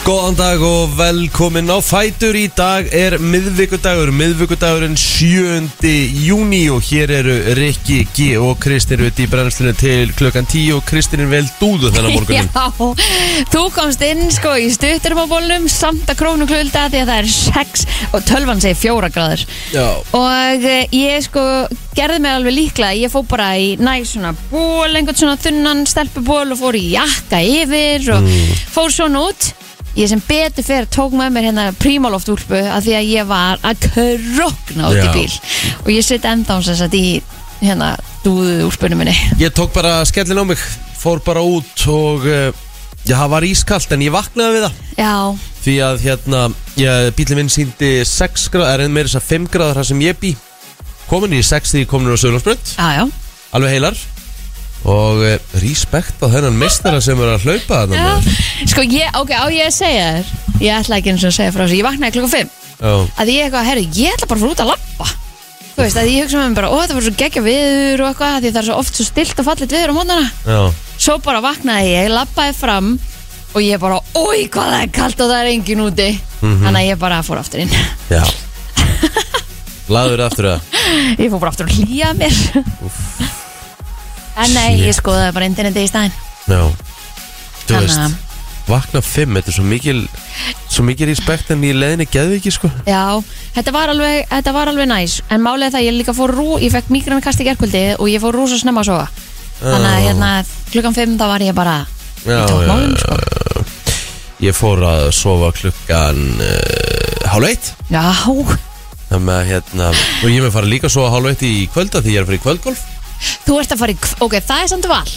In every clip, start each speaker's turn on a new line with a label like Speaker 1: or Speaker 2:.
Speaker 1: Góðan dag og velkomin á Fætur í dag er miðvikudagur, miðvikudagurinn 7. júni og hér eru Rikki G og Kristinn Rutt í brennslinu til klukkan 10 og Kristinn er vel dúðu þennan morgunin.
Speaker 2: Já, þú komst inn sko í stutturumabólnum samt að krónu klölda því að það er 6 og tölvan segir 4 gráður
Speaker 1: Já.
Speaker 2: og eh, ég sko gerði mig alveg líklega, ég fór bara í næ svona ból, einhvern svona þunnan stelpuból og fór í jakka yfir og fór svona út ég sem betur fyrir tók með mér hérna prímaloftúlpu af því að ég var að krokna út í
Speaker 1: Já.
Speaker 2: bíl og ég sitt enda á þess að í hérna dúðu úlpunum minni
Speaker 1: Ég tók bara skellin á mig, fór bara út og eh, já, það var ískalt en ég vaknaði við það
Speaker 2: Já,
Speaker 1: því að hérna, ég, bílinn minn síndi 6 gráður, er meira þess að 5 gráður þar sem ég bý, komin í 6 því komin á Söðlandsbrönd.
Speaker 2: já, já
Speaker 1: alveg heilar og eh, respekt á þennan mistara sem er að hlaupa þarna
Speaker 2: Já,
Speaker 1: maður.
Speaker 2: sko ég, ok, á ég að segja þér Ég ætla ekki eins og að segja frá þessu Ég vaknaði klukka 5
Speaker 1: Já,
Speaker 2: Að ég eitthvað, herru, ég ætla bara að fara út að labba Þú veist, að ég hugsa með mér bara Ó, það var svo geggja viður og eitthvað af Því það er svo oft svo stilt og fallit viður á mótnana
Speaker 1: já,
Speaker 2: Svo bara vaknaði ég, labbaði fram Og ég bara, oi, hvað það er kalt Og það er engin úti Þannig að ég bara fór aftur inn
Speaker 1: já Laður aftur það
Speaker 2: Ég fór bara aftur að hlýja mér En nei, ég skoðaði bara interneti í staðinn
Speaker 1: Já, þú
Speaker 2: Þannig að-
Speaker 1: veist Vakna fimm, þetta er svo mikil Svo mikil respekt en í leðinni geðviki sko
Speaker 2: Já, þetta var alveg, þetta var alveg næs En málið er það, ég líka fór rú Ég fekk migræna kast í gerkvöldi og ég fór rúsa snemma að sofa Þannig að hérna, klukkan 5 þá var ég bara
Speaker 1: Já,
Speaker 2: Ég tók
Speaker 1: já,
Speaker 2: málum, sko
Speaker 1: Ég fór að sofa klukkan uh, Hálf eitt
Speaker 2: Já,
Speaker 1: Þannig að hérna Og ég með fara líka að sofa hálf eitt í kvölda Því ég er að fara í kvöldgolf
Speaker 2: þú ert að fara í kv- Ok, það er samt val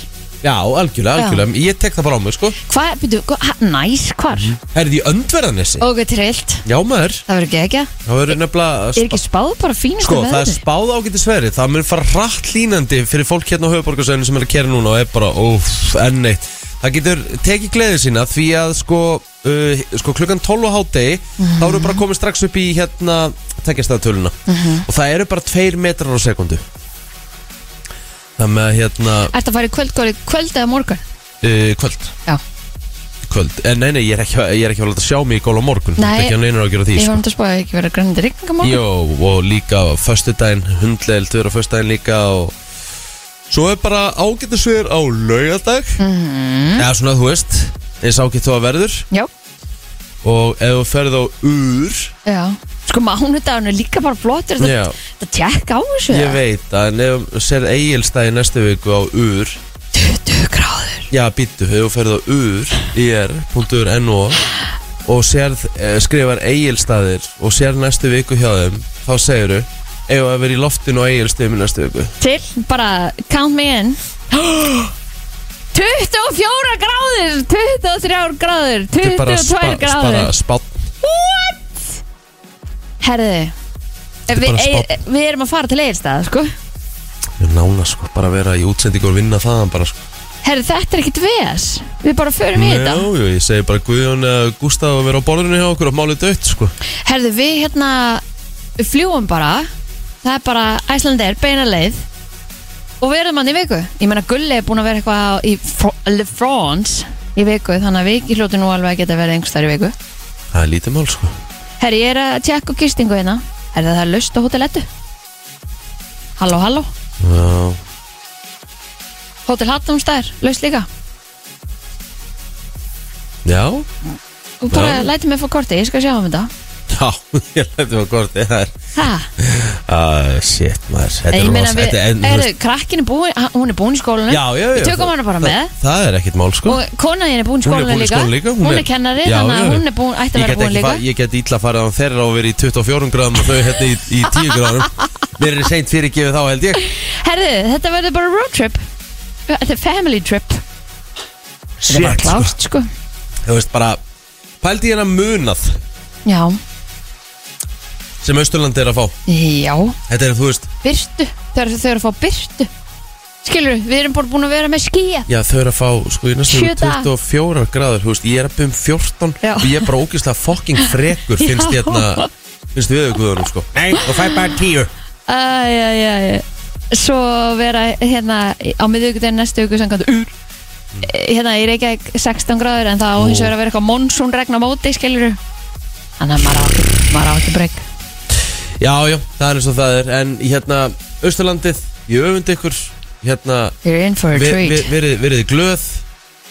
Speaker 1: Já, algjörlega, algjörlega Ég tek það bara á mig sko
Speaker 2: Hvað, byrju, hva, ha- næs, hvar?
Speaker 1: Herði í öndverðanessi
Speaker 2: Ok, trillt,
Speaker 1: Já maður
Speaker 2: það verður gegja
Speaker 1: Það verður nefnilega
Speaker 2: Er ekki spáð bara fínustu
Speaker 1: Sko, það er
Speaker 2: veðri?
Speaker 1: spáð ágætis veðri Það mun fara hratt línandi fyrir fólk hérna á höfuborgarsæðinu sem er að kera núna og er bara, óf, enn eitt Það getur tekið gleðið sína því að sko, uh, sko klukkan 12 á hádegi þá eru bara komið strax upp í hérna tekjastæðatöluna
Speaker 2: Mhm.
Speaker 1: og það eru bara 2 metrar á sekundu Það með hérna
Speaker 2: Ert að fara í kvöldgóri kvöld eða morgun?
Speaker 1: uh, kvöld
Speaker 2: Já,
Speaker 1: Kvöld, en nei, nei, ég er ekki, ég er ekki að láta sjá mig í góla morgun
Speaker 2: Nei.
Speaker 1: ekki að neina að gera því
Speaker 2: ég
Speaker 1: sko.
Speaker 2: var um að spáði ekki vera grænandi rigninga morgun
Speaker 1: Jó, og líka á föstudaginn, hundleil, tvöra föstudaginn líka og svo er bara ágættisveður á laugardag eða svona þú veist eins ágætt þú að verður
Speaker 2: Já,
Speaker 1: og ef þú ferð á úr
Speaker 2: já Sko, mánudagun er líka bara flottur
Speaker 1: Já.
Speaker 2: Það, það tjekk á þessu
Speaker 1: ég veit að en ef þú serð eigilstæði næstu viku á úr
Speaker 2: 20 gráður
Speaker 1: já, býttu, ef þú ferð á úr ir.no og serð, eh, skrifar eigilstæðir og serð næstu viku hjá þeim þá segiru, ef þú að vera í loftinu á eigilstæðum næstu viku
Speaker 2: Til, bara count me in 24 gráður 23 gráður
Speaker 1: Þetta er bara
Speaker 2: 22
Speaker 1: spa- bara
Speaker 2: gráður
Speaker 1: spátt
Speaker 2: Herðu
Speaker 1: er
Speaker 2: Við
Speaker 1: bara
Speaker 2: ei-
Speaker 1: spánn.
Speaker 2: við erum að fara til Egilstað sko.
Speaker 1: Ég nána sko, bara að vera í útsendingu og vinna þaðan bara sko
Speaker 2: Herðu, þetta er ekkit VS Við bara förum í
Speaker 1: Já,
Speaker 2: þetta
Speaker 1: já, ég segi bara Guðjón eða Gustaf að vera á borðinu hjá okkur og málið dött sko
Speaker 2: Herðu, við hérna Við fljúum bara Það er bara Æslandir, beina leið Og við erum hann í viku Ég meina Gulli er búin að vera eitthvað í Fr- Le France í viku Þannig að við hljóti nú alveg að geta verið einhverstaðar í viku
Speaker 1: Það er lítið mál sko
Speaker 2: Herri, ég er að tjekka á gistingu hérna Herri, það er laust á Hotel Eddu Halló, halló
Speaker 1: Já,
Speaker 2: Hotel Hattumstær, laust líka
Speaker 1: já,
Speaker 2: Þú bara
Speaker 1: Já.
Speaker 2: lætið mig fá korti, ég skal sjá um þetta
Speaker 1: já ég læti mig að korti það er
Speaker 2: Ha,
Speaker 1: Ah, shit maður Þetta
Speaker 2: ég meina
Speaker 1: rosa-
Speaker 2: við
Speaker 1: þetta en-
Speaker 2: Herri, krakkin er búin, ha- hún er búin í skólanum
Speaker 1: Já, já, já
Speaker 2: Við tökum
Speaker 1: það-
Speaker 2: hana bara
Speaker 1: það-
Speaker 2: með
Speaker 1: Það er ekkit mál sko
Speaker 2: Og konaðin er búin í
Speaker 1: Hún er
Speaker 2: skólanum
Speaker 1: búin í
Speaker 2: líka
Speaker 1: skólanum líka, hún
Speaker 2: Hún
Speaker 1: er-
Speaker 2: er kennari,
Speaker 1: Já, já,
Speaker 2: þannig
Speaker 1: já.
Speaker 2: að hún er búin, ætti
Speaker 1: Ég
Speaker 2: að vera
Speaker 1: get
Speaker 2: búin
Speaker 1: ekki
Speaker 2: líka
Speaker 1: fa- Ég get ítla að fara á þeirra og verið í 24 gráðum og þau hérna í, í 10 gráðum Mér er seint fyrir gefið þá held ég
Speaker 2: Herri, þetta verður bara road trip Þetta er family trip Þetta er bara
Speaker 1: Shit, sko.
Speaker 2: klárt, sko
Speaker 1: Þú veist bara Pældi ég hérna munað
Speaker 2: Já,
Speaker 1: sem Östurlandi er að fá
Speaker 2: já
Speaker 1: Þetta er, þú veist,
Speaker 2: byrtu þegar þau eru að fá byrtu skilur, við erum bara búin að vera með skýja
Speaker 1: já þau eru að fá sko í næstum
Speaker 2: Sjö daga.
Speaker 1: 24 gráður, þú veist, ég er að byrjum 14
Speaker 2: Já.
Speaker 1: og ég er bara ógeðslega fucking frekur finnst
Speaker 2: Já.
Speaker 1: ég hérna, finnst við auðvitaðunum sko Nei, og fæ bara 10
Speaker 2: æj, æj, æj svo vera hérna á miðugudegin næstu viku sem kannu ur eh, hérna í Reykjavík 16 gráður en það á hins vegar að vera eitthvað monsun regn á móti skilur þannig að maður á, maður á ekki breyk
Speaker 1: Já, já, það er eins og það er En hérna, Östurlandið, ég öfundi ykkur Hérna,
Speaker 2: You're in for a
Speaker 1: vi, vi,
Speaker 2: treat
Speaker 1: verið, verið glöð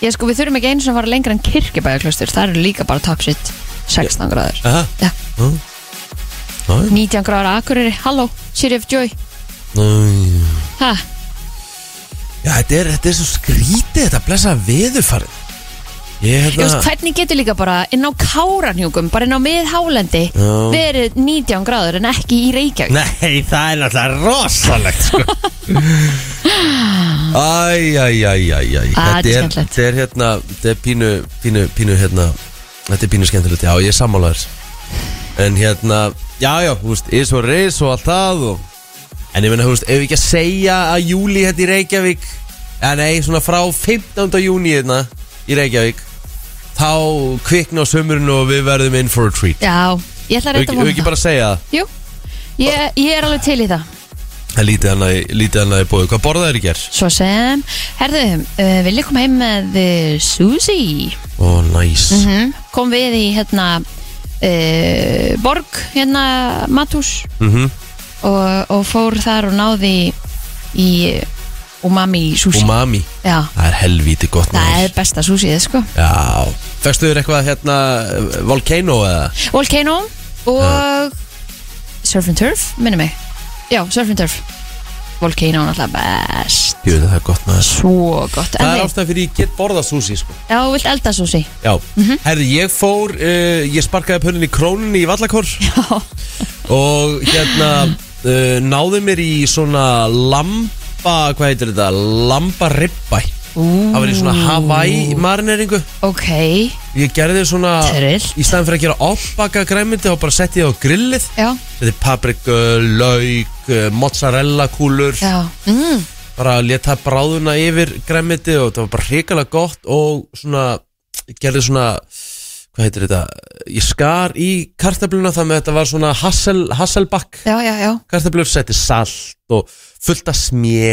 Speaker 2: Ég sko við þurfum ekki einu sem að fara lengra en kirkjubæðaklaustur það eru líka bara top shit 16 gráður
Speaker 1: Aha,
Speaker 2: Já.
Speaker 1: Nú. Næ,
Speaker 2: 19 gráður á Akureyri, halló, City of Joy
Speaker 1: næ.
Speaker 2: ha,
Speaker 1: Já, þetta er, þetta er svo skrítið Þetta blessa veðurfarið Ég
Speaker 2: ég veist
Speaker 1: hérna
Speaker 2: hvernig getur líka bara inn á Káranhjúkum, bara inn á miðhálendi
Speaker 1: Já.
Speaker 2: verið 19 gráður en ekki í Reykjavík
Speaker 1: Nei, það er náttúrulega rosalegt sko. Æj, æj, æj, æj, æj
Speaker 2: Ah, þetta er
Speaker 1: er,
Speaker 2: skemmtilegt.
Speaker 1: þetta er hérna Þetta er pínu, pínu, pínu hérna Þetta er pínu skemmtilegt, já, ég er sammálaður En hérna, já, já, þú veist Ís og reis og allt það og... En ég meina, þú veist, ef við ekki að segja að júli hérna í Reykjavík Já, nei, svona frá 15. júni hérna í Reykjavík Þá kvikna á sömurinn og við verðum in for a treat
Speaker 2: Já, ég ætla að
Speaker 1: Ef
Speaker 2: reynda
Speaker 1: við ekki bara að segja það
Speaker 2: Jú, ég, ég er alveg til í það
Speaker 1: Það er lítið annað, í- lítið annað í bóði. Hvað borðaður í gerð?
Speaker 2: Svo sem, herðu, uh, vil ég koma heim með uh, Suzy
Speaker 1: Ó, næs.
Speaker 2: hm? Kom við í hérna uh, Borg, hérna Matús
Speaker 1: Mhm.
Speaker 2: og, og fór þar og náði í umami sushi
Speaker 1: Umami.
Speaker 2: Já,
Speaker 1: Það er helvíti gott
Speaker 2: það
Speaker 1: maður.
Speaker 2: er besta sushiðið sko
Speaker 1: Já. Fæstu þér eitthvað hérna, eh, Volcano eða?
Speaker 2: Volcano og Surf and Turf, minni mig Já, Surf and Turf Volcano er náttúrulega best
Speaker 1: Jú, það er gott maður.
Speaker 2: Svo gott
Speaker 1: Það er
Speaker 2: En þið,
Speaker 1: ástæðan fyrir ég get borðað sushi, sko.
Speaker 2: já, þú vilt elda sushi
Speaker 1: Já. Herði, ég fór, uh, ég sparkaði upp hörninni í króninni í vallakor
Speaker 2: Já
Speaker 1: og hérna uh, náði mér í svona lamba, hvað heitir þetta? Lamba ribbæ.
Speaker 2: Ú,
Speaker 1: Það var í svona Hawaii marineringu.
Speaker 2: ok
Speaker 1: Ég gerði svona
Speaker 2: Trillt.
Speaker 1: Í staðan fyrir að gera ofbaka græmyndi þá bara setti ég á grillið
Speaker 2: Já,
Speaker 1: Setti papriku, lauk, eh, mozzarella kúlur
Speaker 2: já mm,
Speaker 1: Bara leta bráðuna yfir græmyndi og það var bara hrikalega gott Og svona, ég gerði svona, hvað heitir þetta Ég skar í kartabluna þannig að þetta var svona hassel, hasselbakk
Speaker 2: Já, já, já
Speaker 1: Kartablur setti salt og fullt af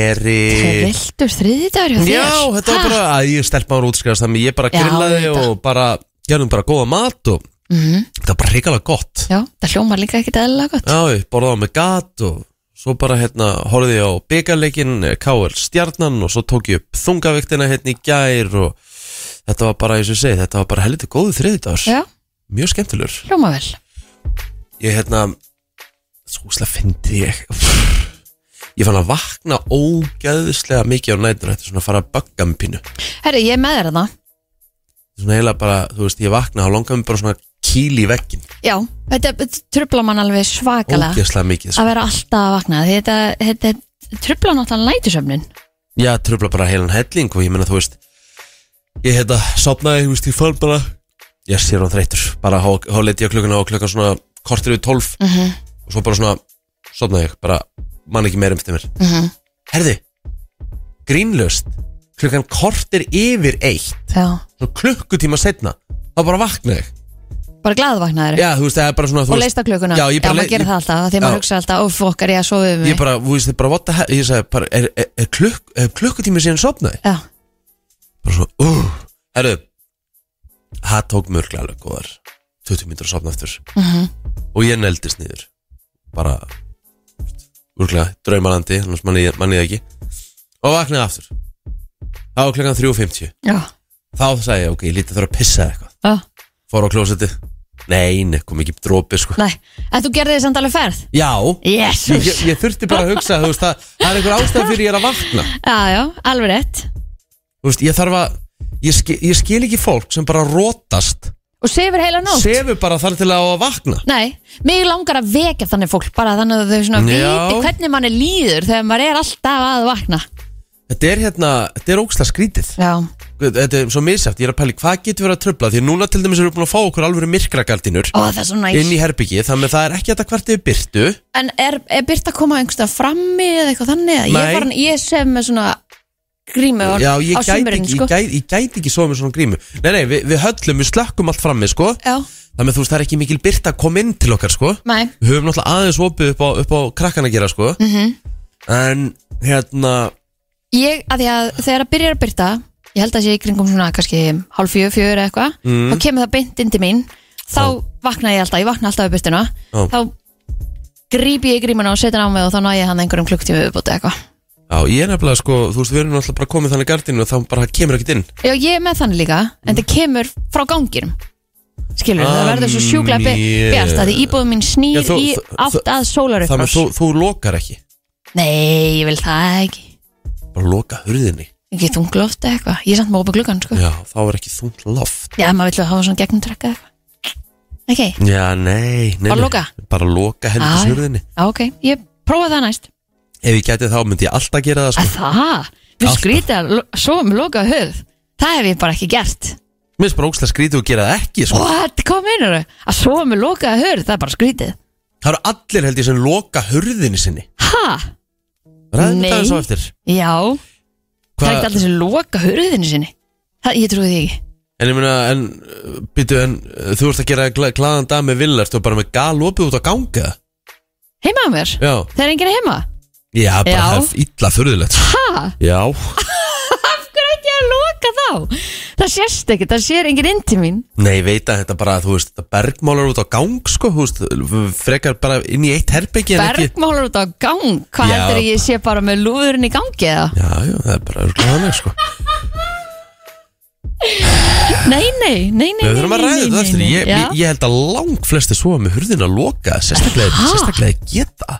Speaker 1: smjeri
Speaker 2: Triltur þriði dagur hjá þér
Speaker 1: Eh. Já, þetta var
Speaker 2: Ha?
Speaker 1: bara að ég stelpa ára útskrast Þannig ég bara
Speaker 2: Já,
Speaker 1: grillaði
Speaker 2: auðvitað.
Speaker 1: og bara gerðum bara góða mat og
Speaker 2: Mhm,
Speaker 1: þetta var bara hrikalega gott
Speaker 2: Já, það hljómar líka ekkert eðlilega gott
Speaker 1: Já, ég borðaði með gat og svo bara hérna horfði ég á eh, byggarleikin KL Stjarnan og svo tók ég upp þungaviktina hérna í gær og þetta var bara, eins og ég segi, þetta var bara helviti góðu þriðdags,
Speaker 2: Já,
Speaker 1: mjög skemmtilegur
Speaker 2: hljómar vel
Speaker 1: Ég hérna, skúslega fyndi ég Ég fann að vakna ógeðislega mikið á nætur Þetta er svona að fara að bögga með pínu Þetta
Speaker 2: Herri, ég er með þér þarna
Speaker 1: er svona eiginlega bara, þú veist, ég vakna þá langar mig bara svona kýl í veggin
Speaker 2: Já, þetta þetta truflar mann alveg svakalega
Speaker 1: Ógeðslega mikið, sko.
Speaker 2: Að vera alltaf að vakna því Þetta, þetta, þetta trubla náttúrulega nætusöfnin
Speaker 1: Já, tröfla bara heilan helling og ég meina þú veist Ég hérna, sopnaði, þú veist, ég fann bara Ég sé hann þreytur, bara há leti ég á klukkuna og klukkan svona kortir við tólf
Speaker 2: Mhm.
Speaker 1: og svo bara svona sopnaði ég, bara man ekki meira um eftir mér
Speaker 2: Mhm.
Speaker 1: Herði, grínlöst klukkan kortir yfir eitt
Speaker 2: Já,
Speaker 1: svona klukkutíma setna þá bara vakna ég
Speaker 2: bara glaðvaknaður
Speaker 1: Já, þú veist, það er bara svona þú
Speaker 2: Og
Speaker 1: veist,
Speaker 2: leist á klukkuna
Speaker 1: Já, ég bara
Speaker 2: maður
Speaker 1: le-
Speaker 2: gerir
Speaker 1: ég-
Speaker 2: það alltaf af Því að maður
Speaker 1: Já.
Speaker 2: hugsa alltaf, óf, okkar ég að sofa um
Speaker 1: ég
Speaker 2: mig
Speaker 1: bara, þú veist, bara what the hell ég sagði, bara, er, er, er, klukk, er klukkutíma síðan sopnaði
Speaker 2: Já,
Speaker 1: bara svo, uh, herru það tók mörglega alveg góðar 20 mínútur að sopna aftur -hmm. og ég neldist niður bara mörglega draumalandi, annars manni ég manni ég það ekki og vaknaði aftur þá var klokkan 3.50
Speaker 2: já,
Speaker 1: þá sagði ég, ok, ég lítið þarf að pissa eða eitthvað
Speaker 2: já
Speaker 1: fór á klósetti, nei, nei, kom ekki drópi sko.
Speaker 2: Nei, en þú gerði þið samt alveg ferð
Speaker 1: já, ég,
Speaker 2: Jésus
Speaker 1: ég- ég þurfti bara að hugsa þú veist, það, það er einhver ástæð fyrir ég er að vakna
Speaker 2: Já, já, alveg rétt
Speaker 1: þú veist, ég þarf að ég skil, ég skil ekki fólk sem bara rótast
Speaker 2: Og sefur heila nótt
Speaker 1: sefur bara þar til að á að vakna
Speaker 2: Nei, mig langar að vekja þannig fólk bara þannig að þau svona
Speaker 1: Já.
Speaker 2: viti hvernig manni líður þegar maður er alltaf að vakna
Speaker 1: Þetta er hérna, þetta er ógsta skrítið
Speaker 2: Já,
Speaker 1: Þetta er svo misjátt, ég er að pæli hvað getur verið að tröfla Því að núna til dæmis erum við búin að fá okkur alveg myrkragaldinur
Speaker 2: ó það er svo næs
Speaker 1: inn í herbyggi Þannig að það er ekki þetta hvert yfir byrtu
Speaker 2: En er, er Byrta að koma einhverstað frammi eða eitthvað þannig? Ég,
Speaker 1: Nei.
Speaker 2: var, ég sef með svona grímu á,
Speaker 1: Já, ég
Speaker 2: á
Speaker 1: gæti
Speaker 2: sumurinn
Speaker 1: ekki,
Speaker 2: sko.
Speaker 1: ég gæti, ég gæti ekki svo með svona grímu Nei, nei, við, við höllum, við slökkum allt frammi, sko
Speaker 2: Já,
Speaker 1: Þannig að þú veist, það er ekki mikil byrta að koma inn til okkar, sko
Speaker 2: nei,
Speaker 1: Við höfum náttúrulega aðeins opið upp á, upp á krakkan að gera, sko
Speaker 2: mhm
Speaker 1: En, hérna,
Speaker 2: Ég, að því að þegar að byrjar að Byrta Ég ég held að sé í kringum svona kannski hálf fjör, fjör eitthvað
Speaker 1: Mm.
Speaker 2: þá kemur það beint inn til mín þá vakna ég alltaf, ég vakna alltaf upp eftirna
Speaker 1: Já.
Speaker 2: þá gríp ég í grímuna og setja hann á mig og þá ná ég hann einhverjum klukktíma viðbóti eitthvað
Speaker 1: Já, ég er nefnilega sko, þú veist, við erum náttúrulega bara komið þannig gardinu og þá bara kemur ekkert inn
Speaker 2: Já, ég er með þannig líka, en það kemur frá ganginum Skilur, það
Speaker 1: Ah,
Speaker 2: verður svo sjúklega be-
Speaker 1: yeah.
Speaker 2: bjart að því íbúðum mín snýr
Speaker 1: Já, þú-
Speaker 2: í
Speaker 1: þú-
Speaker 2: átt að sólar upp
Speaker 1: Þannig að þú, þú lokar ekki,
Speaker 2: Nei, ég vil það ekki
Speaker 1: bara loka hurðinni
Speaker 2: Ekki þungloft eða eitthvað, ég er samt með opið gluggan sko.
Speaker 1: Já, þá er ekki þungt loft
Speaker 2: Já, maður vill hafa svona gegnumtrekka eitthvað Ok,
Speaker 1: Já, nei, nei
Speaker 2: Bara
Speaker 1: nei.
Speaker 2: loka?
Speaker 1: Bara loka
Speaker 2: Ah.
Speaker 1: hendis hurðinni
Speaker 2: já, ok, ég prófa það næst
Speaker 1: Ef ég gæti þá myndi ég alltaf gera það
Speaker 2: Að
Speaker 1: sko
Speaker 2: það, við
Speaker 1: Alltaf.
Speaker 2: skrýta að lo- sofa með lokað höf Það hef ég bara ekki gert
Speaker 1: Mér finnst bara ógstlega skrítið og gera það ekki sko
Speaker 2: What, hvað meinar Að sofa með lokað höf, það er bara skrýtið
Speaker 1: Það eru allir held ég sem loka hurðinni sinni
Speaker 2: Ha,
Speaker 1: Ræðum
Speaker 2: Nei.
Speaker 1: þetta aðeins á eftir
Speaker 2: já, Það er
Speaker 1: Hvað-
Speaker 2: ekki allir sem loka hurðinu sinni Það, ég trúi því ekki
Speaker 1: En ég meina, en, býtu, en uh, þú ert að gera gla, glaðan dag með villar, þú bara með gal opið út á ganga
Speaker 2: Heima á mér?
Speaker 1: Já,
Speaker 2: Það er enginn heima?
Speaker 1: já, bara
Speaker 2: Já.
Speaker 1: það er illa furðulegt sko.
Speaker 2: Ha?
Speaker 1: Já,
Speaker 2: Hvað er ekki að loka þá? Það sést ekki, það sér enginn inn til mín
Speaker 1: nei, ég veit að þetta bara, þú veist, þetta bergmálar út á gang, sko, þú veist, frekar bara inn í eitt herbyggi en ekki
Speaker 2: Bergmálar út á gang Hvað
Speaker 1: Já.
Speaker 2: heldur ég sé bara með lúðurinn í gangi eða?
Speaker 1: Já, já, það er bara glaðan, sko
Speaker 2: Nei, nei, nei, nei
Speaker 1: Við þurfum að ræða þetta eftir ég, ég,
Speaker 2: ég,
Speaker 1: ég held að lang flesti svo með hurðina loka Sérstaklega,
Speaker 2: Ha?
Speaker 1: sérstaklega geta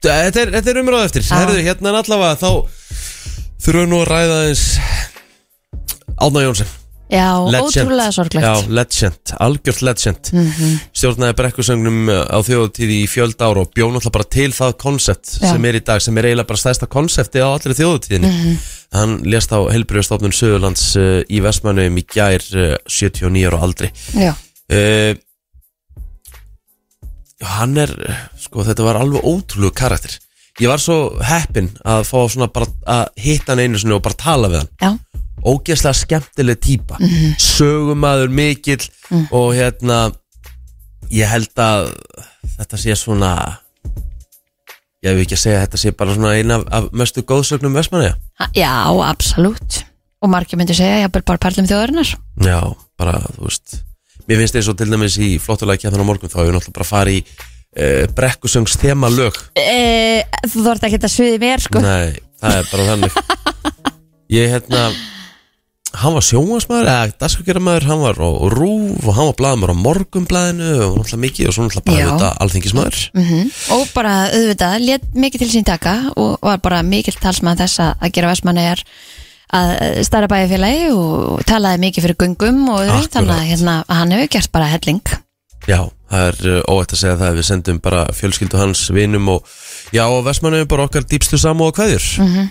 Speaker 1: Þetta er, þetta er umræða eftir Herðu, hérna er allavega þá Þurfum við nú að ræða eins Árna Jónsson
Speaker 2: Já,
Speaker 1: legend.
Speaker 2: ótrúlega sorglegt Mhm.
Speaker 1: Já, legend, algjört legend Stjórnaði brekkusögnum á þjóðtíð í fjöld ára og bjón alltaf bara til það koncept
Speaker 2: Já.
Speaker 1: sem er í dag, sem er eiginlega bara stærsta konsepti á allri þjóðtíðinni
Speaker 2: Mhm.
Speaker 1: Hann lést á helbriðastofnun Söðurlands uh, í Vestmannum í gær uh, 79 ára aldri
Speaker 2: Já,
Speaker 1: uh, Hann er sko, þetta var alveg ótrúlegu karakter Ég var svo heppin að fá svona bara að hitta hann einu sinni og bara tala við hann
Speaker 2: já,
Speaker 1: ógeðslega skemmtileg típa sögumadur mikill og hérna ég held að þetta sé svona ég hef ekki að segja að þetta sé bara svona eina af, af mestu góðsögnum Vestmanni
Speaker 2: Ha- já, absolutt Og margir myndi segja, ég er bara perlum þjóðarinnar
Speaker 1: já, bara þú veist mér finnst eins og til dæmis í flottulega kjæðan á morgun þá hefur náttúrulega bara farið í uh, brekkusöngs þemalög
Speaker 2: e, Þú þarft ekki að sviði mér, sko
Speaker 1: Nei, það er bara þannig Ég hérna Hann var sjónvarsmaður eða dagskakiramaður Hann var á rúf og hann var blaðamaður á morgumblaðinu og náttúrulega mikið og svo náttúrulega bara
Speaker 2: Já.
Speaker 1: auðvitað alþingismadur
Speaker 2: -hmm. og bara auðvitað létt mikið til sín taka og var bara mikill talsmann þess að, að gera vestmannegar að starra bæjarfélagi og talaði mikið fyrir gungum og öðru,
Speaker 1: Akkurat.
Speaker 2: þannig að hérna, að hann hefur gert bara helling
Speaker 1: Já, það er uh, óætt að segja það að við sendum bara fjölskyldu hans, vinum og já, og vestmannu bara okkar dýpstu samú og kveðjur
Speaker 2: Mhm.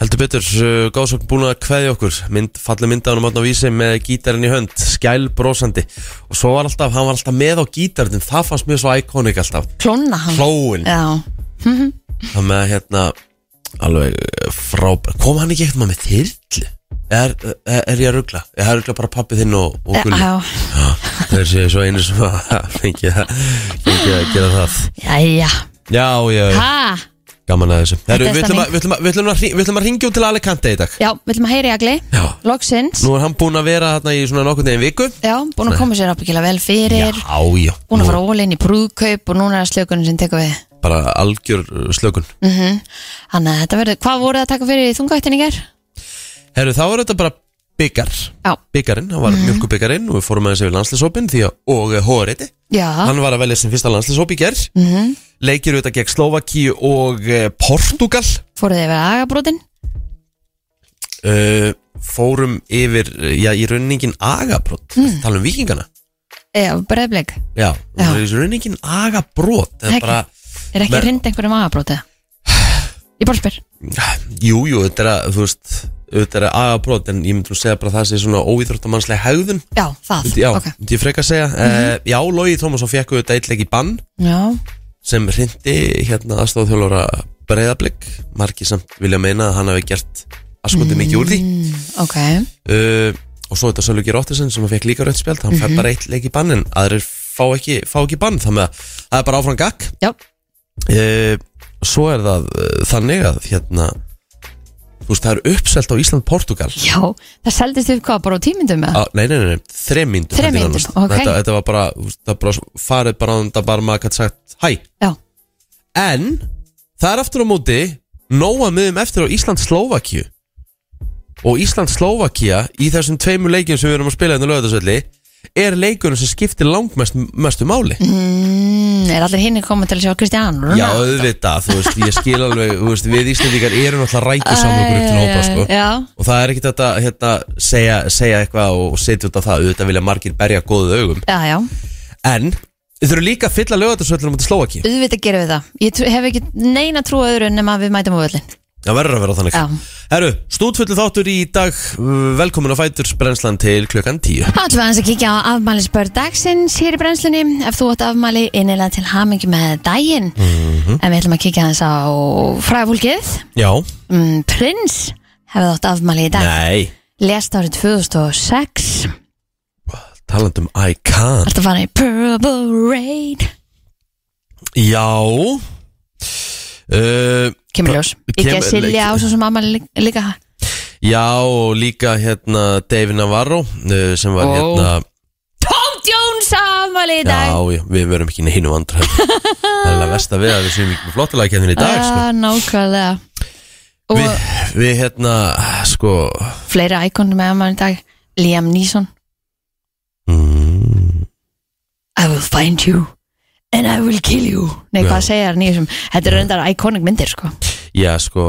Speaker 1: Heldur betur, uh, Gásokn búin að kveðja okkur mynd, falli myndanum átna á vísi með gítarinn í hönd, skæl brosandi og svo var alltaf, hann var alltaf með á gítarinn það fannst mér svo íkónik alltaf
Speaker 2: klónna hann
Speaker 1: Plóin
Speaker 2: Já,
Speaker 1: Það með hérna alveg frábært Kom hann ekki eitthvað með þyrlu? Er, er, er ég að ruggla? Ég er ruggla bara pappi þinn og, og
Speaker 2: já,
Speaker 1: gulli
Speaker 2: já,
Speaker 1: Það er sér svo einu sem að fengi að, fengi að gera það
Speaker 2: já, já.
Speaker 1: Já, já, já,
Speaker 2: Ha,
Speaker 1: gaman að þessu Heru,
Speaker 2: er
Speaker 1: Við ætlum
Speaker 2: stemning.
Speaker 1: að- við ætlum að- við ætlum að hring- við ætlum að ringja út til Alicante í dag
Speaker 2: já, viljum að heyri agli
Speaker 1: Já,
Speaker 2: loksins,
Speaker 1: nú er hann búinn að vera þarna í svona nokkurn veginn viku
Speaker 2: já, búin að koma sér ábyggilega vel
Speaker 1: Já,
Speaker 2: fyrir,
Speaker 1: já,
Speaker 2: búin
Speaker 1: nú
Speaker 2: að fara ólinn í brúðkaup og núna er það slökunum sem tekur við
Speaker 1: bara algjör uh, slökun
Speaker 2: mm Þannig að þetta verður, hvað voruð það að taka fyrir þungvættinningar?
Speaker 1: Herru, þá er þetta bara byggar
Speaker 2: Já,
Speaker 1: Byggarinn, hann
Speaker 2: Mhm.
Speaker 1: var mm. mjölkubyggarinn og við fórum aðeins yfir landslisópin því að og hóriði
Speaker 2: já,
Speaker 1: hann var að velja sem fyrsta landslýshóp í gerð
Speaker 2: Mhm.
Speaker 1: leikir auðvitað gegn Slovaki og eh, Portugal
Speaker 2: fóruð þið yfir agabrótin?
Speaker 1: uh, fórum yfir, eh, já, í raunningin agabrót, mm. tala um vikingana
Speaker 2: Já, breyðblik
Speaker 1: já,
Speaker 2: Já.
Speaker 1: já. í raunningin agabrót það
Speaker 2: Ekki.
Speaker 1: er bara,
Speaker 2: Er ekki
Speaker 1: Men-
Speaker 2: rind einhverjum agabrótið? Ég bara spyr
Speaker 1: jú, jú, þetta er að þú veist, þetta er agabrót en ég myndi nú segja bara að það sé svona óíþróttamannslega hegðun,
Speaker 2: Já, það
Speaker 1: Myndi- já,
Speaker 2: ok. Mhm.
Speaker 1: myndi ég freka að segja mm já, Lógi Tómasson fekk auðvitað eitleik í bann
Speaker 2: já,
Speaker 1: sem hrindi hérna aðstofþjólóra breyðablik, margi samt vilja meina að hann hafi gert askotum mikið úr því
Speaker 2: ok
Speaker 1: uh, og svo þetta Sölvi Gíróttisson sem að fekk líka rautt spjald, hann mm fær bara eitt leik í bann en aðrir fá ekki, fá ekki bann þannig að það er bara áfram gagg
Speaker 2: Já,
Speaker 1: uh, svo er það uh, þannig að hérna þú veist, það er uppselt á Ísland-Portugal
Speaker 2: Já, það seldist upp hvað bara á tímyndum með það?
Speaker 1: Á- Ah, Nei, nei, nei, nei, þrem mínútur
Speaker 2: Þrem
Speaker 1: þetta er
Speaker 2: mínútur,
Speaker 1: nánast.
Speaker 2: ok.
Speaker 1: þetta, þetta var bara, þú veist, það bara svo- farið bara án Það bara maður gætt sagt hæ
Speaker 2: Já,
Speaker 1: En, það er aftur á móti Nóa miðum eftir á Ísland-Slóvakíu Og Ísland-Slóvakía Í þessum tveimur leikjum sem við erum að spila Þetta lögðarsvelli Er leikunum sem skiptir langmestu mestu máli
Speaker 2: mm, er allir hinn að koma til að sjá Kristján
Speaker 1: Já, auðvitað, þú veist, ég skil alveg Þú veist, við Íslandíkar erum alltaf rækjusamlega Grupp til hópa, sko
Speaker 2: Eh, Já,
Speaker 1: Og það er ekkert þetta, hérna, segja, segja eitthvað og setja út á það, auðvitað vilja margir berja góðu augum
Speaker 2: já, já,
Speaker 1: En þið þurfum líka að fylla lögatarsvöllunum út í Slóaki
Speaker 2: auðvitað gerum við það Ég trú- hef ekki neina trú á öðru nema að við mætum á völlin
Speaker 1: Það verður að vera þannig
Speaker 2: Já.
Speaker 1: Herru, stúdfullu þáttur í dag Velkomin á Fæturs brennslan til klukkan 10
Speaker 2: Alltaf aðeins að kíkja á afmæli dagsins hér í brennslunni ef þú átt afmæli innilega til hamingi með daginn
Speaker 1: Mhm.
Speaker 2: en við ætlum að kíkja aðeins á fræðfólkið
Speaker 1: Já
Speaker 2: mm, Prins hefði átt afmæli í dag
Speaker 1: Nei
Speaker 2: lest árið 2006
Speaker 1: Talandum Icon
Speaker 2: Alltaf fara í Purple Rain
Speaker 1: Já uh,
Speaker 2: Kemur ljós Ekki
Speaker 1: Kemur-
Speaker 2: að silja á svo sem afmæli lí- líka
Speaker 1: Já, og líka hérna David Navarro uh, sem var
Speaker 2: Ó.
Speaker 1: hérna
Speaker 2: Tom Jones afmæli í dag
Speaker 1: Já, já, við verum ekki hinn vandra Það er alveg vest að við að við séum ekki flottulega kemðin í dag sko.
Speaker 2: Ah, Nákvæmlega Og
Speaker 1: við, við hérna, sko
Speaker 2: fleiri íkonum með afmæli í dag Liam Neeson
Speaker 1: mm,
Speaker 2: I will find you and I will kill you Nei, hvað
Speaker 1: Já.
Speaker 2: segja það nýjum Þetta er reyndar iconic myndir sko
Speaker 1: Já, sko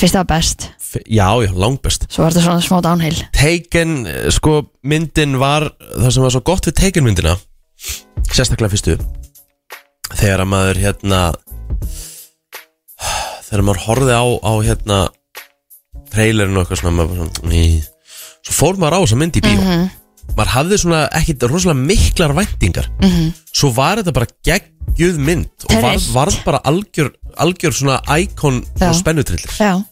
Speaker 2: Fyrst var best,
Speaker 1: F- Já, já, langbest
Speaker 2: svo var þetta svona smá downhill
Speaker 1: Taken, eh, sko, myndin var Það sem var svo gott við Taken myndina Sérstaklega fyrstu Þegar að maður hérna Þegar maður horfði á, á hérna Trailerin og eitthvað svona, maður, bara svona ný. Svo fór maður á þessa mynd í bíó Maður hafði svona ekkit rosalega miklar væntingar -hmm. Svo var þetta bara geggjuð mynd Og var,
Speaker 2: Trillt.
Speaker 1: varð bara algjör, algjör svona Icon
Speaker 2: Já.
Speaker 1: og spennutrillir
Speaker 2: Já,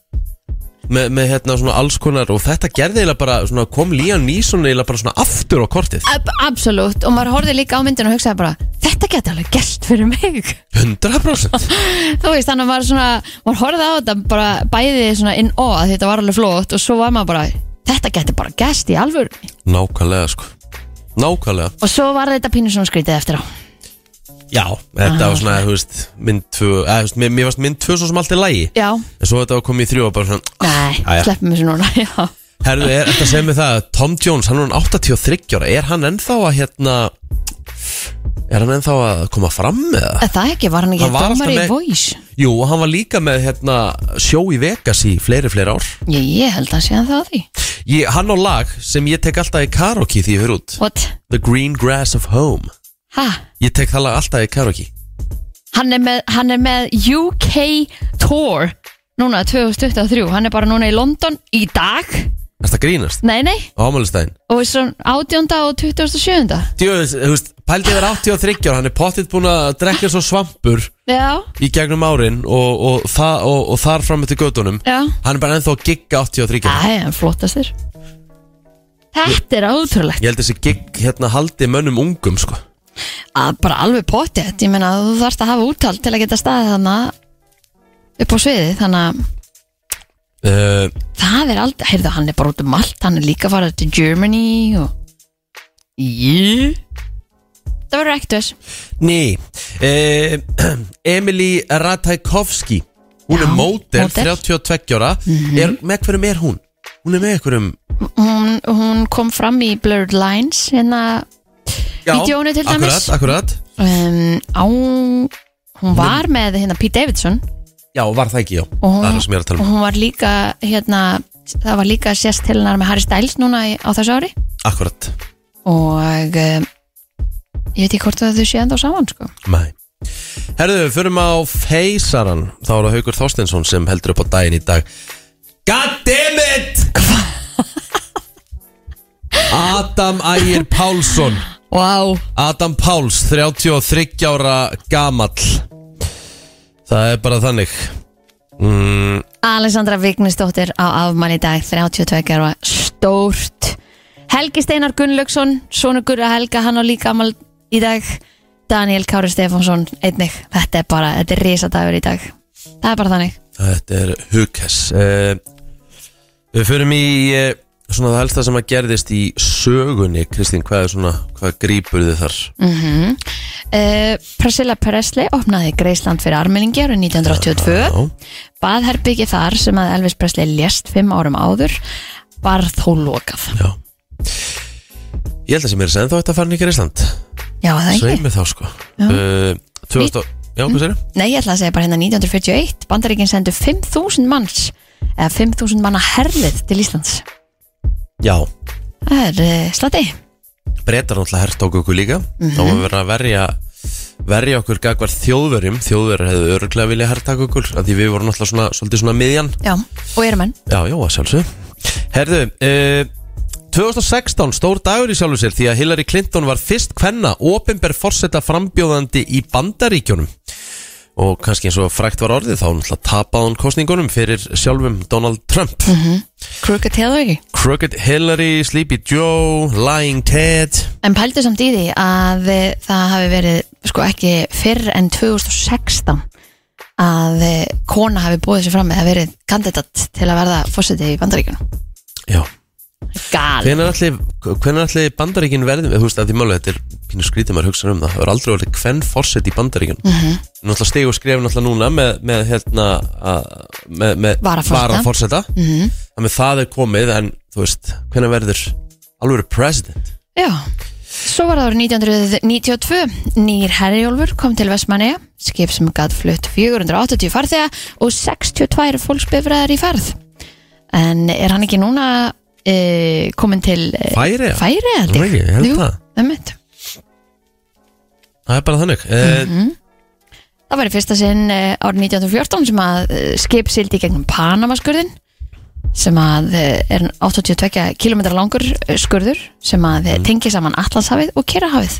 Speaker 1: með, með hérna svona alls konar og þetta gerði eiginlega bara svona kom Líán Nísson eiginlega bara svona aftur á kortið
Speaker 2: Ab absolutt Og maður horfði líka á myndinu og hugsaði bara Þetta geti alveg gert fyrir mig
Speaker 1: 100%
Speaker 2: Þú veist, þannig að maður svona Maður horfði á þetta bara bæði svona in awe af því Þetta var alveg flott og svo var maður bara Þetta geti bara gest í alvör
Speaker 1: Nákvæmlega sko Nákvæmlega
Speaker 2: Og svo var þetta pínu svona skrítið eftir á
Speaker 1: Já, þetta var svona, þú veist, mynd 2 eða, þú veist, mér, mér varst mynd 2 svo sem allt er lægi
Speaker 2: Já,
Speaker 1: en svo þetta var komið í 3 og bara svona
Speaker 2: nei,
Speaker 1: Jæja.
Speaker 2: sleppum þessu núna Já,
Speaker 1: Herðu, er þetta segir mér það, Tom Jones, hann er hann 83 ára, er hann ennþá að hérna er hann ennþá að koma fram með það?
Speaker 2: Er það ekki, var hann ekki
Speaker 1: Hann var alltaf
Speaker 2: dómar í
Speaker 1: með-
Speaker 2: voice
Speaker 1: Jú, og hann var líka með hérna sjó í Vegas í fleiri, fleiri ár
Speaker 2: Ég, ég held að sé hann það á því
Speaker 1: ég, Hann á lag sem ég tek alltaf í karaoke því ég fyrir út
Speaker 2: What?
Speaker 1: The Green Grass of Home
Speaker 2: Ha?
Speaker 1: Ég tek það lag alltaf í karaoke
Speaker 2: hann er með, hann er með UK Tour núna 2023, hann er bara núna í London í dag,
Speaker 1: Er það grínast?
Speaker 2: nei nei
Speaker 1: Á ámælistæðin
Speaker 2: og svo 18. og 27.
Speaker 1: Djöðis, þú veist, pældið er 83 ára Hann er pottitt búin að drekka svo svampur
Speaker 2: Já,
Speaker 1: Í gegnum árin Og, og, það, og, og þar fram eftir gödunum
Speaker 2: já
Speaker 1: Hann er bara ennþá að gigga 83 ára
Speaker 2: Það er hann flottastur Þetta er ótrúlegt
Speaker 1: Ég held þessi gigg hérna haldi mönnum ungum sko
Speaker 2: að bara alveg potið, ég meina þú þarfst að hafa úttald til að geta staðið þarna upp á sviði, þannig að
Speaker 1: uh,
Speaker 2: það er aldrei, heyrðu hann er bara út um allt hann er líka farið til Germany og yeah. það verður ekkert þess
Speaker 1: Ný uh, Emily Ratajkowski Hún
Speaker 2: Já,
Speaker 1: er módel,
Speaker 2: módel. Mhm.
Speaker 1: 32 ára er, Með hverjum er hún? Hún er með einhverjum
Speaker 2: hún, hún kom fram í Blurred Lines hérna Vídeóinu til dæmis.
Speaker 1: akkurat, akkurat
Speaker 2: um, á, hún var með hérna Pete Davidson
Speaker 1: Já, var það ekki, já
Speaker 2: og
Speaker 1: Það er
Speaker 2: hún,
Speaker 1: það sem ég er að tala
Speaker 2: og
Speaker 1: um
Speaker 2: hún var líka hérna, það var líka sérst til hennar með Harry Styles núna í, á þessu ári
Speaker 1: Akkurat
Speaker 2: og um, ég veit ekki hvort að þau séu enda á saman sko.
Speaker 1: Nei Herðu, förum á feysaran Þá er það Haukur Þorsteinsson sem heldur upp á daginn í dag God damn it Adam Ægir Pálsson
Speaker 2: wow.
Speaker 1: Adam Páls, 33 ára gamall Það er bara þannig mm,
Speaker 2: Alessandra Vignisdóttir á afmæli í dag 32 ára stórt Helgi Steinar Gunnlaugsson Sónu Gurra Helga, hann á líka afmæli í dag Daniel Kári Stefánsson einnig, þetta er bara, þetta er risadagur í dag það er bara þannig
Speaker 1: Þetta er Hughes uh, Við förum í eh, svona það helsta sem að gerðist í sögunni Kristín, hvað er svona, hvað grýpur þið þar?
Speaker 2: Uh, Priscilla Presley opnaði Greisland fyrir armenningi árið 1982 Baðherbyggi þar sem að Elvis Presley lést fimm árum áður var þó lokað
Speaker 1: Já Ég held að sem er sem þá þetta fann ekki Ísland
Speaker 2: Já, er það ekki?
Speaker 1: Sveimi þá sko uh, 2000 og- Já, hvað segir
Speaker 2: Nei, ég ætla að segja bara hérna 1941 Bandaríkin sendu 5.000 manns eða 5.000 manna herlið til Íslands
Speaker 1: Já,
Speaker 2: Það er uh, slati
Speaker 1: breytar náttúrulega hertóku okkur líka Þá var verið að verja verja okkur gagvar þjóðverjum þjóðverjar hefðu öruglega vilja herrtaka okkur af því við vorum náttúrulega svona, svolítið svona miðjan
Speaker 2: Já, og eru menn
Speaker 1: Já, já, að sjálfsög Herðu, uh, 2016 stór dagur í sjálfu sér því að Hillary Clinton var fyrst kvenna opinber forseta frambjóðandi í bandaríkjunum og kannski eins og frækt var orðið þá náttúrulega tapaði hún kostningunum fyrir sjálfum Donald Trump
Speaker 2: Crooked hefðu ekki
Speaker 1: Crooked Hillary, Sleepy Joe, Lying Ted
Speaker 2: En pældu samt í því að eh, það hafi verið sko ekki fyrr en 2016 að eh, kona hafi búið sér fram með að verið kandidat til að verða fósiti í bandaríkjunum.
Speaker 1: Já,
Speaker 2: Gal.
Speaker 1: hvenær allir, hvenær allir bandaríkin verðum, þú veist að því málega þetta er pínu skrítið maður hugsa um það, það er aldrei orðið hvern forseti í bandaríkin mm
Speaker 2: Mhm.
Speaker 1: -hmm. náttúrulega stegu skref náttúrulega núna með, með hérna að- með, með
Speaker 2: Varaforseta. Mhm.
Speaker 1: varaforseta. þannig að það er komið en þú veist, hvenær verður alveg president
Speaker 2: Já. Svo var það árið 1992. Nýr Herjólfur kom til Vestmanneja, skip sem gætt flutt 480 farþega og 62 fólksbifræðar í ferð. En er hann ekki núna e, komin til e,
Speaker 1: Færi,
Speaker 2: færi? held
Speaker 1: Nú ekki, ég held
Speaker 2: Jú,
Speaker 1: það.
Speaker 2: einmitt.
Speaker 1: það er bara þannig mm
Speaker 2: Mhm.
Speaker 1: -hmm.
Speaker 2: Það var í fyrsta sinn eh, árið 1914 sem að eh, skip sildi í gegnum Panamaskurðin sem að eh, er 82 km langur eh, skurður sem að mm. tengi saman Atlantshafið og Kyrrahafið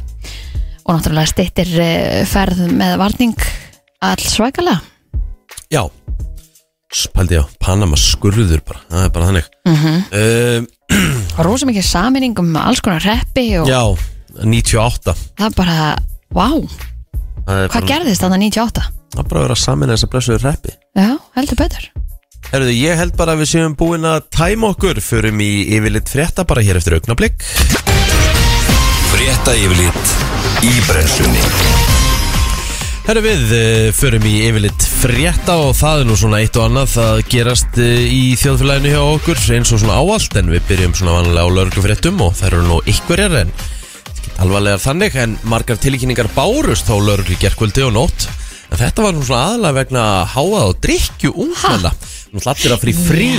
Speaker 2: og náttúrulega stittir eh, ferð með varning allsvækala
Speaker 1: Já Spældi á, Panama skurður bara það er bara þannig mm
Speaker 2: Mhm.
Speaker 1: -hmm.
Speaker 2: og rosa mikið saminning um alls konar reppi og
Speaker 1: Já, 98
Speaker 2: það bara, vá,
Speaker 1: Það er
Speaker 2: hvað
Speaker 1: bara-
Speaker 2: gerðist þarna 98?
Speaker 1: Það er bara að vera samin að þess að blessuður reppi
Speaker 2: Já, heldur betur
Speaker 1: Herðu, ég held bara að við séum búin að tæma okkur Förum í yfirleitt frétta bara hér eftir augnablik
Speaker 3: Frétta yfirlit í brennslunni
Speaker 1: Herru við, eh, förum í yfirleitt frétta og það er nú svona eitt og annað að gerast eh, í þjóðfélaginu hjá okkur eins og svona áallt en við byrjum svona vanlega á lörglufréttum og það eru nú ykkurjar en ekkert alvarlegar þannig en margar tilkynningar bárust á lörglu gerkvöldi og nótt en þetta var nú svona aðalega vegna háað og drikju ungmenna Nú hlattir að frí frí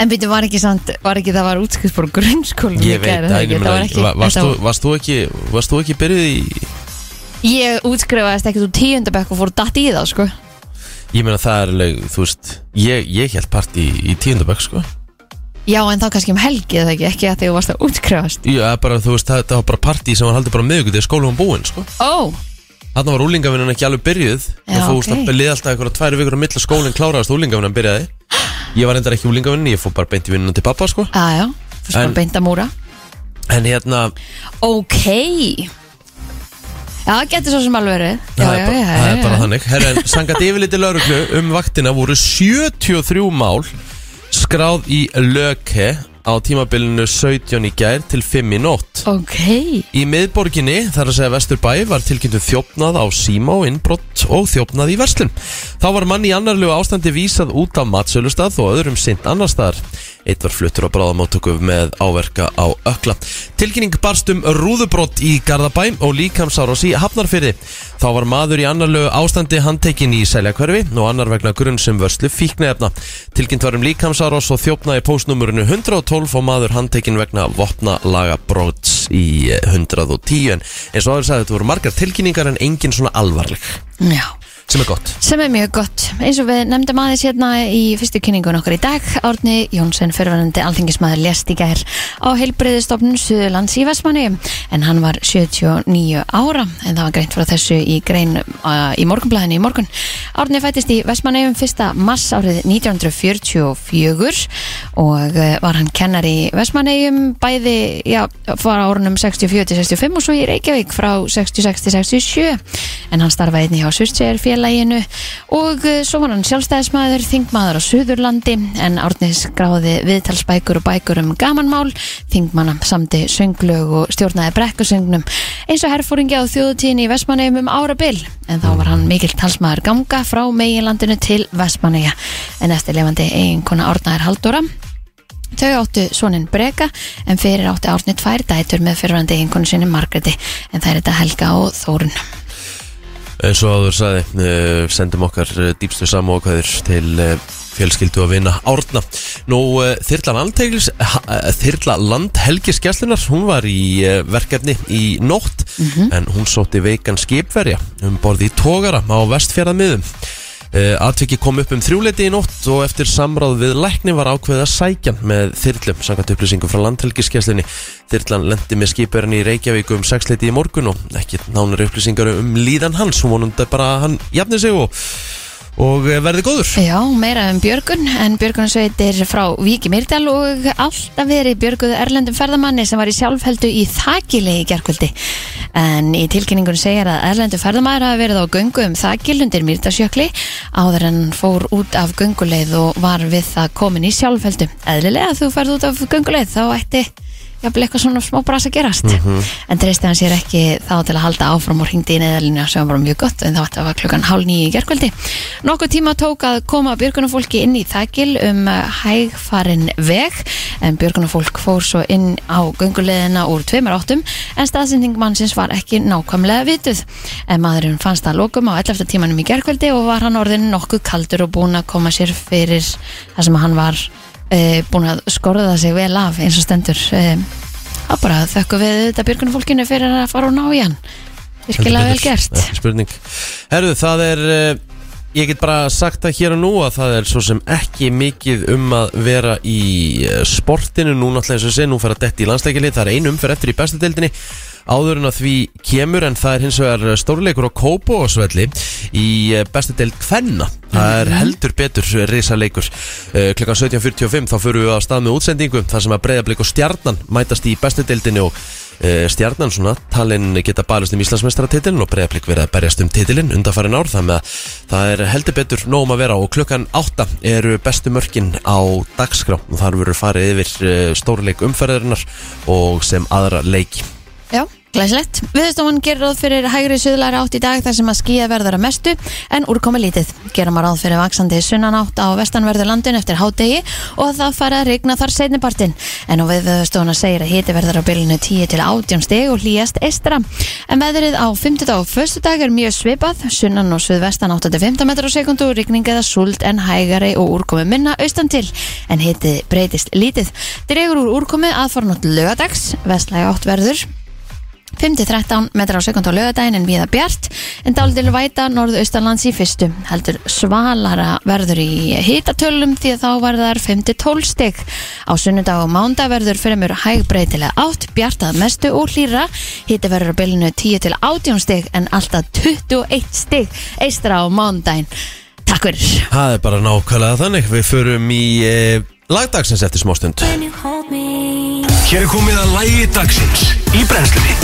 Speaker 2: En býttu, var ekki samt, var ekki það var útskrift bara grunnskóla
Speaker 1: Ég veit að, ég meina, va- varst þú- varst þú ekki, varst þú ekki byrjuð í,
Speaker 2: Ég útskrifaðist ekkert úr tíundabekk og fór datt í það sko
Speaker 1: ég meina það er alveg, þú veist, ég, ég held partí í, í tíundabökk, sko.
Speaker 2: Já en þá kannski um helgi eða ekki, ekki að því þú varst að útskrifast
Speaker 1: Ég er bara, þú veist, það, það var bara partí sem var haldið bara miðugut þegar skólum var búinn, sko.
Speaker 2: Ó,
Speaker 1: Þarna var úlingavinnan ekki alveg byrjuð,
Speaker 2: Já,
Speaker 1: en þú veist,
Speaker 2: ok.
Speaker 1: það liði alltaf eitthvað tværi vikur á milli að skólinn kláraðast úlingavinnan byrjaði. Ég var endar ekki úlingavinnan, ég fór bara beint í vinnunum til pappa, sko.
Speaker 2: aðjá, fyrst bara
Speaker 1: En-
Speaker 2: beint að múra
Speaker 1: En hérna,
Speaker 2: Ok Já, það getur svo sem alveg verið Já,
Speaker 1: það er
Speaker 2: já,
Speaker 1: bara,
Speaker 2: já,
Speaker 1: það er
Speaker 2: já,
Speaker 1: bara
Speaker 2: já.
Speaker 1: þannig Herra, en sangat yfirliti lauruglu um vaktina voru 73 mál skráð í löke á tímabilinu 17 í gær til 5 í nótt
Speaker 2: Ok,
Speaker 1: Í miðborginni, þar að segja Vesturbæ, var tilkynntu þjófnað á síma og innbrott og þjófnað í verslun. Þá var manni í annarlegu ástandi vísað út af matsölustað og öðrum sint annar staðar. Eitt var fluttur á bráðamáttöku með áverka á ökla. Tilkynning barst um rúðubrott í Garðabæ og líkamsárás í Hafnarfyrði. Þá var maður í annarlegu ástandi handtekinn í seljakverfi og annar vegna grunn sem vörslu fíknefna. Tilkynnt var um líkamsárás og þjófnað í postnumurinu 112 og maður handtekinn vegna vopna lagabróts í eh, 110 en eins og aður sagði þetta voru margar tilkynningar en engin svona alvarleg
Speaker 2: já
Speaker 1: sem er gott
Speaker 2: sem er mjög gott, eins og við nefndum aðeins hérna í fyrstu kynningun okkar í dag Árni Jónsson, fyrirverandi alþingismæður lest í gær á heilbreyðistofnun Suðurlands í Vestmanni en hann var 79 ára en það var greint frá þessu í grein uh, í morgunblæðinu í morgun Árni fættist í Vestmanni um 1. mars árið 1944 og eh, var hann kennar í Vestmanneigum bæði, já, var á árunum 64-65 og svo í Reykjavík frá 66-67 en hann starfaði einnig hjá Surtsegir félaginu og eh, svo var hann sjálfstæðismæður, þingmaður á Suðurlandi en Árnis gráði viðtalsbækur og bækur um gamanmál, þingmanna samti sönglög og stjórnaði brekkusöngnum eins og herfóringi á þjóðutíðin í Vestmanneum um árabil en þá var hann mikill talsmaður ganga frá meginlandinu til Vestmanneja en eftir lefandi eiginkona Árnaðar Haldóra Þau áttu sonin Breka en fyrir átti árni tvær dætur með fyrirvandi einhvern sinni Margreti en það er þetta Helga og Þórun.
Speaker 1: eins og áður saði uh, sendum okkar uh, dýpstu samókaður til uh, fjölskyldu að vinna árna Nú, uh, Þyrla, Landhelgis, ha, uh, Þyrla Landhelgiskjastlunar hún var í uh, verkefni í nótt en hún sótti veikan skipverja um borði í tógara á vestfjaraðmiðum uh, Atviki kom upp um þrjúleiti í nótt og eftir samráð við lækni var ákveðið að sækja með þyrlum samkvæmt upplýsingum frá landhelgiskjastlunni Þyrlan lendi með skipverjan í Reykjavík um sexleiti í morgun og ekki nánari upplýsingar um líðan hans hún vonandi bara að hann jafni sig og, og eh, verði góður
Speaker 2: Já, meira um Björgun en Björgunsveitir frá Víki Myrdal og alltaf verið Björguð Erlendum ferðamanni sem var í sjálfheldu í þakilegi gerkvöldi. En í tilkynningun segir að Erlendu ferðamæður hafi verið á göngu um þakil undir Myrdasjökli áður en hann fór út af gönguleið og var við það komin í sjálfheldu. Eðlilega þú ferð út af gönguleið þá ætti jafnvel eitthvað svona smá brasa gerast en treysti hann sér ekki þá til að halda áfram og hringdi í neðalínu sem var bara mjög gott en þá ætti að var klukkan hálf nýju í gerkvöldi nokkuð tíma tók að koma björgunafólki inn í þakil um eh, hægfarin veg en björgunafólk fór svo inn á gönguleðina úr tveimur áttum en staðsending mannsins var ekki nákvæmlega vituð en maðurinn fannst að lokum á 11. tímanum í gerkvöldi og var hann orðin nokkuð kaldur og búin að koma sér fyrir það sem hann var e, búin að skorða sig vel af eins og stendur e, að bara þökkum við þetta björgunum fólkinu fyrir að fara og ná í hann virkilega vel
Speaker 1: Heldur betur.
Speaker 2: gert
Speaker 1: Ekki spurning Herðu, það er eh, Ég get bara sagt það hér og nú að það er svo sem ekki mikið um að vera í eh, sportinu Nú náttúrulega eins og sé, nú fer að detti í landsleikilið Það er einum fyrir eftir í bestu deildinni Áður en að því kemur en það er hins vegar eh, stórleikur á Kópóasvelli í eh, bestu deild Kvenna Það
Speaker 2: Mhm.
Speaker 1: er heldur betur risaleikur Eh, Klukkan 17.45 þá förum við að stað með útsendingu þar sem að breyðablík og stjarnan mætast í bestu deildinni og Eh, stjarnan svona, talinn geta barist um Íslandsmeistaratitilin og breyðablík verið að berjast um titilin undanfærin ár þannig að það er heldur betur nóg um að vera og klukkan 8 eru bestu mörkin á dagskrá og þar verður farið yfir eh, stórleik umferðarinnar og sem aðra leiki
Speaker 2: Já, glæsilegt. Viðstofan gerir ráð fyrir hægri suðlæri átt í dag þar sem að skýja verður að mestu en úrkomi lítið. Gerum að ráð fyrir vaksandi sunnan átt á vestanverðu landin eftir hádegi og það fara að rigna þar seinnipartin. En á viðstofana segir að hiti verður á bylunu 10 til 18 stig og hlýjast eistra. En veðrið á 50 og 1. dag er mjög svipað, sunnan og suðvestan 8-15 metrar á sekundu, rigning eða súld en hægari og úrkomi minna austan til. En hiti breytist lítið. Dregur úr úrkomi aðfarnótt lögadags, vestlæg átt verður 5-13 metrar á sekund á lögadaginn en viða bjart en dálítil væta norðaustanlands í fyrstu heldur svalara verður í hitatölum því að þá verðar 5-12 stig á sunnudag og mánda verður fremur hægbreytilega átt bjart að mestu og hlýra hiti verður á bylunu 10-18 stig en alltaf 21 stig eistra á mándaginn Takk fyrir
Speaker 1: Það er bara nákvæmlega þannig við förum í eh, lagdagsins eftir smástund
Speaker 3: Hér er komið að lægi dagsins í brennslunni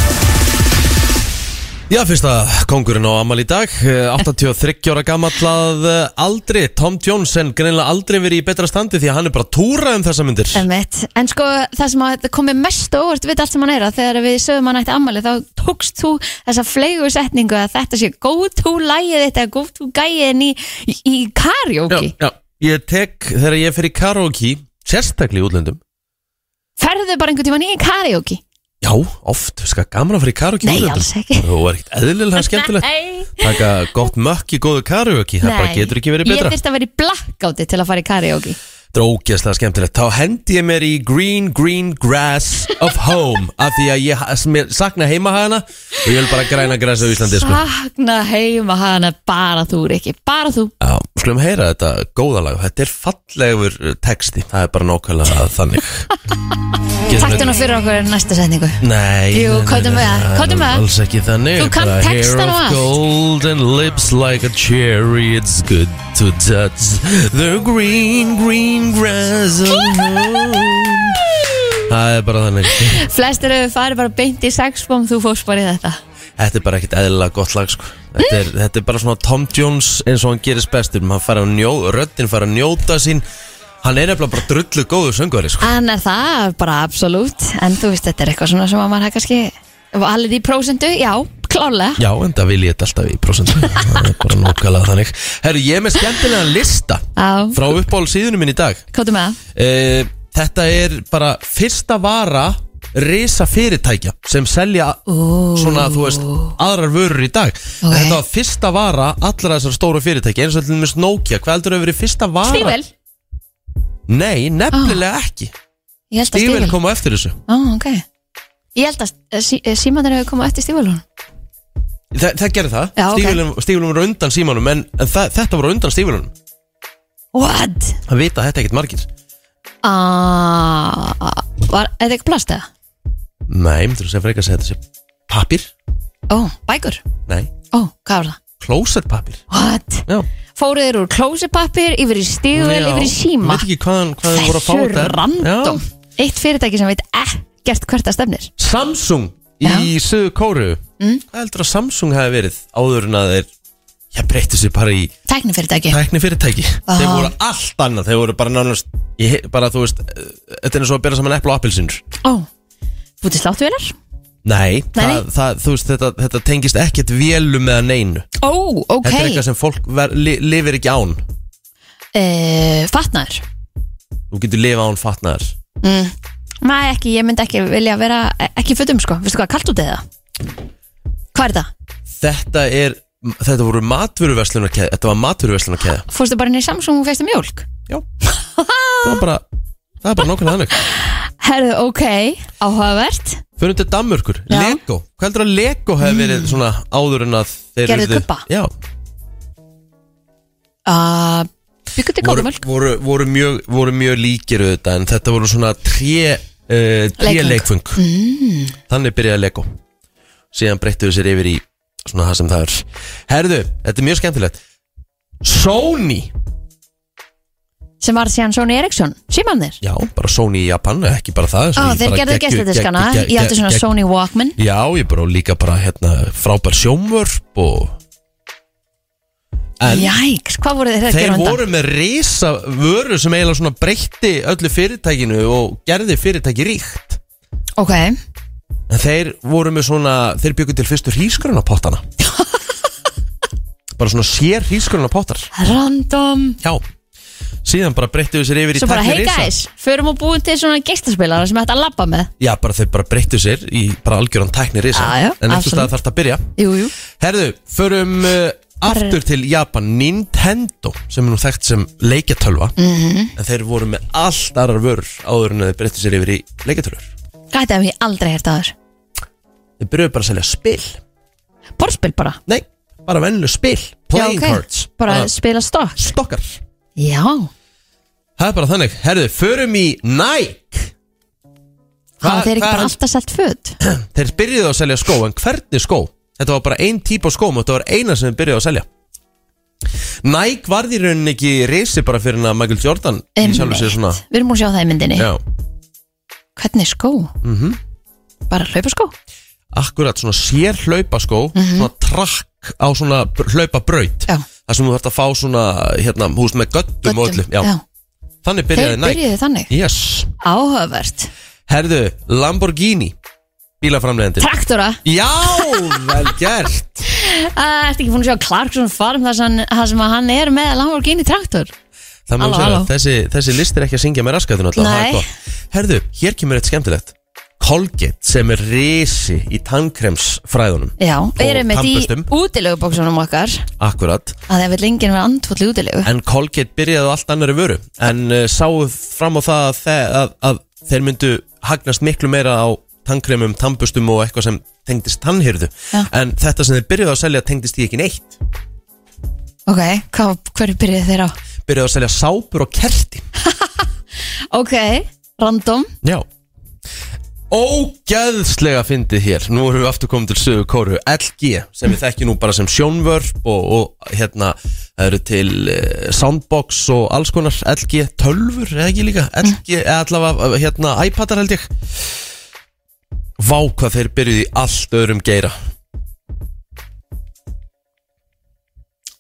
Speaker 1: Já, fyrsta kongurinn á Amal í dag, eh, 83 ára gamallað eh, aldri, Tom Jones en greinilega aldrei verið í betra standi því að hann er bara að túra um þessa myndir.
Speaker 2: Einmitt. En sko það sem að komið mest á óvart við allt sem hann er að þegar við sögum hann ætti ammali þá tókst þú þessa flegu setningu að þetta sé go to lægið þetta go to gæiðin í, í, í karaoke.
Speaker 1: já. Ég tek, þegar ég fer í karaoke, sérstaklega í útlöndum
Speaker 2: Ferðu bara einhvern tímann í karaoke?
Speaker 1: Já, oft, sko, gaman að fara í karaoke í
Speaker 2: Nei,
Speaker 1: útlöndum
Speaker 2: alls ekki.
Speaker 1: Þú er ekkert eðlilega skemmtilegt
Speaker 2: Nei.
Speaker 1: Taka gott mökk í góðu karaoke Það bara getur ekki verið
Speaker 2: Ég
Speaker 1: betra
Speaker 2: þyrst að vera í blackouti til að fara í karaoke.
Speaker 1: Þetta er ógeðslega skemmtilegt Þá hendi ég mér í Green Green Grass of Home Af því að ég ha- mér sakna heima hana Og ég vil bara græna græs á Íslandi sko.
Speaker 2: Sakna heima hana bara þú Rikki, bara þú.
Speaker 1: Já, skulum heyra þetta góða lag Þetta er fallegur eh, texti Það er bara nákvæmlega þannig Getum
Speaker 2: Takk
Speaker 1: við-
Speaker 2: nú fyrir okkur næsta setningu.
Speaker 1: Nei,
Speaker 2: Jú,
Speaker 1: nei, nei,
Speaker 2: komdu
Speaker 1: nei,
Speaker 2: með það,
Speaker 1: nei,
Speaker 2: komdu með það.
Speaker 1: Alls ekki þannig
Speaker 2: Þú kannt
Speaker 1: Bara
Speaker 2: textann
Speaker 1: Hair
Speaker 2: og
Speaker 1: of
Speaker 2: allt.
Speaker 1: golden lips like a cherry It's good to touch The green, green grass of home Það er bara þannig
Speaker 2: Flestir hefur farið bara beint í sexbom, þú fórst bara í þetta.
Speaker 1: Þetta er bara ekkert eðlilega gott lag sko. þetta, er, þetta er bara svona Tom Jones eins og hann gerist bestur hann fara að njó, Röddinn fara að njóta sín Hann er nefnilega bara drullu góðu söngveri sko.
Speaker 2: Hann er það, bara absolutt En þú veist, þetta er eitthvað svona sem að maður hefði kannski Valið í prósendu, já, klálega
Speaker 1: Já, en það vil ég þetta alltaf í prosentu Það er bara nákvæmlega þannig Herru, ég er með skemmtilega lista
Speaker 2: Já.
Speaker 1: Frá uppáhald síðunum minn í dag
Speaker 2: Káttu með það?
Speaker 1: Eh, Þetta er bara fyrsta vara Risa fyrirtækja Sem selja svona, þú veist Aðrar vörur í dag Þetta var fyrsta vara allra þessar stóru fyrirtækja Eins og til dæmis Nokia, hvað heldur hefur verið fyrsta vara?
Speaker 2: Stível
Speaker 1: Nei, nefnilega
Speaker 2: Ah.
Speaker 1: ekki
Speaker 2: Ég held að
Speaker 1: Stível
Speaker 2: stível
Speaker 1: kom á eftir þessu
Speaker 2: Ó, ok Ég held að eh, sí, símandir hefur komað eftir stívelun
Speaker 1: Þa, Það gerði það,
Speaker 2: Já, ok.
Speaker 1: stívelum, stívelum var undan símanum En, en það, þetta var á undan stívelunum
Speaker 2: What?
Speaker 1: Það vita þetta ekkert margir
Speaker 2: Ah, var, er þetta ekki plast eða?
Speaker 1: Nei, myndur þú segja frekar að segja þetta sé Pappir?
Speaker 2: Ó, bækur
Speaker 1: Nei,
Speaker 2: Ó, hvað var það?
Speaker 1: klósettpappir
Speaker 2: What?
Speaker 1: Já,
Speaker 2: Fóruð þeir úr klósipappir, yfir í stígvel,
Speaker 1: Já.
Speaker 2: yfir í síma
Speaker 1: Ég veit ekki hvaðan, hvaðan voru að fá
Speaker 2: Þessu
Speaker 1: þetta
Speaker 2: random
Speaker 1: Já.
Speaker 2: Eitt fyrirtæki sem veit ekkert hvert það stefnir
Speaker 1: Samsung í söðu kóru mm. Hvað heldur að Samsung hafi verið áður en að þeir Já, breyttu sér bara í
Speaker 2: Tækni fyrirtæki
Speaker 1: tækni fyrirtæki
Speaker 2: Ah.
Speaker 1: Þeir voru allt annað, þeir voru bara nánast ég, he- Bara þú veist, eh, þetta er eins og að bera saman epla og appelsinur
Speaker 2: Ó, bútið sláttuvelar
Speaker 1: Nei,
Speaker 2: Nei.
Speaker 1: Það, það, þú veist, þetta, þetta tengist ekkert vélum eða neinu
Speaker 2: Ó, ok
Speaker 1: Þetta er eitthvað sem fólk ver, li, lifir ekki án
Speaker 2: Eh, Fatnaður
Speaker 1: Þú getur lifa án fatnaðar
Speaker 2: Nei, ekki, ég myndi ekki vilja vera Ekki fötum sko, veistu hvað, kalt út eða? Hvað er það?
Speaker 1: Þetta er, þetta voru matvöruverslunarkeð Þetta var matvöruverslunarkeð
Speaker 2: Fórstu bara inn í Samsung og fegstu mjólk?
Speaker 1: Já Það var bara Það er bara nákvæmlega þannig
Speaker 2: Herðu, ok, áhugavert
Speaker 1: Fyrir til Danmörkur
Speaker 2: Já. Mm.
Speaker 1: Lego Hvað heldur að Lego hefði verið svona áður en að þeir
Speaker 2: Gerðu
Speaker 1: urðu-
Speaker 2: kubba?
Speaker 1: Já
Speaker 2: uh, Byggur til
Speaker 1: voru,
Speaker 2: kókumölk
Speaker 1: voru, voru, mjög, voru mjög líkir auðvitað En þetta voru svona tré uh, Tré leikfung
Speaker 2: Leikföng.
Speaker 1: mm. Þannig byrjaði Lego Síðan breyttuðu sér yfir í Svona það sem það er Herðu, þetta er mjög skemmtilegt Sony
Speaker 2: Sem var síðan Sony Ericsson, símanir
Speaker 1: Já, bara Sony í Japan Ekki bara það
Speaker 2: Ó,
Speaker 1: Sony
Speaker 2: þeir
Speaker 1: bara
Speaker 2: gerðu
Speaker 1: geggju-
Speaker 2: gestadiskana
Speaker 1: geggju-
Speaker 2: Ég átti svona
Speaker 1: geggju-
Speaker 2: Sony Walkman
Speaker 1: Já, ég bara og líka bara hérna frábær sjómvörp og En
Speaker 2: Jæks, hvað voru þeir að
Speaker 1: þeir
Speaker 2: gera á undan?
Speaker 1: voru með risa vöru sem eiginlega svona breytti öllu fyrirtækinu og gerði fyrirtæki ríkt
Speaker 2: Ok,
Speaker 1: En þeir voru með svona, þeir byggu til fyrstu hrísgrunapottana Bara svona sér hrísgrunapottar
Speaker 2: random
Speaker 1: Já Síðan bara breyttu sér yfir í
Speaker 2: Svo bara,
Speaker 1: tækni
Speaker 2: hey
Speaker 1: risa.
Speaker 2: guys, förum og búum til svona geistaspilara sem hægt að labba með
Speaker 1: Já, bara þeir bara breyttu sér í bara algjöran tækni risa
Speaker 2: Já, já,
Speaker 1: En
Speaker 2: absolutt.
Speaker 1: eftir stað þarf þetta að byrja
Speaker 2: Jú, jú
Speaker 1: Herðu, förum uh,
Speaker 2: er-
Speaker 1: aftur til Japan Nintendo sem er nú þekkt sem leikjatölva -hmm.
Speaker 2: Mhm.
Speaker 1: en þeir voru með allt aðrar vörur áður en þeir breyttu sér yfir í leikjatölvur
Speaker 2: Gæti að ég aldrei hérta þaður
Speaker 1: Þeir byrjuðu bara að selja spil
Speaker 2: Borspil bara
Speaker 1: Nei, bara venlu spil Playing
Speaker 2: Já, ok.
Speaker 1: cards Ah.
Speaker 2: Bara spila stokk
Speaker 1: stokkar
Speaker 2: Já
Speaker 1: Það er bara þannig Herðu, förum í Nike
Speaker 2: Það er ekki
Speaker 1: hvað-
Speaker 2: bara alltaf selt föt
Speaker 1: Þeir byrjuðu að selja skó, en hvernig skó? Þetta var bara ein típ á skóm og þetta var eina sem þeir byrjuðu að selja Nike varð í rauninni ekki risi bara fyrir að Michael Jordan í sjálfu sér svona
Speaker 2: Einmitt. Við erum múin að sjá það í myndinni
Speaker 1: Já, Mhm.
Speaker 2: Hvernig skó? Mm -hmm. Bara hlaupa skó
Speaker 1: akkurat svona sér hlaupaskó svona trakk á svona br- hlaupabraut
Speaker 2: Mhm. Já.
Speaker 1: þar sem þú þarft að fá svona, hérna, húst með göttum og öllu Já, þannig
Speaker 2: Þeir
Speaker 1: byrjaði Nike
Speaker 2: byrjuðu þannig
Speaker 1: Yes,
Speaker 2: Áhugavert
Speaker 1: herðu, Lamborghini bílaframlegandi
Speaker 2: Traktora
Speaker 1: Já, vel gert
Speaker 2: Það ertu ekki búin að sjá Clarkson Farm þar sem, þar sem að hann er með Lamborghini traktor
Speaker 1: Það má
Speaker 2: Halló,
Speaker 1: segja,
Speaker 2: halló.
Speaker 1: þessi, þessi list er ekki að syngja með raskatun alltaf, það
Speaker 2: Nei.
Speaker 1: er gott. Herðu, hér kemur eitt skemmtilegt. Colgate sem er risi í tannkremsfræðunum.
Speaker 2: Já, við erum með því
Speaker 1: tannburstum.
Speaker 2: útilegubóksunum okkar
Speaker 1: Akkurat.
Speaker 2: að það vil enginn vera andfóll í útilegu
Speaker 1: En Colgate byrjaði á allt annari vöru. En uh, sáu fram á það að, þe að, að þeir myndu hagnast miklu meira á tannkremum, tannbustum og eitthvað sem tengdist tannhyrðu.
Speaker 2: Já.
Speaker 1: En þetta sem þeir byrjaði að selja tengdist því ekki neitt.
Speaker 2: Ok, hvað, hverju byrjuðu þeir á?
Speaker 1: Byrjaði að selja sápur og kerti.
Speaker 2: Ok, random
Speaker 1: Já Ógæðslega fyndið hér Nú erum við aftur komið til sögu kóru LG sem við þekkjum nú bara sem sjónvörp og, og hérna það eru til uh, soundbox og alls konar LG tölfur eða ekki líka
Speaker 2: Mm.
Speaker 1: LG eða allavega eh, hérna iPadar held ég Vá hvað þeir byrjuði í allt öðrum geira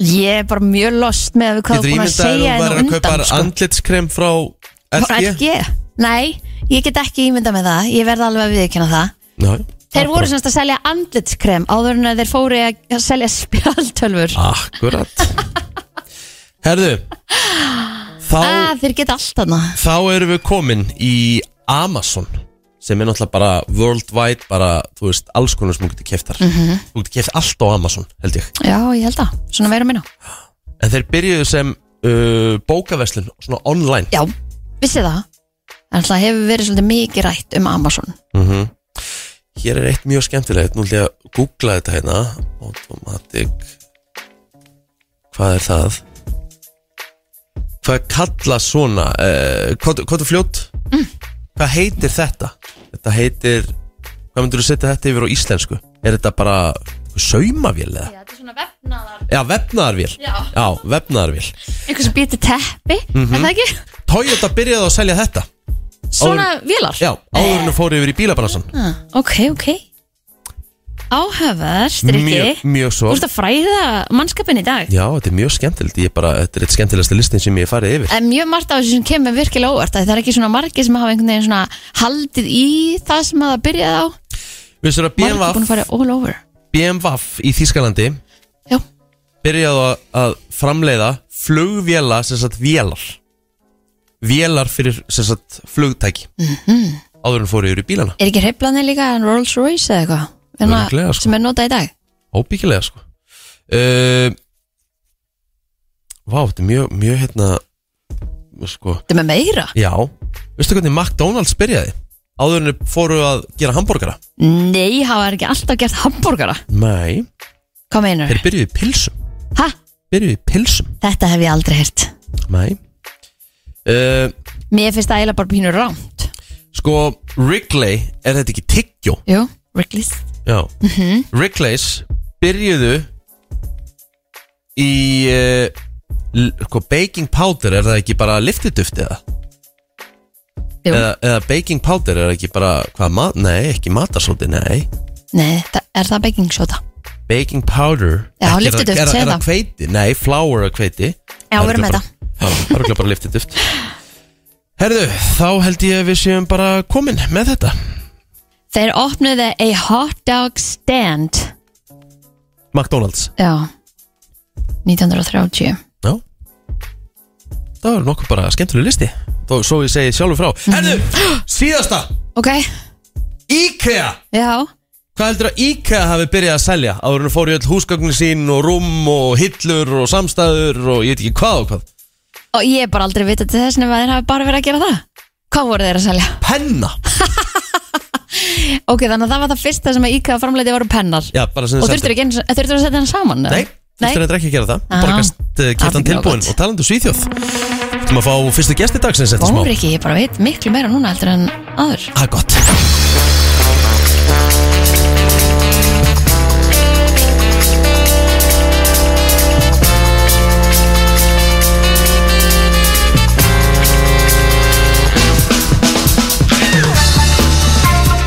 Speaker 2: Ég er bara mjög lost með hvað
Speaker 1: Getur
Speaker 2: þú búin að
Speaker 1: ímyndað
Speaker 2: segja
Speaker 1: þér að
Speaker 2: hérna
Speaker 1: maður er að
Speaker 2: undan
Speaker 1: kaupa
Speaker 2: sko.
Speaker 1: andlitskrem frá
Speaker 2: Frá
Speaker 1: FG?
Speaker 2: LG? Nei, ég get ekki ímyndað með það Ég verð alveg að viðkynna það
Speaker 1: Já,
Speaker 2: Þeir
Speaker 1: það
Speaker 2: voru
Speaker 1: bara-
Speaker 2: semst að selja andlitskrem áður en að þeir fóru að selja spjaldtölfur
Speaker 1: Akkurat Herðu Þá
Speaker 2: ah, Þeir geta allt þarna
Speaker 1: þá erum við komin í Amazon sem er náttúrulega bara worldwide bara, þú veist, alls konar sem þú getur keftar þú getur keft allt á Amazon, held ég
Speaker 2: Já, ég held að, svona meira minna
Speaker 1: en þeir byrjuðu sem uh, bókaverslun, svona online
Speaker 2: Já, vissi það En það hefur verið svolítið mikið rætt um Amazon
Speaker 1: hér er eitt mjög skemmtilegt, nú ætlum ég að googla þetta hérna automatic hvað er það hvað er kalla svona uh, hvað, hvað er fljótt mm. hvað heitir þetta þetta heitir, hvað myndur þú setja þetta yfir á íslensku er þetta bara saumavél eða?
Speaker 2: þetta er svona vefnaðar
Speaker 1: Já, vefnaðarvél
Speaker 2: Já.
Speaker 1: Já, vefnaðarvél
Speaker 2: Einhver sem býtir teppi,
Speaker 1: Mhm.
Speaker 2: er það ekki?
Speaker 1: Toyota byrjaði að selja þetta
Speaker 2: Svona vélar?
Speaker 1: Já, áðurinn fóru yfir í bílabransan
Speaker 2: Ah, ok, ok Áhafar, strikki
Speaker 1: Mjög, mjög
Speaker 2: Þú
Speaker 1: svo
Speaker 2: ert að fræða mannskapin í dag
Speaker 1: Já, þetta er mjög skemmtilegt Ég er bara, þetta er eitt skemmtilegasta listin sem ég hef farið yfir
Speaker 2: En mjög margt af þessu sem kemur virkilega óvart að Það er ekki svona margir sem hafa einhvern veginn svona haldið í það sem að það byrjaði á
Speaker 1: Við sér að
Speaker 2: Margir búin að
Speaker 1: BMW,
Speaker 2: fara all over
Speaker 1: BMW í Þískalandi
Speaker 2: Já,
Speaker 1: byrjaði að- að framleiða flugvéla sem sagt vélar Vélar fyrir sem sagt flugtæki mm
Speaker 2: Mhm.
Speaker 1: -hmm. Áðurinn fóru yfir í bílana
Speaker 2: er ekki hreiflanir líka en Rolls Royce eða eitthvað Hérna,
Speaker 1: Örugglega, sko.
Speaker 2: sem er notað í dag
Speaker 1: Óbyggilega sko uh, Vá, þetta er mjög, mjög hérna sko,
Speaker 2: Þetta er með meira
Speaker 1: já Veistu hvernig McDonalds byrjaði? Áðurinn fóru að gera hambúrgara
Speaker 2: Nei, hafa þeir ekki alltaf gert hambúrgara
Speaker 1: Nei,
Speaker 2: Hvað meinar?
Speaker 1: þeir byrjuðu í pilsum
Speaker 2: Ha?
Speaker 1: Byrjuðu í pilsum
Speaker 2: Þetta hef ég aldrei hert
Speaker 1: Nei uh,
Speaker 2: Mér finnst það eiginlega bara pínur rámt
Speaker 1: Sko, Wrigley, er þetta ekki tyggjó?
Speaker 2: Jú, Wrigley's
Speaker 1: Já -hmm. Wrigley's byrjuðu í uh, l- sko, baking powder er það ekki bara lyftiduft eða?
Speaker 2: Jú,
Speaker 1: eða, eða baking powder er ekki bara hvað, mat, nei, ekki matarsóti, nei
Speaker 2: nei, það, er það baking soda?
Speaker 1: baking powder
Speaker 2: Já,
Speaker 1: ekki er
Speaker 2: lyftiduft,
Speaker 1: er,
Speaker 2: segðu
Speaker 1: er,
Speaker 2: það.
Speaker 1: er kveiti, nei, flour er kveiti
Speaker 2: Já,
Speaker 1: Það er
Speaker 2: verum
Speaker 1: örugglega
Speaker 2: með
Speaker 1: bara- Já, það er örugglega bara lyftiduft herðu, þá held ég að við séum bara komin með þetta
Speaker 2: Þeir opnuðu a hot dog stand
Speaker 1: McDonalds,
Speaker 2: Já 1930
Speaker 1: já það var nokkuð bara skemmtileg listi Þó, svo ég segi sjálfur frá herðu, síðasta,
Speaker 2: Ok,
Speaker 1: IKEA
Speaker 2: já
Speaker 1: Hvað heldur að IKEA hafi byrjað að selja áður en fór í öll húsgögnin sín og rúm og hillur og samstæður og ég veit ekki hvað og hvað
Speaker 2: Og ég er bara aldrei vita til þess nema að þeir hafi bara verið að gera það Hvað voru þeir að selja?
Speaker 1: Penna
Speaker 2: Ok, þannig að það var það fyrsta sem að IKEA framleiti voru pennar
Speaker 1: Já, bara sem
Speaker 2: Og
Speaker 1: sagt-
Speaker 2: þurftur ekki eins Þurftur að setja hann saman? eða?
Speaker 1: Nei,
Speaker 2: Nei.
Speaker 1: þurftur þetta ekki að gera það
Speaker 2: Já.
Speaker 1: Bara gæst uh,
Speaker 2: Það
Speaker 1: keftan
Speaker 2: er ekki
Speaker 1: tilbúin
Speaker 2: nóg
Speaker 1: og talandi um Svíþjóð Þú maður að fá fyrstu gesti dagsins eftir smá
Speaker 2: Ó, Riki, ég bara veit miklu meira núna heldur en aður
Speaker 1: Það er gott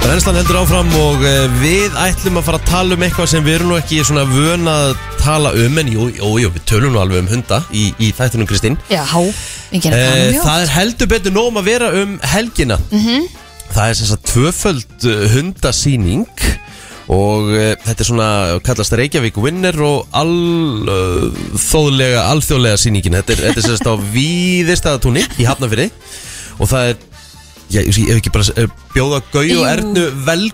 Speaker 1: Renslan heldur áfram og eh, við ætlum að fara að tala um eitthvað sem við erum nú ekki svona vön að tala um en jú, jú, jú, við tölum nú alveg um hunda í, í þættunum Kristín
Speaker 2: Já, við gerum það
Speaker 1: Eh,
Speaker 2: mjög Mhm.
Speaker 1: Það er heldur betur nóg um að vera um helgina Það er sem sagt tvöföld eh, hundasýning og uh, þetta er svona kallast Reykjavík Winner og alþjóðlega, alþjóðlega sýningin Þetta er, þetta er sem sagt á Víðistæðatúni í Hafnafyrði og það er Já, ég ég hef ekki bara eh, bjóða Gau og
Speaker 2: Jú.
Speaker 1: Ernu vel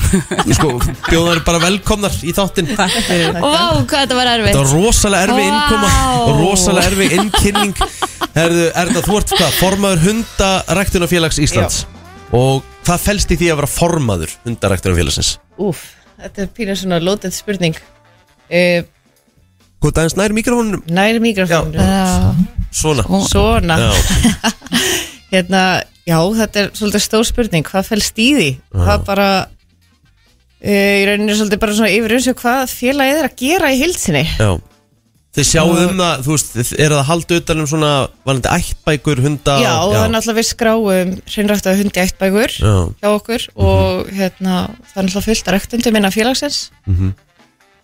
Speaker 1: sko, bjóða þær bara velkomnar í þáttinn
Speaker 2: Vá, hvað þetta var erfitt
Speaker 1: Þetta var rosalega erfi
Speaker 2: Vá.
Speaker 1: innkoma og rosalega erfi innkynning Herðu, Erna, þú ert hvað? Formaður hundaræktunafélags Íslands Og hvað felst í því að vera formaður hundaræktunafélagsins?
Speaker 4: Úf, þetta er pínur svona lótið spurning uh,
Speaker 1: Hvað aðeins nær mikrofónunum?
Speaker 4: Næri mikrofónu
Speaker 2: Já,
Speaker 1: Svona
Speaker 4: Svona,
Speaker 1: Já,
Speaker 4: hérna, já, þetta er svolítið stór spurning Hvað fælst í því? Hvað bara uh, Í rauninu svolítið bara svona yfir eins og hvað félagið er að gera í hildsinni
Speaker 1: já Þið sjáum um það, þú veist, þið- eru það að halda utan um svona Varandi ættbækur, hunda
Speaker 4: Já, og það er náttúrulega við skráum hreinræktaða hundi ættbækur
Speaker 1: Já.
Speaker 4: hjá okkur og hérna, það er náttúrulega fullt að rektundum innan félagsins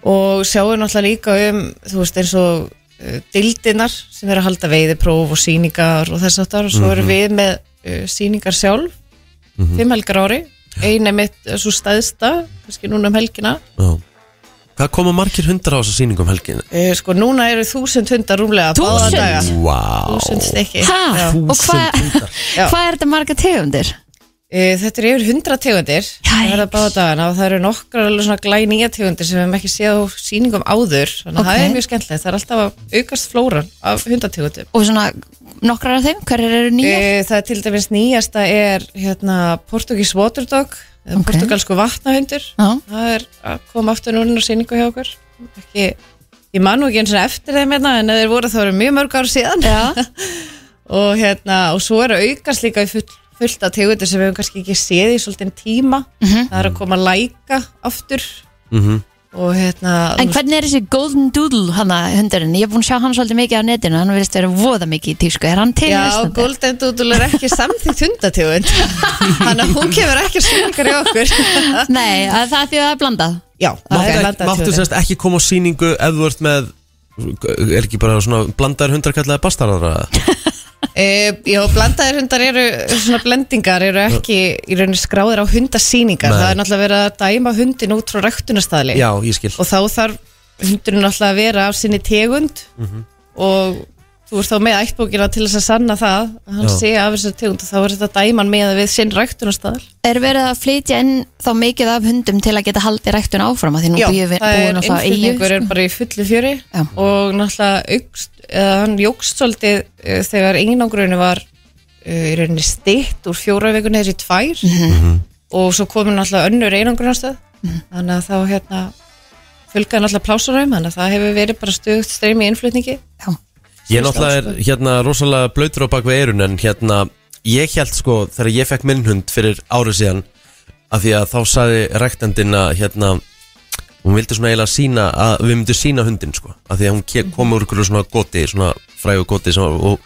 Speaker 4: og sjáum náttúrulega líka um þú veist eins og uh, dildinar sem eru að halda veiðipróf og síningar og þess aftar og svo erum við með uh, síningar sjálf fimm helgar á ári eina mitt uh, svo stæðsta kannski núna um helgina
Speaker 1: Já. Hvað koma margir hundar á þessa sýningu um helgin?
Speaker 4: uh, sko núna eru þúsund hundar rúmlega báða
Speaker 2: Þúsund?
Speaker 4: daga.
Speaker 1: Vá
Speaker 4: þúsund stykki
Speaker 2: Hæ?
Speaker 4: Já.
Speaker 2: Og hvað hva er þetta marga tegundir?
Speaker 4: Uh, Þetta eru yfir hundra tegundir
Speaker 2: Jæks.
Speaker 4: það verða báða dagana og það eru nokkar alveg svona glænýja tegundir sem við hefum ekki séð á sýningum áður þannig að það
Speaker 2: Ok.
Speaker 4: er mjög skemmtilegt, það er alltaf að aukast flóran af hundategundum
Speaker 2: Og svona nokkrar af þeim, hverjar eru
Speaker 4: uh,
Speaker 2: nýjar?
Speaker 4: Það er til dæmis nýjasta er hérna Portugís Waterdog eða
Speaker 2: Ok.
Speaker 4: portugalsku vatnahundur
Speaker 2: Já.
Speaker 4: það er að koma aftur núna á sýningu hjá okkur ekki, ég man nú ekki eins og eftir þeim hérna, en ef þeir voru þá eru mjög mörg ár síðan
Speaker 2: Já,
Speaker 4: og hérna, og svo er að aukast líka í full, fullt af tegundir sem við höfum kannski ekki séð í svolítinn tíma
Speaker 2: Mhm.
Speaker 4: það er að koma að læka aftur
Speaker 1: Mhm.
Speaker 4: og hérna
Speaker 2: en hvernig er þessi Golden Doodle hana hundurinn? Ég er búin að sjá hann svolítið mikið á netinu, hann vilist vera voða mikið í tísku, er hann til í
Speaker 4: Já,
Speaker 2: Íslandi?
Speaker 4: Golden Doodle er ekki samþýtt hundategund þannig að hún kemur ekki svingar í okkur
Speaker 2: Nei, að það er því að það er blandað
Speaker 4: Já, það er
Speaker 1: Máttu,
Speaker 4: landað
Speaker 1: máttu
Speaker 4: tegundin.
Speaker 1: semst ekki koma á sýningu ef þú ert með er ekki bara svona blandar hundar kallaði bastarara
Speaker 4: E, já, blandaðir hundar eru svona blendingar eru ekki í rauninni skráðir á hundasýningar
Speaker 1: Nei.
Speaker 4: það er náttúrulega verið að dæma hundin út frá ræktunastæðli
Speaker 1: Já, ég skil
Speaker 4: og þá þarf hundurinn alltaf að vera af sinni tegund
Speaker 1: Mhm.
Speaker 4: og þú ert þá með ættbókina til þess að sanna það að hann
Speaker 1: Já.
Speaker 4: sé af þessari tegund og þá er þetta dæman með við sinn ræktunastadal
Speaker 2: Er verið að flytja inn þá mikið af hundum til að geta haldið ræktun áfram að því nú býðum við
Speaker 4: það er
Speaker 2: búin að það eigi
Speaker 4: innflutningur er bara í fullu fjöri
Speaker 2: Já.
Speaker 4: og náttúrulega aukst, eða, hann jógst svolítið eh, þegar einangrunni var eh, í rauninni stitt úr fjóra vikur neður í tvær
Speaker 2: Mhm.
Speaker 4: og svo komur náttúrulega önnur einangrunastöð þannig að þá hérna fjölgaði náttúrulega plásurum þannig að það hefur verið bara stöðugt streymi í innflutningi
Speaker 2: Já.
Speaker 1: Ég náttúrulega er hérna rosalega blöytur á bak við eirun en hérna ég held sko þegar ég fekk minn hund fyrir árið síðan af því að þá saði rektendin að hérna hún vildi svona eiginlega sína að við myndum sína hundin sko af því að hún ke-
Speaker 4: Mhm.
Speaker 1: kom úr ykkur svona goti svona frægu goti sem, og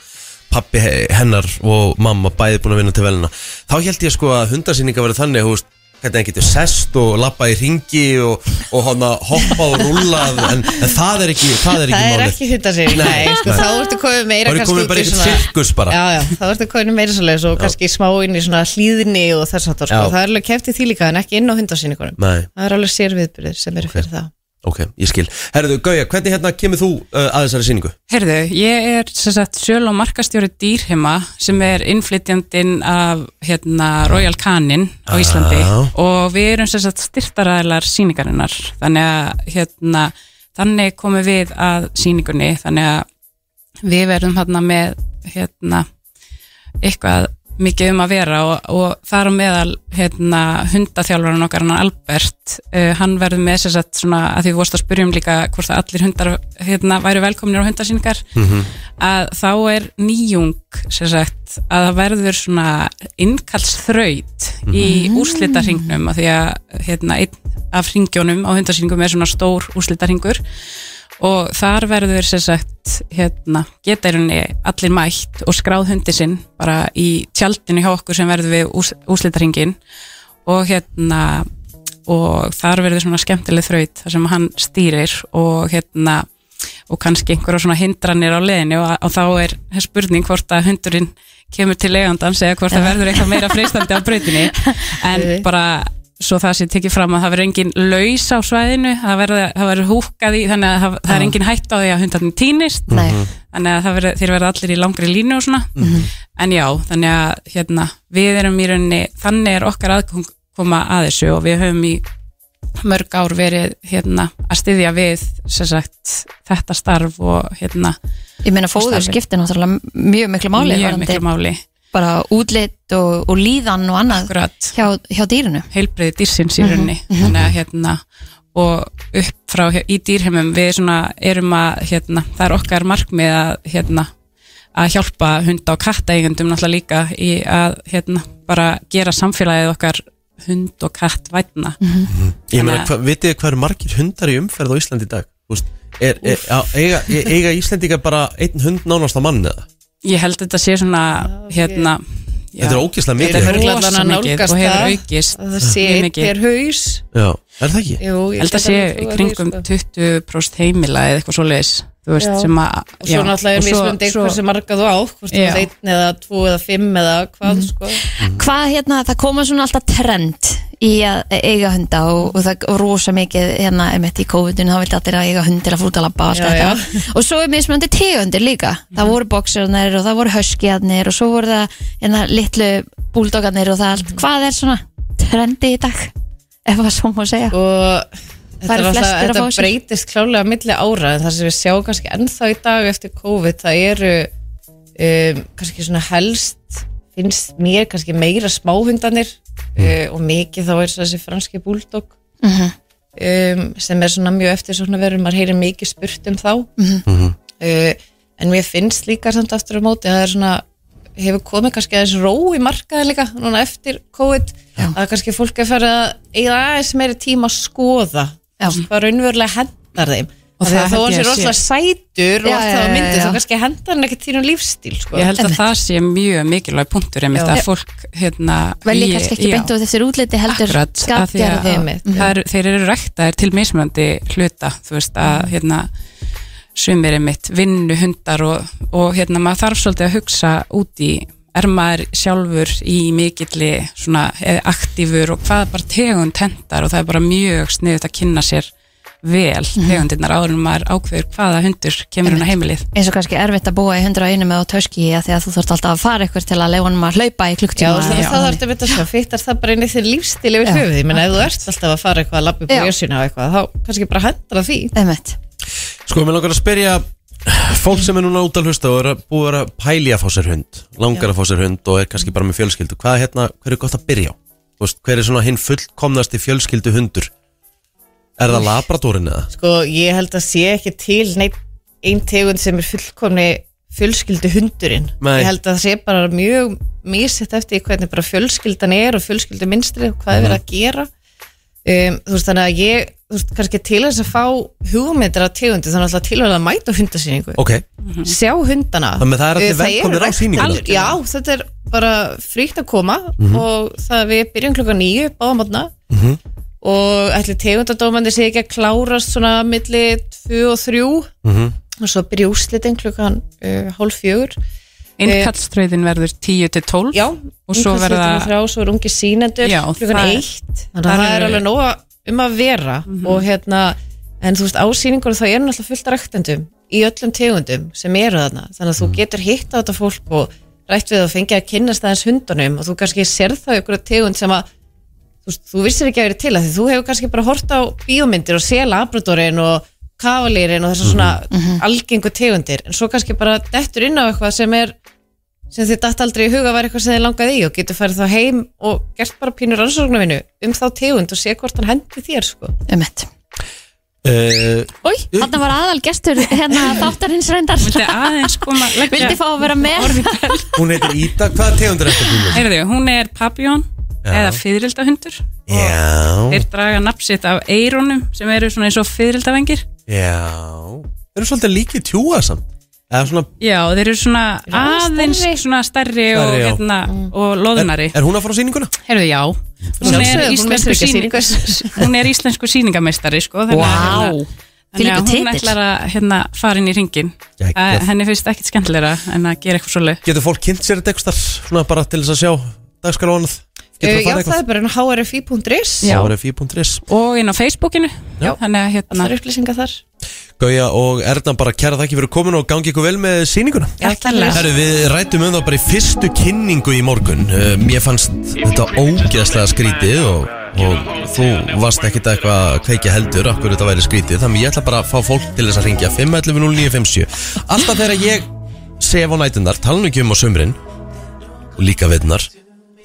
Speaker 1: pappi he- hennar og mamma bæði búin að vinna til velina þá held ég sko að hundasýninga verið þannig þú veist hvernig hann getur sest og lappa í ringi og, og hana hoppa og rúllað en, en það er ekki, það er ekki
Speaker 4: það er
Speaker 1: málið.
Speaker 4: ekki hundasýning
Speaker 1: Nei,
Speaker 4: nei, sko,
Speaker 1: nei.
Speaker 4: þá ertu komið meira
Speaker 1: Þá er ég
Speaker 4: kannski
Speaker 1: komið bara
Speaker 4: út í
Speaker 1: eitthvað sirkus bara
Speaker 4: já, já, þá ertu komið meira svolítið og kannski smá inn í svona hlýðni og þess aftur sko.
Speaker 1: Já.
Speaker 4: það er alveg keft í því líka en ekki inn á hundasýningunum
Speaker 1: Nei,
Speaker 4: það er alveg sérviðbyrðir sem eru fyrir það
Speaker 1: ok, ég skil Herðu, Gauja, hvernig hérna kemur þú uh, að þessari síningu?
Speaker 5: Herðu, ég er sem sagt, sjöl og markastjóri dýrhema sem er innflytjandinn af hérna, Royal Canin á Íslandi
Speaker 1: Já.
Speaker 5: og við erum sem sagt, styrtaræðlar síningarinnar þannig að hérna, þannig komum við að síningunni þannig að við verðum hérna, með hérna, eitthvað mikið um að vera og, og þar á meðal hérna, hundaþjálfarinn okkar hann Albert, uh, hann verður með þess að svona, að því þú vorst að spyrjum líka hvort að allir hundar hérna, væru velkomnir á hundasýningar að þá er nýjung sem sagt að það verður svona innkallsþraut í úrslitaringnum af því að hérna, einn af ringjónum á hundasýningum er svona stór úrslitaringur og þar verður sem sagt hérna, geta í rauninni allir mætt og skráð hundi sinn bara í tjaldinu hjá okkur sem verður við ús, úslitaringin og hérna og þar verður svona skemmtileg þraut þar sem hann stýrir og hérna og kannski einhverja svona hindranir á leðinu og, og þá er spurning hvort að hundurinn kemur til eigandans eða hvort það verður eitthvað meira freistandi á breytinni en bara svo það sé tekið fram að það verður engin laus á svæðinu, það verður, það verður húkað í þannig að það, það er engin hætt á því að hundarnir týnist
Speaker 2: Nei.
Speaker 5: þannig að það verður, þeir verða allir í langri línu og svona en já, þannig að hérna, við erum í rauninni þannig er okkar aðkoma að þessu og við höfum í mörg ár verið hérna, að styðja við sem sagt, þetta starf og hérna,
Speaker 2: Ég meina fóður
Speaker 5: Starfið.
Speaker 2: skiptir náttúrulega mjög miklu máli
Speaker 5: mjög
Speaker 2: varðandi
Speaker 5: miklu máli
Speaker 2: bara útlit og, og líðan og annað
Speaker 5: akkurat
Speaker 2: hjá, hjá dýrinu
Speaker 5: heilbreiði dýrsins í rauninni þannig að hérna og upp frá hjá- í dýrheimum við svona erum að hérna, það er okkar markmið að hérna að hjálpa hunda og kattaeigendum náttúrulega líka í að hérna bara gera samfélagið okkar hund og katt vætna
Speaker 1: Ég meina,
Speaker 5: Þannig
Speaker 1: hva, vitið þið hvað eru margir hundar í umferð á Íslandi í dag? Þú veist, er, er, á, eiga, e- eiga Íslandingar bara einn hund nánast á mann eða?
Speaker 5: ég held þetta sé svona hérna já,
Speaker 1: Þetta er ógislega
Speaker 4: Þetta
Speaker 1: mikið
Speaker 4: er
Speaker 5: rosa
Speaker 4: örugglega allan að
Speaker 5: mikið
Speaker 4: nálgast
Speaker 5: og hefur
Speaker 4: það.
Speaker 5: aukist
Speaker 4: að það sé
Speaker 5: mjög
Speaker 4: einn
Speaker 5: mikið.
Speaker 4: per haus
Speaker 1: Já, er það ekki?
Speaker 4: Jú, sko.
Speaker 5: held að sé í kringum 20% heimila eða eitthvað svoleiðis þú veist,
Speaker 4: Já.
Speaker 5: sem að
Speaker 4: og svo náttúrulega er mismundi eitthvað sem marga þú á hvort þú
Speaker 5: Já.
Speaker 4: ert einn eða tvo eða fimm eða hvað sko
Speaker 2: Hvað hérna, það koma svona alltaf trend í að e- eiga hunda og, og það er rosa mikið hérna emitt í COVID-19 þá vildi allir að eiga hund til að fúta að labba og allt
Speaker 4: Já, Mhm.
Speaker 2: þetta og svo er mismunandi tegundir líka það voru boxerarnir og það voru höskiarnir og svo voru það hérna litlu búldókarnir og það
Speaker 4: Mhm.
Speaker 2: allt hvað er svona trendi í dag ef að svo má segja
Speaker 4: og
Speaker 2: Það
Speaker 4: þetta,
Speaker 2: eru
Speaker 4: er alltaf,
Speaker 2: flestir að
Speaker 4: þetta
Speaker 2: fá sér.
Speaker 4: breytist klálega á milli ára en það sem við sjáum kannski ennþá í dag eftir COVID það eru um, kannski svona helst finnst mér kannski meira smáhundanir uh, og mikið þá er svo þessi franski búldokk um, sem er svona mjög eftir svona verður maður heyrir mikið spurt um þá uh, en mér finnst líka samt aftur á móti að það er svona hefur komið kannski aðeins ró í markaðin líka núna eftir COVID að kannski fólk er farið að eiga aðeins meiri tíma að skoða
Speaker 2: Já.
Speaker 4: hvað raunverulega hendar þeim
Speaker 5: Og
Speaker 4: og það
Speaker 5: það
Speaker 4: þó hann
Speaker 5: held ég
Speaker 4: sé
Speaker 5: að sé-
Speaker 4: rosalega sætur og
Speaker 2: Já,
Speaker 4: allt
Speaker 2: já,
Speaker 4: það á
Speaker 2: já,
Speaker 4: myndið
Speaker 2: já.
Speaker 4: þá kannski hendar hann ekkert þínum lífstíl sko.
Speaker 5: ég held að það sé mjög mikilvæg punktur einmitt
Speaker 4: Já.
Speaker 5: að fólk hérna
Speaker 2: velji
Speaker 5: í-
Speaker 2: kannski ekki
Speaker 5: já.
Speaker 2: beint út eftir útliti heldur Mhm.
Speaker 5: Akkurat, af því að
Speaker 2: skapgerð og
Speaker 4: Einmitt.
Speaker 5: það
Speaker 2: Mm-hmm.
Speaker 5: er, þeir eru ræktaðir til mismunandi hluta, þú veist að hérna, sumir er mitt vinnu hundar og, og hérna maður þarf svolítið að hugsa út í er maður sjálfur í mikilli svona eh, aktífur og hvað bara tegund hendar og það er bara mjög sniðut að kynna sér vel
Speaker 2: Mm-hmm.
Speaker 5: tegundirnar áður en maður ákveður hvaða hundur kemur hún á heimilið
Speaker 2: eins og kannski erfitt að búa í hundra einu með á töski af því að þú þurft alltaf að fara ykkur til að leifa honum að hlaupa í
Speaker 4: Já,
Speaker 2: klukktíma
Speaker 4: og það, það þarf þetta að sjá, fyrtast það bara inn í þinn lífstíl yfir höfuð, ég menna ef þú ert alltaf að fara eitthvað að labba upp
Speaker 2: Já.
Speaker 4: í ösuna og eitthvað, þá kannski bara hendra því
Speaker 2: Einmitt.
Speaker 1: Sko, mér langar að spyrja fólk sem er núna út að hlusta og er að búið að vera að pæli að fá sér hund langar að fá sér hund og er kannski bara með fjölskyldu hvað er hérna, hver er gott að byrja á? Þú Veist, hver er svona hinn fullkomnasti fjölskyldu hundur? Er það labradorin eða?
Speaker 4: Sko, ég held að sé ekki til neitt einn tegund sem er fullkomni fjölskyldu hundurinn.
Speaker 1: Nei.
Speaker 4: Ég held að það sé bara mjög mísett eftir því hvernig bara fjölskyldan er og fjölskyldu minnstri og hvað er
Speaker 1: Mhm.
Speaker 4: verið að gera. Um, þú veist, þannig að ég, þú veist, kannski til þess að fá hugmyndir af tegundi, þannig alltaf tilvæg að mæta á hundasýningu.
Speaker 1: Ok,
Speaker 4: Sjá hundana.
Speaker 1: Þannig að það er allir
Speaker 4: Uh, það
Speaker 1: velkomnir
Speaker 4: eru
Speaker 1: á sýninguna.
Speaker 4: ræktaðir. Já, þetta er bara fríkt að koma
Speaker 1: Mhm.
Speaker 4: og það við byrjum klokka nýju báðamotna mm og ætli tegundadómandi sé ekki að klárast svona milli 2 og 3
Speaker 1: Mhm.
Speaker 4: og svo byrja úrslitin klukkan uh, hálf fjögur
Speaker 5: innkallströðin verður 10 til 12
Speaker 4: Já,
Speaker 5: og svo verða
Speaker 4: þrjá, svo er ungi sínendur
Speaker 5: Já,
Speaker 4: klukkan
Speaker 5: það er- Mhm.
Speaker 4: eitt þannig að
Speaker 5: þar
Speaker 4: það er
Speaker 5: eru-
Speaker 4: alveg nóg að- um að vera og hérna, en þú veist á sýningur þá er náttúrulega fullt af ræktendum í öllum tegundum sem eru þarna þannig að þú
Speaker 5: Mhm.
Speaker 4: getur hitt á þetta fólk og rætt við að fengja að kynnast aðeins hundunum og þú kannski sér þá ykkur tegund sem að þú, veist, þú vissir ekki að vera til að því þú hefur kannski bara hort á bíómyndir og sé labradorinn og kavalýrin og
Speaker 5: Mhm.
Speaker 4: þessar svona algengu tegundir en svo kannski bara dettur inn á eitthvað sem er sem þið datt aldrei í huga var eitthvað sem þið langaði í og getur farið þá heim og gert bara pínur rannsóknarvinu um þá tegund og sé hvort hann hendi þér sko.
Speaker 2: Einmitt.
Speaker 1: uh,
Speaker 2: Új, þarna var aðal gestur hérna þáttarins reyndar
Speaker 5: Vildi aðeins koma
Speaker 2: Vildi fá að vera með
Speaker 1: hún heitir Ída, hvaða tegundur er þetta búin?
Speaker 5: Heyrðu, hún er papjón eða fyririldahundur
Speaker 1: Já,
Speaker 5: Þeir draga nafnsitt af eirónum sem eru svona eins og fyririldavengir
Speaker 1: já Þeir eru svolítið líki tjúa samt Eða svona,
Speaker 5: Já, og þeir eru svona aðeins svona stærri og,
Speaker 1: Stærri, já.
Speaker 5: hérna,
Speaker 4: Mm.
Speaker 5: og
Speaker 1: er,
Speaker 5: loðnari
Speaker 1: er hún að fara á sýninguna?
Speaker 5: Heyrðu, já Hún
Speaker 4: Sjálfsögðu,
Speaker 5: er
Speaker 4: hún missir
Speaker 5: íslensku,
Speaker 4: ekki
Speaker 5: sýning, hún er íslensku sýningameistari sko, þannig að
Speaker 2: Vá.
Speaker 5: hérna-
Speaker 2: Þvílíkur
Speaker 5: þannig að hún
Speaker 2: titill.
Speaker 5: ætlar að hérna, fara inn í ringin
Speaker 1: Jæja.
Speaker 5: Henni finnst ekkit skemmtilegra en að gera eitthvað svoleið
Speaker 1: Getur fólk kynnt sér þetta eitthvað svona bara til þess að sjá dagskar og annað? Getur
Speaker 4: Uh,
Speaker 1: það
Speaker 4: já,
Speaker 1: farið
Speaker 4: það
Speaker 1: eitthvað?
Speaker 4: er bara enn hrfi.is
Speaker 5: Já.
Speaker 1: Það er 4.is
Speaker 5: Og inn á Facebookinu Þannig að hérna
Speaker 4: Það er upplýsingar þar
Speaker 1: Gauja og Erna bara kæra þakki fyrir komin og gangi ykkur vel með sýninguna
Speaker 5: Takk
Speaker 1: Herru, við rættum um það bara í fyrstu kynningu í morgun Eh, Mér fannst þetta ógeðslega skrítið og, og þú varst ekkit eitthvað að kveikja heldur af hverju þetta væri skrítið Þannig ég ætla bara að fá fólk til þess að ringja 511-0957 Alltaf þegar ég sef á nætunar, tala nú ekki um á sömrin og líka veitnar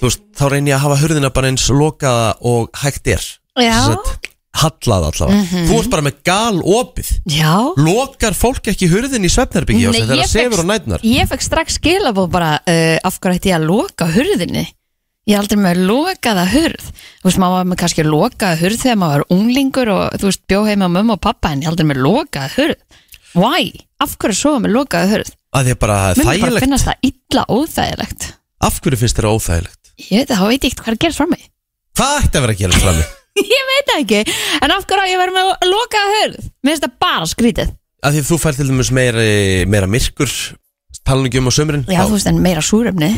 Speaker 1: Þú veist, þá reyni ég að hafa hurðina bara eins lokaða og hægt er
Speaker 2: Já.
Speaker 1: Sem sagt, Hallað allavega Þú ert bara með gal opið
Speaker 2: Já
Speaker 1: Lokar fólk ekki hurðin í svefnherbyggi á sig þegar það sefur á nætnar?
Speaker 2: ég fekk strax skilabóð bara uh, af hverju ætti ég að loka hurðinni ég er aldrei með lokaða hurð þú veist, maður var með kannski lokaða hurð þegar maður var unglingur og þú veist, bjó heima á mömmu og pappa en ég er aldrei með lokaða hurð why? af hverju sofa með lokaða hurð?
Speaker 1: Að því að bara það er
Speaker 2: mér myndi bara
Speaker 1: þægilegt
Speaker 2: finnast það illa óþægilegt
Speaker 1: Af hverju finnst þér það óþægilegt?
Speaker 2: ég veit það, þá veit ég ekkert hvað er að gera frá mig
Speaker 1: Hvað ætti að vera að gera frammi?
Speaker 2: ég veit það ekki, en af hverju á ég verið með lokaða hurð? mér finnst það bara skrítið
Speaker 1: að því að þú fær til dæmis meira, meira myrkur talan ekki um á sömurinn
Speaker 2: Já, þú
Speaker 1: þá,
Speaker 2: veist, en meira súrefni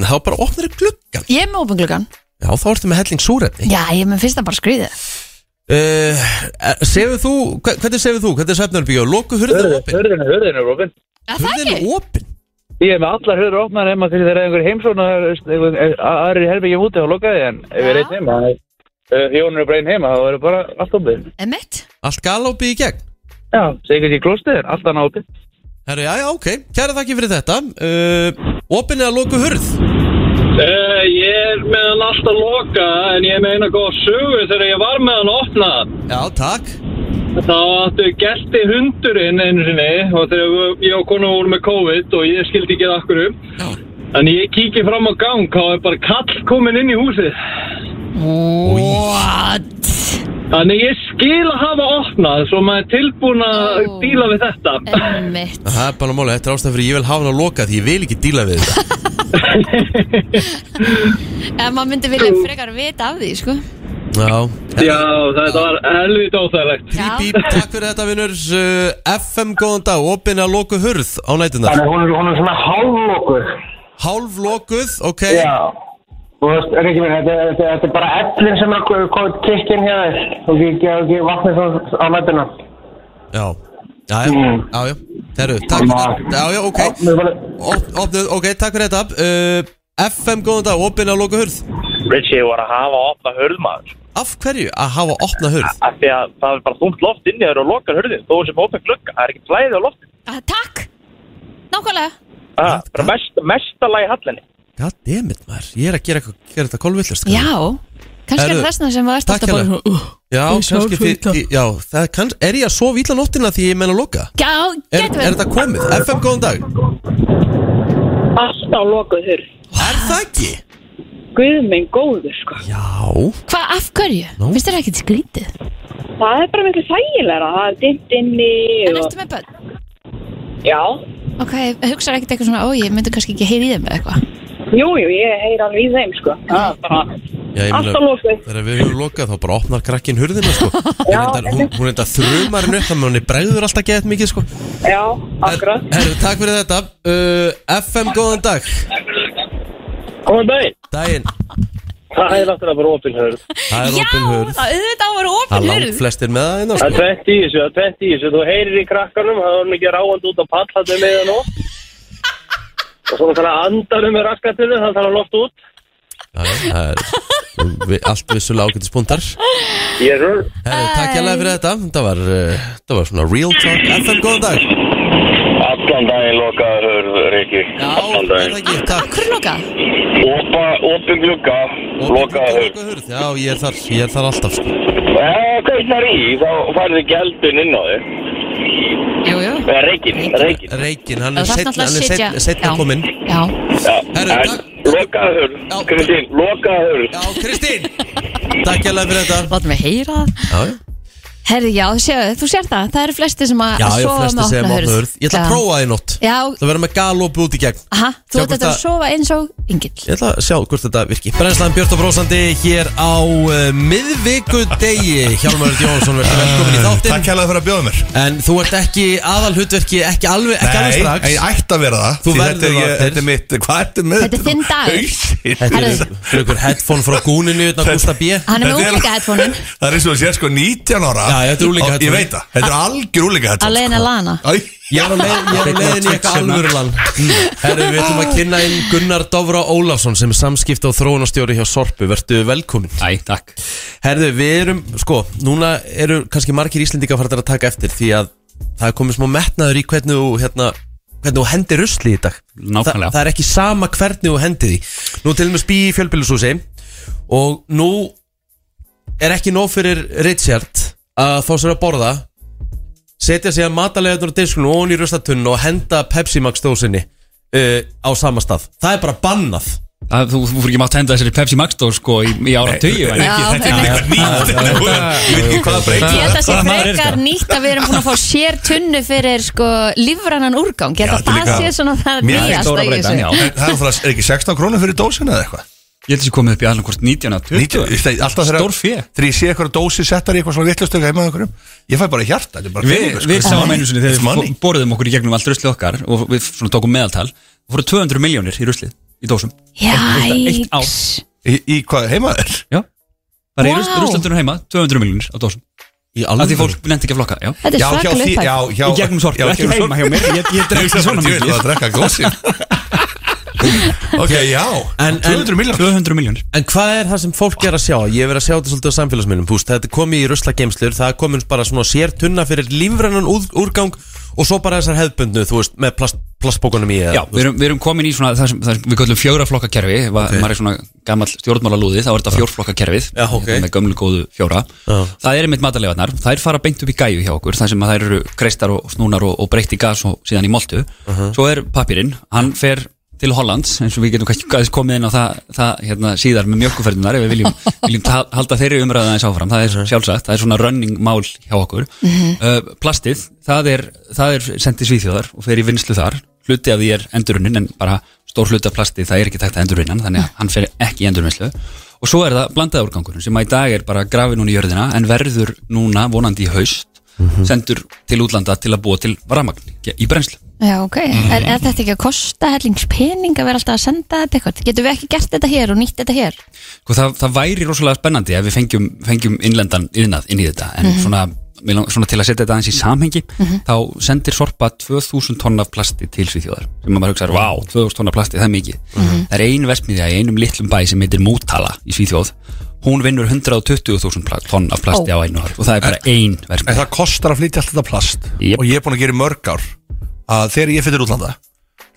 Speaker 1: þá bara opnar upp gluggan
Speaker 2: Ég er með opin gluggan
Speaker 1: Já, þá ertu með helling súrefni
Speaker 2: Já, ég er með fyrsta bara skrýðið
Speaker 1: uh, er- Sefur þú, hve- hvernig sefur þú, hvernig sefnur byggja Loku hurðin opin
Speaker 6: Hörðinu, hörðinu er opinn.
Speaker 2: Er það
Speaker 1: Hurðin
Speaker 2: ekki?
Speaker 1: opin
Speaker 6: Ég er með allar hörður opnar heima fyrir þegar einhver heimsóna aðri herbyggjum úti þá lokaði ég, en ef ég er einn heima ef Jón er bara einn heima þá eru bara allt opið.
Speaker 2: Emmett?
Speaker 1: Allt galopið í gegn
Speaker 6: Já, segir ekki klostið en allt annað opið.
Speaker 1: Herru, já, já, ok, kæra þakki fyrir þetta uh, Opin eða loku hurð
Speaker 7: Uh, ég er með hann alltaf loka en ég er með eina góða sögu þegar ég var með hann opna
Speaker 1: Já, takk
Speaker 7: þá áttu gelti hundurinn einu sinni og þegar við- ég og konu voru með COVID og ég skildi ekki það akkur um
Speaker 1: Já.
Speaker 7: en ég kíki fram á gang þá er bara kall komin inn í húsið
Speaker 2: What?
Speaker 7: þannig ég skil að hafa opnað svo maður er tilbúin að
Speaker 2: Ó.
Speaker 7: díla við þetta
Speaker 2: Emmett
Speaker 1: Það er bara máli, þetta er ástæðan fyrir ég vil hafa hann að loka því ég vil ekki díla við þetta
Speaker 2: Ef maður myndi vilja frekar vita af því, sko
Speaker 1: Já,
Speaker 7: Já, þetta var helvit óþægilegt
Speaker 2: Já.
Speaker 1: Bíp, takk fyrir þetta vinnur uh, FM góðan dag, opin að loku hurð á nætuna
Speaker 8: Þannig að hún er, hún er svona hálflokuð.
Speaker 1: Hálf lokuð, ok
Speaker 8: Já. Þú veist, er ekki minn, þetta, þetta, þetta er bara ellin sem er komið kikkin hjá þér. Þú ekki, ekki, ekki vatnið svo á nættuna.
Speaker 1: Já, já, já,
Speaker 8: Mm.
Speaker 1: já, já. Herru, takk fyrir þetta Já, já, ok
Speaker 8: Mér bara,
Speaker 1: Op- Opnuð, ok, takk fyrir þetta uh, FM góðan dag, opin að loku hurð
Speaker 6: Richie var að hafa opna hörðmaður.
Speaker 1: Af hverju að hafa opna hurð?
Speaker 6: Af því að það er bara þúmt loft inni þegar þú lokar hurðin. Þú sem opið glugga, það er ekki flæði á loftin.
Speaker 2: Ah, Takk Nákvæmlega
Speaker 8: Ah,
Speaker 6: Það er bara mest, mesta lagi hallinni.
Speaker 1: Goddammit maður, ég er að gera, eitthvað- gera þetta kolvillast sko.
Speaker 2: Já Kannski
Speaker 1: Herðu,
Speaker 2: er þessna sem maður ert
Speaker 1: takk hérna.
Speaker 2: alltaf bara
Speaker 1: hérlega.
Speaker 2: svona, uh,
Speaker 1: já
Speaker 2: ég svaf
Speaker 1: kannski
Speaker 2: svo illa.
Speaker 1: því Já, það kann, er ég að sofa illa nóttina því ég menna að loka?
Speaker 2: Já,
Speaker 1: Er,
Speaker 2: getur
Speaker 1: er
Speaker 2: verið
Speaker 1: þetta komið? FM góðan dag
Speaker 9: Alltaf lokuð hurð.
Speaker 1: Er það ekki?
Speaker 9: Guð minn góður, sko.
Speaker 1: Já
Speaker 2: Hvað, af hverju?
Speaker 1: Nú.
Speaker 2: Finnst þér ekkert skrítið?
Speaker 9: Það er bara miklu þægilega. Það er dimt inni
Speaker 2: En
Speaker 9: og...
Speaker 2: ertu með börn?
Speaker 9: Já.
Speaker 2: Ok, hugsaðu ekkert eitthvað svona, ó, ég myndi kannski ekki heyri í þeim eða eitthvað
Speaker 9: Jú, jú, ég heyr alveg í þeim, sko. Það er bara...
Speaker 1: Já, ég
Speaker 9: Alltaf
Speaker 1: meina,
Speaker 9: lokuð.
Speaker 1: þegar við höfum lokað þá bara opnar krakkin hurðina sko Hún reyndar- Hún hún reyndar þrumar henni upp þannig að henni bregður alltaf gett mikið sko
Speaker 9: Já, akkurat.
Speaker 1: Herru, takk fyrir þetta uh, FM, góðan dag
Speaker 7: Góðan daginn
Speaker 1: Daginn,
Speaker 7: Það er náttúrulega bara opin hörð
Speaker 1: það er
Speaker 2: Já,
Speaker 1: opin hurð
Speaker 2: það auðvitað
Speaker 1: Það
Speaker 2: var
Speaker 1: er
Speaker 2: opin
Speaker 1: langt
Speaker 2: hurð
Speaker 1: flestir með það
Speaker 7: Það er
Speaker 1: hérna
Speaker 7: tvett í þessu, það er tvett í þessu. Þú heyrir í krakkanum, það er mikið ráand út á pallhattu með það nú. Og svona þannig að andanum er raskatinu, þannig að það er loft út.
Speaker 1: sko Já, já, Það er við, allt vissulega ágætis búndar
Speaker 7: Ég er
Speaker 1: Herru, takk hérlega fyrir þetta Það var, uh, það var svona real talk FM, góðan dag
Speaker 7: Allan daginn lokaður hörð, Riki.
Speaker 1: Já, er það ekki, takk
Speaker 2: Akkur lokað?
Speaker 7: Opa, opin glugga,
Speaker 1: Opin- lokaður hurð. Já, ég er þar, ég er þar alltaf sko
Speaker 7: Ef kveiknar Eh, í, þá farði gældun inn á þig. Eh,
Speaker 2: Jú, jú
Speaker 7: Eða reikin, reikin.
Speaker 1: Reykinn, hann
Speaker 2: Það
Speaker 1: er
Speaker 2: þarf
Speaker 1: setna,
Speaker 2: náttúrulega
Speaker 1: hann er
Speaker 2: að
Speaker 1: setna,
Speaker 2: sitja-
Speaker 1: setna
Speaker 2: Já.
Speaker 1: kominn
Speaker 2: Já,
Speaker 1: Herru, takk
Speaker 7: Lokaður hörð,
Speaker 1: Já.
Speaker 7: Kristín, lokaður hörð.
Speaker 1: Já, Kristín Takk hérlega fyrir þetta
Speaker 2: látum við heyra það
Speaker 1: Já, já,
Speaker 2: Herri, já, séu, þú sér það, það eru flesti sem að
Speaker 1: já,
Speaker 2: að
Speaker 1: já
Speaker 2: sofa
Speaker 1: flesti
Speaker 2: með
Speaker 1: segja
Speaker 2: opna
Speaker 1: maður hurð Ég ætla að
Speaker 2: Já.
Speaker 1: prófa það í nótt
Speaker 2: Já,
Speaker 1: Það verður með galopi út í gegn
Speaker 2: aha,
Speaker 1: Sjá
Speaker 2: þú ert
Speaker 1: hvort
Speaker 2: þetta að
Speaker 1: að-
Speaker 2: sofa eins og yngill
Speaker 1: Ég ætla að sjá hvort þetta virki Brennslan Björn og Brósandi hér á uh, miðvikudegi Hjálmar Örn Jónsson, verður velkomin í
Speaker 10: Eh, Takk
Speaker 1: þáttinn
Speaker 10: hérlega fyrir að bjóða mér
Speaker 1: En þú ert ekki aðal hlutverki, ekki alveg, ekki alveg strax
Speaker 10: Nei, ég ætti að vera það
Speaker 1: Þú
Speaker 10: því
Speaker 1: verður
Speaker 10: þetta er
Speaker 1: það
Speaker 10: ég-
Speaker 1: eftir.
Speaker 10: Þetta er mitt, hvað ertu með
Speaker 2: Þetta er þinn dagur.
Speaker 10: dagur
Speaker 1: Þetta er
Speaker 2: Herru.
Speaker 1: fyrir ykkur headphone frá gúninu Þetta Gústa B
Speaker 2: Hann er með
Speaker 10: Þetta er-
Speaker 2: úlíka headphone-un
Speaker 10: Það er eins og að sé sko 19 ára
Speaker 1: Já, já, þetta er
Speaker 10: Og
Speaker 1: úlíka
Speaker 10: Ég
Speaker 1: headphone.
Speaker 10: veit það, þetta er algjör sko. úlíka þetta
Speaker 2: Að leiðin að lana
Speaker 1: Ég er á leið- ég er á leiðin í eitthvað alvörulan Herru, við ætlum að kynna inn Gunnar Dofra Ólafsson sem er samskipta og þróunastjóri hjá Sorpu, verðu velkomin
Speaker 7: Æ, takk.
Speaker 1: Herðu, við erum, sko, núna eru kannski margir Íslendingar farðar að taka eftir því að það er komið smá metnaður í hvernig þú, hérna, hvernig þú hendir rusli í dag
Speaker 7: Nákvæmlega.
Speaker 1: Þa, Það er ekki sama hvernig þú hendir því Nú til dæmis bý í fjölbýlisúsi og nú er ekki nóg fyrir Richard að fá sér að borða setja sér matalegaður á disknu og hún í ruslatunnu og henda Pepsi Max dósinni uh, á sama stað Það er bara bannað
Speaker 7: Það, þú, þú fyrir ekki mátt henda þessari Pepsi Max Store sko í, í ára tugi
Speaker 10: Þetta er líka nýtt Þetta er- Ég veit ekki hvað breytir
Speaker 2: Ég held að sé
Speaker 7: Hvaða maður er
Speaker 2: frekar
Speaker 7: þetta?
Speaker 2: nýtt að við erum búin að fá sér tunnu fyrir sko lífrannan úrgang Ég
Speaker 10: Já,
Speaker 2: held
Speaker 10: þetta er
Speaker 2: að það
Speaker 10: líka-
Speaker 2: sé svona það
Speaker 10: Mér finnst
Speaker 2: nýjast
Speaker 7: stóra
Speaker 2: að ég
Speaker 7: breytan,
Speaker 2: sé
Speaker 7: já.
Speaker 10: En það er náttúrulega- er ekki 16 krónur fyrir dósina eða eitthvað
Speaker 7: Ég held að ég komið upp í allan hvort 19 að 20
Speaker 10: Alltaf þegar
Speaker 7: Stór fjö
Speaker 10: Þegar ég sé eitthvað dósi settar í eitthvað svona vitlustöka heima hjá einhverjum, Ég fæ bara hjarta Þetta er bara
Speaker 7: Við,
Speaker 10: peningur, sko.
Speaker 7: við sáum einu sinni þegar
Speaker 10: It's money.
Speaker 7: við borðum okkur í gegnum allt ruslið okkar og við svona tókum meðaltal og fóru 200 miljónir í ruslið í dósum Eitt- eitt ár.
Speaker 10: Í, í hvað heima þér?
Speaker 7: Já Það er wow.
Speaker 10: Vá.
Speaker 7: ruslöndunum heima 200 miljónir á dósum
Speaker 10: Í
Speaker 7: alveg Því fólk nefndi ekki að flokka já.
Speaker 10: Þetta er Já, hjá svakaleg því- upphæð. já, hjá-
Speaker 7: Í gegnum sorp,
Speaker 10: já,
Speaker 7: ekki
Speaker 10: gegnum
Speaker 7: heima hjá
Speaker 10: sorp.
Speaker 7: mér Ég, ég
Speaker 10: Ég
Speaker 7: drekk
Speaker 10: hugsa
Speaker 7: ekki svona
Speaker 10: bara,
Speaker 7: mikið
Speaker 10: djöfull, að drekka gósið. Ok, já
Speaker 7: 200 milljónir 200 milljónir
Speaker 1: En hvað er það sem fólk er að sjá? Ég er verið að sjá þetta svolítið á samfélagsmiðlum þú veist, Þetta er komið í ruslagemslur, það er komin bara svona sér tunna fyrir lífrennan úr, úrgang og svo bara þessar hefðbundnu, þú veist, með plast, plastbókunum í eða,
Speaker 7: Já, við erum, við erum komin í svona það sem, það sem við köllum fjóraflokkakerfi ef okay. maður er svona gammal stjórnmálalúði þá er þetta fjórflokkakerfið Já, okay. með gömlu góðu fjóra Það er einmitt matalegarnar, þær fara beint upp í gæju hjá okkur þar sem að þær eru kreistar og snúnar og, og breytt í gas og síðan í moltu
Speaker 11: Mhm.
Speaker 7: Svo er pappirinn, hann fer til Hollands eins og við getum kannski aðeins komið inn á það, það hérna, síðar með mjölkuferðunar ef við viljum, viljum ta- halda þeirri umræða aðeins áfram það er sjálfsagt, það er svona running mál hjá okkur
Speaker 11: Mhm.
Speaker 7: uh, plastið, það er, það er sendið svíþjóðar og fer í vinnslu þar hluti af því er endurunnin en bara stór hluti af plastið það er ekki takt að endurunnan þannig að hann fer ekki í endurvinnslu og svo er það blandaða úrgangurinn sem að í dag er bara grafið núna í jörðina en verður núna vonandi í haust
Speaker 11: Mhm.
Speaker 7: sendur til útlanda til að búa til ramagn í brennslu
Speaker 2: Já, ok. Er, er þetta ekki að kosta hellingspening að vera alltaf að senda þetta eitthvað? Getum við ekki gert þetta hér og nýtt þetta hér?
Speaker 7: Sko, það, það væri rosalega spennandi ef við fengjum, fengjum innlendan yðnað inn í þetta en
Speaker 2: Mhm.
Speaker 7: svona, mig lang- svona til að setja þetta aðeins í samhengi
Speaker 11: Mhm.
Speaker 7: þá sendir Sorpa 2000 tonna af plasti til Svíþjóðar sem maður hugsaður, vá, 2000 tonna af plasti, það er mikið
Speaker 11: Mhm.
Speaker 7: það er ein vestmiðja í einum litlum bæ sem heitir Mútala í Svíþjóð hún vinnur 120.000 pla- tonn af plasti
Speaker 10: Ó.
Speaker 7: á einu ári og það er bara
Speaker 10: En
Speaker 7: ein vestmiðja
Speaker 10: það kostar að flytja allt þetta plast Og ég er búin að gera í mörg ár Að þegar ég fyrir útlanda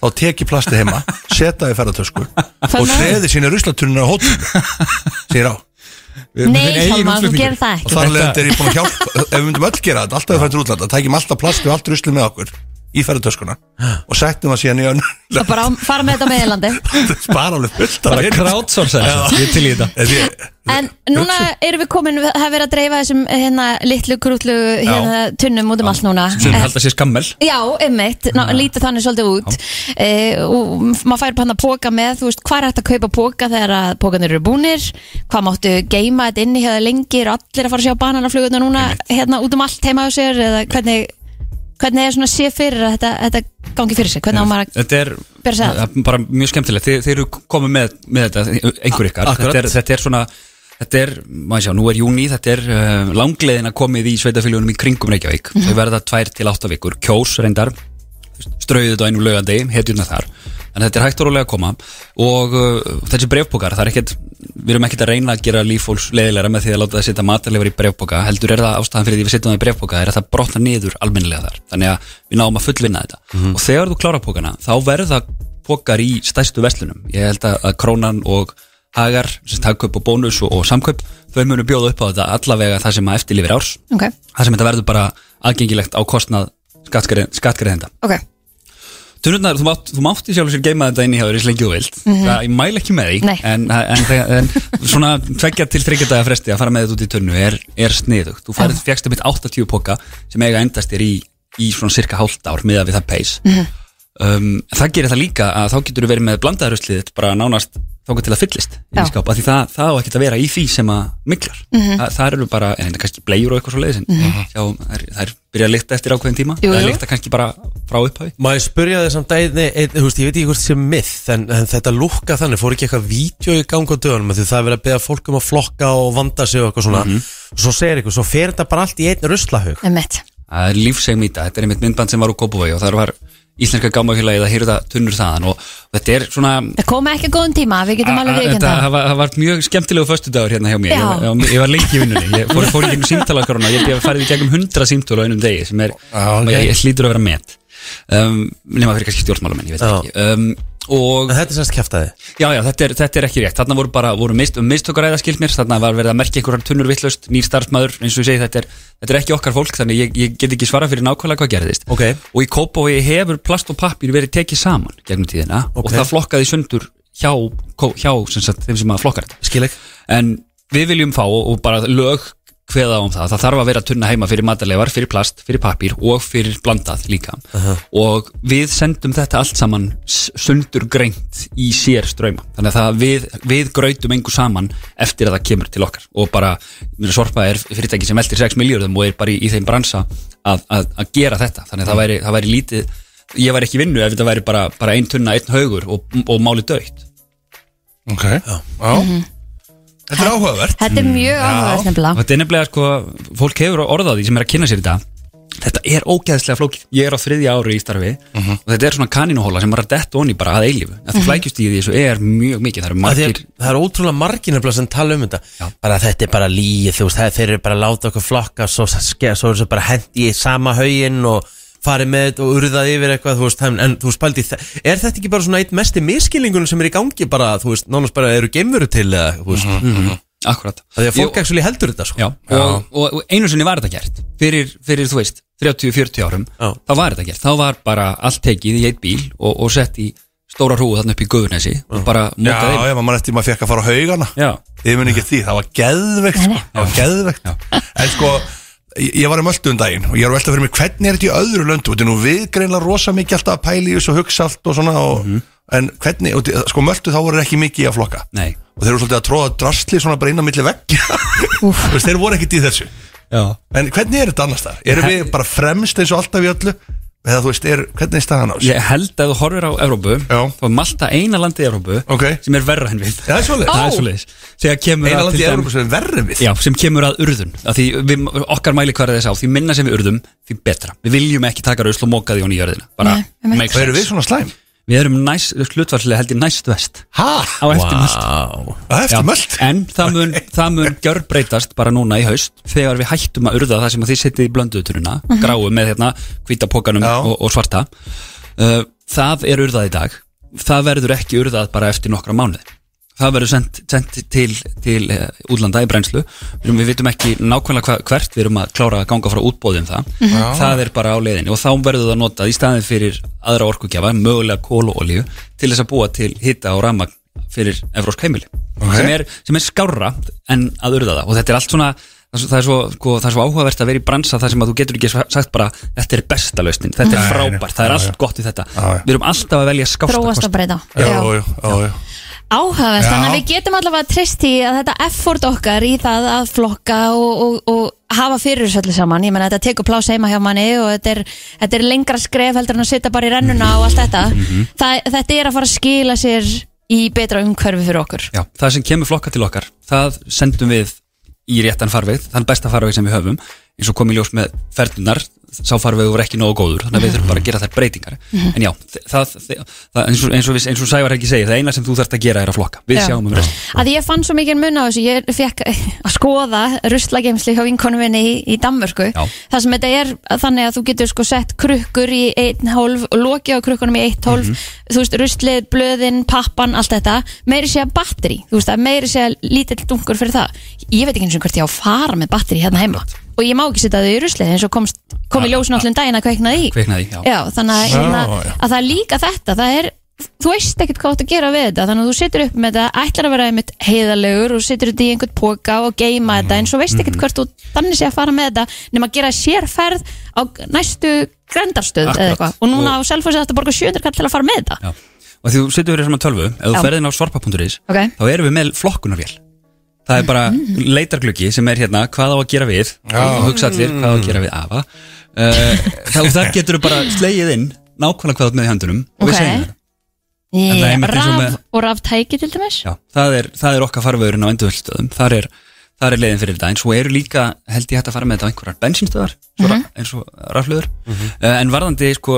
Speaker 10: Þá tek ég plastið heima, seta það í ferðartösku Og
Speaker 2: Þannig að-
Speaker 10: treði sína ruslatununa á hóttunum Sér á
Speaker 2: Nei, Hjálmar, þú gerir það ekki.
Speaker 10: Og þar leðandi er ég búin að hjálpa Ef við myndum öll gera þetta, alltaf við færum til útlanda Tækjum alltaf plast og allt ruslið með okkur Í ferðartöskuna Og settum það síðan í önnur
Speaker 2: Það bara á- fara með þetta á meðlandi.
Speaker 10: Spara alveg fullt
Speaker 7: Bara crowdsource þetta, ég er til í
Speaker 10: þetta
Speaker 2: En núna erum við komin, við hafa verið að dreifa þessum hérna litlu krútlu hérna tunnum út um allt núna.
Speaker 7: sem halda sér skammel
Speaker 2: Já, einmitt, Ná, lítið þannig svolítið út e, og maður fær bara hann að póka með þú veist, hvað er hægt að kaupa póka þegar að pókanir eru búnir, hvað máttu geima þetta inni hérna lengi, eru allir að fara að sjá bananaflugurna núna, hérna út um allt heima á sér, eða hvernig hvernig er svona sé fyrir að þetta, þetta gangi fyrir sig, hvernig á maður að
Speaker 7: Þetta er
Speaker 2: Ber að segja
Speaker 7: það er bara mjög skemmtilegt Þið, þið eru komið með, með þetta, einhver ykkar
Speaker 1: Akkurat.
Speaker 7: þetta er, þetta er svona, þetta er, maður sjá, nú er júni Þetta er uh, langleiðin að komið í sveitaféljónum í kringum Reykjavík
Speaker 11: Mhm.
Speaker 7: Þau verða tvær til átta vikur, kjós reyndar strauðið þetta á einu lögandi, hetjurna þar en þetta er hægt og rólega að koma og uh, þessi brefbókar, það er ekkert við erum ekkert að reyna að gera líf fólks leiðilega með því að láta það setja matarleifar í brefbóka heldur er það ástæðan fyrir því við setjum það í brefbóka er að það brotna niður almennilega þar þannig að við náum að fullvinna þetta
Speaker 11: Mhm.
Speaker 7: og þegar þú klára pókana, þá verða pókar í stærstu verslunum ég held að, að krónan og hagar sem takkaup og bónus og, og samkaup þau munu bjóða upp á þetta allavega það sem að eftirlifir árs
Speaker 2: Ok,
Speaker 7: það sem þetta verður bara aðgengilegt á kostnað skattgreðenda
Speaker 2: ok,
Speaker 7: Tunnurnar, þú, mátt, þú mátti sjálf sér geima þetta inn í hjá þér eins lengi og þú vilt
Speaker 2: Mhm.
Speaker 7: það, Ég mæla ekki með því
Speaker 2: Nei.
Speaker 7: en, en, en, en svona tveggja til þryggja daga fresti að fara með þetta út í tunnu er, er sniðugt Þú færið fjækst um eitt 80 poka sem eiga að endast þér í, í svona cirka hálft ár miða við það peis
Speaker 11: Mhm.
Speaker 7: um, Það gerir það líka að þá getur þú verið með blandaðaröslið þitt bara nánast þóka til að fyllist
Speaker 11: Já.
Speaker 7: í skáp, af því það, það á ekkert að vera í því sem að miklar
Speaker 11: Mhm.
Speaker 7: Þa, það eru bara, en kannski blegjur og eitthvað svo leiðis en
Speaker 11: Mhm.
Speaker 7: sjáum, þær, þær byrja að lykta eftir ákveðin tíma
Speaker 1: Jú,
Speaker 7: það
Speaker 1: jú.
Speaker 7: lykta kannski bara frá upphafi
Speaker 1: Má ég spurja þig samt að einn, þú veist, ég veit ekki hvort sem myth en, en þetta lukka þannig, fór ekki eitthvað vídeo í gang á dögunum, af því það er verið að beða fólk um að flokka og vanda sig og eitthvað svona
Speaker 7: Mhm.
Speaker 1: svo segir eitthvað, svo fer þetta bara allt í einn ruslahug
Speaker 2: emmitt
Speaker 7: það er lífsegum í þetta, þetta er einmitt myndband sem var úr Kópavogi og þar var Íslenska gámafélagið að hýrða tunnur þaðan og þetta er svona
Speaker 2: það koma ekki að góðum tíma, við getum
Speaker 7: Þetta
Speaker 2: alveg viðkjönd það
Speaker 7: það var, það var mjög skemmtilegu föstudagur hérna hjá mér, ég,
Speaker 2: Já.
Speaker 7: var- ég var lengi í vinnunni ég fór, fór í gegnum símtalaskoruna, ég ég farið í gegnum hundra símtala á einum degi sem er,
Speaker 1: ok.
Speaker 7: ég, ég hlýtur að vera met um, nema fyrir kannski stjórnmálamenn, ég veit það ekki um, og
Speaker 1: Þetta er semst kæftæði
Speaker 7: Já, já, þetta er, þetta er ekki rétt, þarna voru bara voru mist, um mistökaræða skilt mér, þarna var verið að merkja einhverjar tunnur vittlust, nýr starfsmæður eins og ég segi, þetta er, þetta er ekki okkar fólk þannig ég, ég get ekki svara fyrir nákvæmlega hvað gerðist
Speaker 1: okay.
Speaker 7: og í Kópavogi hefur plast og pappir verið tekið saman gegnum tíðina
Speaker 1: Ok.
Speaker 7: og það flokkaði sundur hjá, hjá sem sagt, þeim sem að flokkar þetta
Speaker 1: Skileg
Speaker 7: En við viljum fá og bara lög
Speaker 1: kveða á um það, það þarf að vera tunna heima fyrir matarleifar, fyrir plast, fyrir pappír og fyrir blandað líka og við sendum þetta allt saman s- sundurgreint í sér ströyma þannig að það við, við grautum engu saman eftir að það kemur til okkar og bara, ég meina, sorpa er fyrirtæki sem veltir 6 miljardum og er bara í, í þeim bransa að, að, að gera þetta, þannig að það væri, það væri lítið, ég væri ekki í vinnu ef þetta væri bara, bara ein tunna, einn haugur og, og máli döitt
Speaker 10: Ok, já, Þetta er áhugavert
Speaker 2: Þetta er
Speaker 7: Mm,
Speaker 2: mjög áhugavert nefnilega.
Speaker 1: Og Þetta er nefnilega sko, fólk hefur orðað því sem er að kynna sér þetta Þetta er ógeðslega flókið Ég er á þriðja ári í starfi og þetta er svona kaninuhóla sem maður er dett onni bara að eilífu Þetta
Speaker 7: Mhm.
Speaker 1: flækjust í því þessu er mjög mikið Það eru
Speaker 7: Það
Speaker 1: margir
Speaker 7: er, það er ótrúlega margir nefnilega sem tala um þetta bara þetta er bara líið, þú veist, það- þeir eru bara að láta okkur flokka, svo, ske- svo er þessu bara hent í sama hauginn og farið með þetta og urðað yfir eitthvað, þú veist, en, en þú veist, pældi, er þetta ekki bara svona eitt mesti miskilingunum sem er í gangi bara, þú veist, nánast bara eru geimveru til eða, þú veist,
Speaker 1: Mhm. Akkurat
Speaker 7: því að fólk
Speaker 1: Jú.
Speaker 7: ekki heldur þetta, sko
Speaker 1: Já, og, og, og einu sinni var þetta gert fyrir, fyrir þú veist, 30-40 árum þá var þetta gert, þá var bara allt tekið í eitt bíl og, og sett í stóra hrúu þarna upp í guðunesi og bara
Speaker 10: Já,
Speaker 1: mótaði
Speaker 10: já, maður eftir maður fekk að fara á haugana
Speaker 1: Já
Speaker 10: Ég mun ekki eftir því, það var geðveikt sko. Það var geðveikt En sko, ég ég var í Möltu um daginn og ég er að velta fyrir mig hvernig er þetta í öðru löndu Þetta er nú við greinlega rosa mikið alltaf að pæla í þessu og hugsa allt og svona og, En hvernig, og, þi- sko Möltu þá voru ekki mikið í að flokka
Speaker 1: Nei.
Speaker 10: Og þeir eru svolítið að tróða drasli svona bara inn á milli vegg Þeir voru ekkit í þessu
Speaker 1: já.
Speaker 10: En hvernig er þetta annars þar? Erum við bara fremst eins og alltaf í öllu? Eða þú veist, er, hvernig er staðan á þessu?
Speaker 1: Ég held að þú horfir á Evrópu Já. þá er Malta eina landið í Evrópu
Speaker 10: okay.
Speaker 1: sem er verra en við
Speaker 10: Já, það er svoleiðis.
Speaker 1: Það er
Speaker 10: Ó.
Speaker 1: svoleiðis. Þegar kemur
Speaker 10: Eina
Speaker 1: að
Speaker 10: landið
Speaker 1: til
Speaker 10: í
Speaker 1: dæmis-
Speaker 10: Evrópu sem er verra en við?
Speaker 1: Já, sem kemur að urðun að því við, okkar mæli hvað er þess á því minna sem við urðum, því betra við viljum ekki taka rusl og móka því hún í jörðina bara
Speaker 10: Nei, einmitt.
Speaker 1: make
Speaker 10: Og eru
Speaker 1: sense.
Speaker 10: við svona slæm?
Speaker 1: Við erum næst, hlutvarslega held ég næst vest
Speaker 10: Hæ?
Speaker 1: Á eftir möltu
Speaker 10: Á eftir
Speaker 1: Já,
Speaker 10: Möltu?
Speaker 1: En það mun, það mun gjörbreytast bara núna í haust þegar við hættum að urða það sem að þið setið í blönduðuturina
Speaker 7: Mhm.
Speaker 1: gráu með hérna hvítapokanum og, og svarta uh, Það er urðað í dag Það verður ekki urðað bara eftir nokkra mánuði Það verður sendt, sendt til, til uh, útlanda í brennslu Við erum- Við vitum ekki nákvæmlega hva, hvert við erum að klára að ganga frá útbóðum það
Speaker 7: Mhm. Já.
Speaker 1: Það er bara á leiðinni og þá verður það notað í staðin fyrir aðra orkugjafa, mögulega kól og olíu til þess að búa til hita og rafmagn fyrir evrósk heimili sem, er, sem er skárra en að urða það og þetta er allt svona það er svo- það er, svo, sko, það er svo áhugavert að vera í bransa þar sem að þú getur ekki sa- sagt bara þetta er besta lausnin, þetta er
Speaker 10: Nei,
Speaker 1: frábært, það er
Speaker 10: já,
Speaker 1: allt
Speaker 10: já.
Speaker 1: gott í þetta
Speaker 10: Já, já.
Speaker 1: við erum alltaf að velja skásta
Speaker 2: Þróast
Speaker 1: kosti.
Speaker 2: og breyta.
Speaker 10: Já, já, já, já.
Speaker 2: Áhugavert,
Speaker 1: Já.
Speaker 2: þannig að við getum allavega treyst í að þetta effort okkar í það að flokka og, og, og hafa fyrir þessu öllu saman, ég menna þetta tekur plása heima hjá manni og þetta er, þetta er lengra skref heldur en að sitja bara í rennuna og allt þetta
Speaker 1: Mhm.
Speaker 2: það, þetta er að fara að skila sér í betra umhverfi fyrir okkur
Speaker 1: Já, það sem kemur flokka til okkar það sendum við í réttan farveg þann besta farveg sem við höfum eins og komið ljós með ferdunar sá farveg voru ekki nógu góður þannig að við þurfum bara að gera þær breytingar
Speaker 7: Mhm.
Speaker 1: en já, þ- það, það, það eins, og, eins, og, við- eins og Sævar ekki segir, það eina sem þú þarft að gera er að flokka við
Speaker 2: Já.
Speaker 1: sjáum um rest
Speaker 2: að ég fann svo mikið mun á þessu ég fekk að skoða ruslageimsli hjá vinkonu minni í, í Danmörku
Speaker 1: Já.
Speaker 2: það sem þetta er þannig að þú getur sko sett krukkur í einn hólf og lokið á krukkunum í eitt hólf
Speaker 1: Mhm.
Speaker 2: þú veist ruslið, blöðin, pappan, allt þetta meiri sé að batteri, þú veist að meiri sé að lítill dunkur fyrir það ég veit ekki eins og hvert ég á að fara með batteri hérna heima og ég má ekki setja þau í ruslið eins og komst, kom í ljósin allan daginn að kveikna því
Speaker 1: kveiknaði, já,
Speaker 2: Já, þannig að,
Speaker 1: Já,
Speaker 2: hérna,
Speaker 1: já.
Speaker 2: að það er líka þetta það er, þú veist ekkert hvað þú átt að gera við þetta þannig að þú situr upp með þetta, ætlar að vera einmitt heiðalegur og situr þetta í einhvern póka og geima
Speaker 1: Mm.
Speaker 2: þetta en svo veist
Speaker 1: Mm-hmm.
Speaker 2: ekkert hvert þú þannig sé að fara með þetta nema að gera sérferð á næstu grendarstöð eða
Speaker 1: Akkurat.
Speaker 2: eitthvað og núna á
Speaker 1: Og-
Speaker 2: selfossi þetta borga 700 kall til að fara með þetta
Speaker 1: og því þú setur fyrir saman tölvu ef þú
Speaker 2: Já.
Speaker 1: ferðin á svarpa.is
Speaker 2: Ok. Mm.
Speaker 1: þá erum við með flokkunarvél það er bara leitargluggi sem er hérna hvað á að gera við og hugsa allir hvað á að gera við afa uh, þá þar getur þú bara slegið inn nákvæmlega hvað þú átt með í höndunum og við
Speaker 2: Ok.
Speaker 1: segjum þér. En það er
Speaker 2: yeah.
Speaker 1: einmitt eins og
Speaker 2: Raf
Speaker 1: með-
Speaker 2: og ráftæki til dæmis
Speaker 1: Já, það er, það er okkar farvegurinn á endurvöldstöðum þar er, þar er leiðin fyrir þetta en svo eru líka, held ég hægt að fara með þetta á einhverjar bensinstöðar svo, mm eins og raflöður
Speaker 10: Mhm.
Speaker 1: uh, en varðandi sko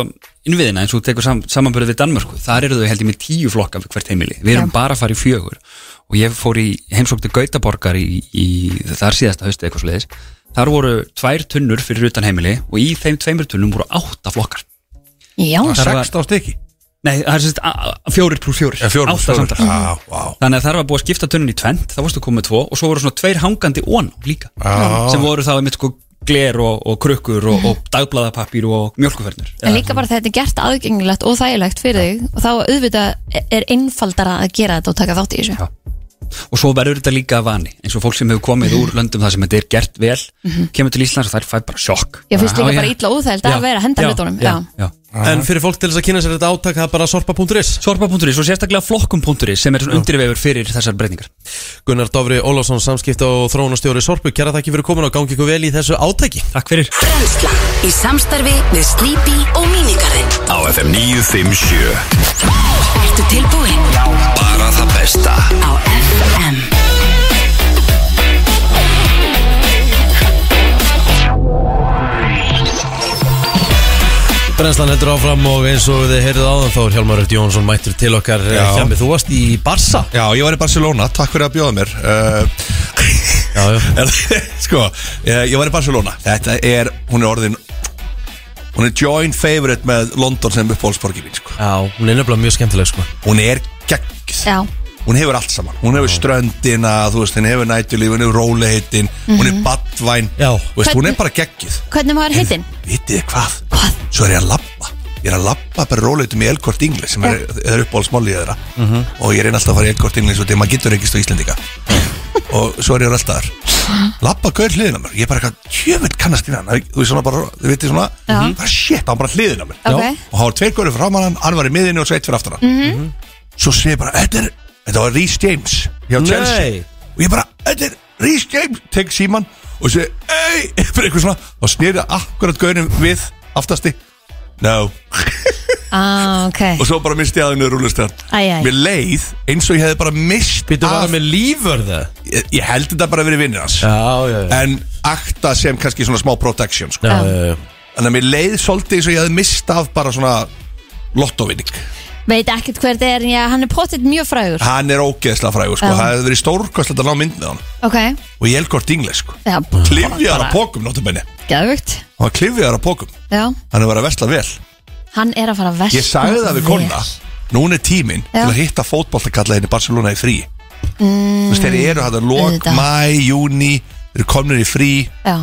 Speaker 1: innviðina eins og þú tekur sam, samanbörðu við Danmörku þar eru þau held ég með tíu flokka við hvert heimili við erum bara að fara í fjögur og ég fór í heimsókti Gautaborgar í, í þar síðasta hausti eitthvað sliðis þar voru tvær tunnur fyrir utan heimili og í þeim tveimur tunnum voru átta flokkar
Speaker 2: Já,
Speaker 1: Þar var-
Speaker 10: Ah, stykki
Speaker 1: Nei, það er sérst fjórir pluss fjórir
Speaker 10: Ja, fjórir plús
Speaker 1: Átta
Speaker 10: fjórir.
Speaker 1: samtals.
Speaker 10: Já, vá.
Speaker 1: Þannig að það var búið að skipta tunnun í tvent Það varstu komið tvo og svo voru svona tveir hangandi on líka
Speaker 10: Já.
Speaker 1: Sem voru þá einmitt sko gler og, og krukkur og, og dagbladapapír og mjölkufernur
Speaker 2: En líka bara þegar þetta er gert aðgengilegt og þægilegt fyrir þig og þá auðvitað er einfaldara að gera þetta og taka þátt í þessu
Speaker 7: og svo verður þetta líka að vani eins og fólk sem hefur komið úr löndum þar sem þetta er gert vel
Speaker 2: Mhm.
Speaker 7: kemur til Íslands og þær fær bara sjokk
Speaker 2: Ég finnst líka
Speaker 7: Já,
Speaker 2: bara
Speaker 7: já.
Speaker 2: illa óþægild að
Speaker 7: Já,
Speaker 2: vera að henda
Speaker 7: já,
Speaker 2: hlutunum
Speaker 7: já,
Speaker 2: Já,
Speaker 7: já.
Speaker 1: En fyrir fólk til þess að kynna sér þetta átak það er bara sorpa.is
Speaker 7: Sorpa.is og sérstaklega flokkum.is sem er svona undirvefur fyrir þessar breytingar
Speaker 1: Gunnar Dofri Ólafsson, samskipta og þróunastjóri Sorpu, kæra þakki fyrir komin og gangi ykkur vel í þessu átaki
Speaker 7: Takk fyrir
Speaker 11: Brennslan í samstarfi við Sleepy og Minigarinn
Speaker 3: Á FM 957
Speaker 11: Ertu tilbúinn? Já
Speaker 3: Bara það besta
Speaker 11: Á FM
Speaker 1: Brennslan heldur áfram og eins og þið heyrðuð áðan þá er Hjálmar Rött Jónsson mættur til okkar
Speaker 10: Já.
Speaker 1: Hjálmi, þú varst í Barsa
Speaker 10: Já, ég var í Barcelona, takk fyrir að bjóða mér uh,
Speaker 1: Já, já
Speaker 10: Sko, eh, ég var í Barcelona Þetta er, hún er orðin Hún er joint favorite með London sem uppbólsborgi mín sko.
Speaker 1: Já, hún er nefnilega mjög skemmtileg sko.
Speaker 10: Hún er gegg
Speaker 2: já.
Speaker 10: Hún hefur allt saman, hún hefur ströndina þú veist, hún hefur nætulíf, hún hefur róliheitin hún er
Speaker 2: Mhm.
Speaker 10: badvæn veist, hún er
Speaker 2: Hvernig-
Speaker 10: bara geggið
Speaker 2: Hvernig var hittin?
Speaker 10: vitið þið hvað? Hvað? Svo er ég að labba Ég er að labba bara róleitum í Elkort Inglis sem er, er uppáhaldsmálið þeirra
Speaker 1: Mhm.
Speaker 10: og ég reyna alltaf að fara í Elkort Inglis og þegar maður getur ekki stóð Íslendinga og svo er ég alltaf labba gaur hliðina á mér, ég er bara eitthvað tjöfell kannast í hann, þú veist svona bara þú veitir svona,
Speaker 2: Já.
Speaker 10: bara shit, hann bara hliðina á mér
Speaker 2: Ok.
Speaker 10: Já. og hann var tveir gaurið frá hann, hann var í miðinu og svo eitt fyrir aftan hann
Speaker 2: Mhm.
Speaker 10: svo sé ég bara, þetta er þetta var Rhys James hjá
Speaker 1: Nei.
Speaker 10: Chelsea og ég bara, þetta er Rhys James tek síman og sé, ei, fyrir eitthvað svona og snýrði akkurat gauðinum við aftasti, no
Speaker 2: Ah, ok
Speaker 10: og svo bara misti ég aðeins rúlustan
Speaker 2: Æ, æ.
Speaker 10: mér leið eins og ég hefði bara mist Býttu
Speaker 1: var það með líförða?
Speaker 10: Ég, ég held þetta bara að vera vinnir hans
Speaker 1: já, já, já.
Speaker 10: en akta sem kannski svona smá protection sko.
Speaker 1: Já, já, já.
Speaker 10: en að mér leið svolítið eins og ég hefði mist af bara svona lottovinning
Speaker 2: Veit ekkert hver þetta er, en já, hann er pottitt mjög frægur
Speaker 10: hann er ógeðslega frægur sko.
Speaker 2: Já.
Speaker 10: það hefði verið stórkvæslega að ná mynd með hann
Speaker 2: Ok,
Speaker 10: og ég elgort ingles sko.
Speaker 2: já,
Speaker 10: klifjaðar á pókum notabenni
Speaker 2: geðvögt
Speaker 10: hann var klifjaðar á pókum
Speaker 2: Já,
Speaker 10: hann hefur verið að vesla vel
Speaker 2: hann er að fara að vest
Speaker 10: ég sagði það við konna núna er tíminn
Speaker 2: Já.
Speaker 10: til að hitta fótboltakalla henni Barcelona í frí
Speaker 2: mm,
Speaker 10: þú veist þeir eru hægt að lok,
Speaker 2: auðvitað.
Speaker 10: mæ, júni þeir eru komnir í frí
Speaker 2: Já,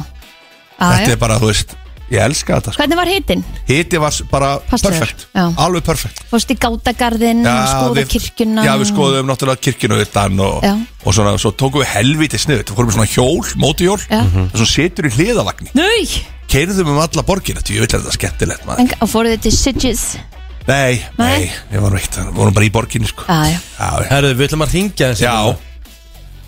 Speaker 10: þetta
Speaker 2: aðja
Speaker 10: er bara, þú veist, ég elska þetta sko.
Speaker 2: Hvernig var hittin?
Speaker 10: hiti var s- bara
Speaker 2: Passaður,
Speaker 10: perfekt,
Speaker 2: já.
Speaker 10: alveg perfekt
Speaker 2: Fórst í gátagarðin,
Speaker 10: Já,
Speaker 2: skoða
Speaker 10: við-
Speaker 2: kirkjuna
Speaker 10: já, við skoðum náttúrulega kirkjun og utan og,
Speaker 2: Já.
Speaker 10: og svona, svo tókum við helviti snið við fórum í svona hjól, mótihjól
Speaker 2: Já.
Speaker 10: mm -hmm. setur í hliðavagni
Speaker 2: Nei,
Speaker 10: keirðum um alla borgina, því ég vil að þetta er skemmtilegt maður.
Speaker 2: en, og fóruð þið til Sitges
Speaker 10: nei,
Speaker 2: Nei.
Speaker 10: nei, við vorum eitt við vorum bara í borginni sko
Speaker 2: Aðja,
Speaker 1: Herðu, við ætlum að hérna. ringja þessi
Speaker 10: Já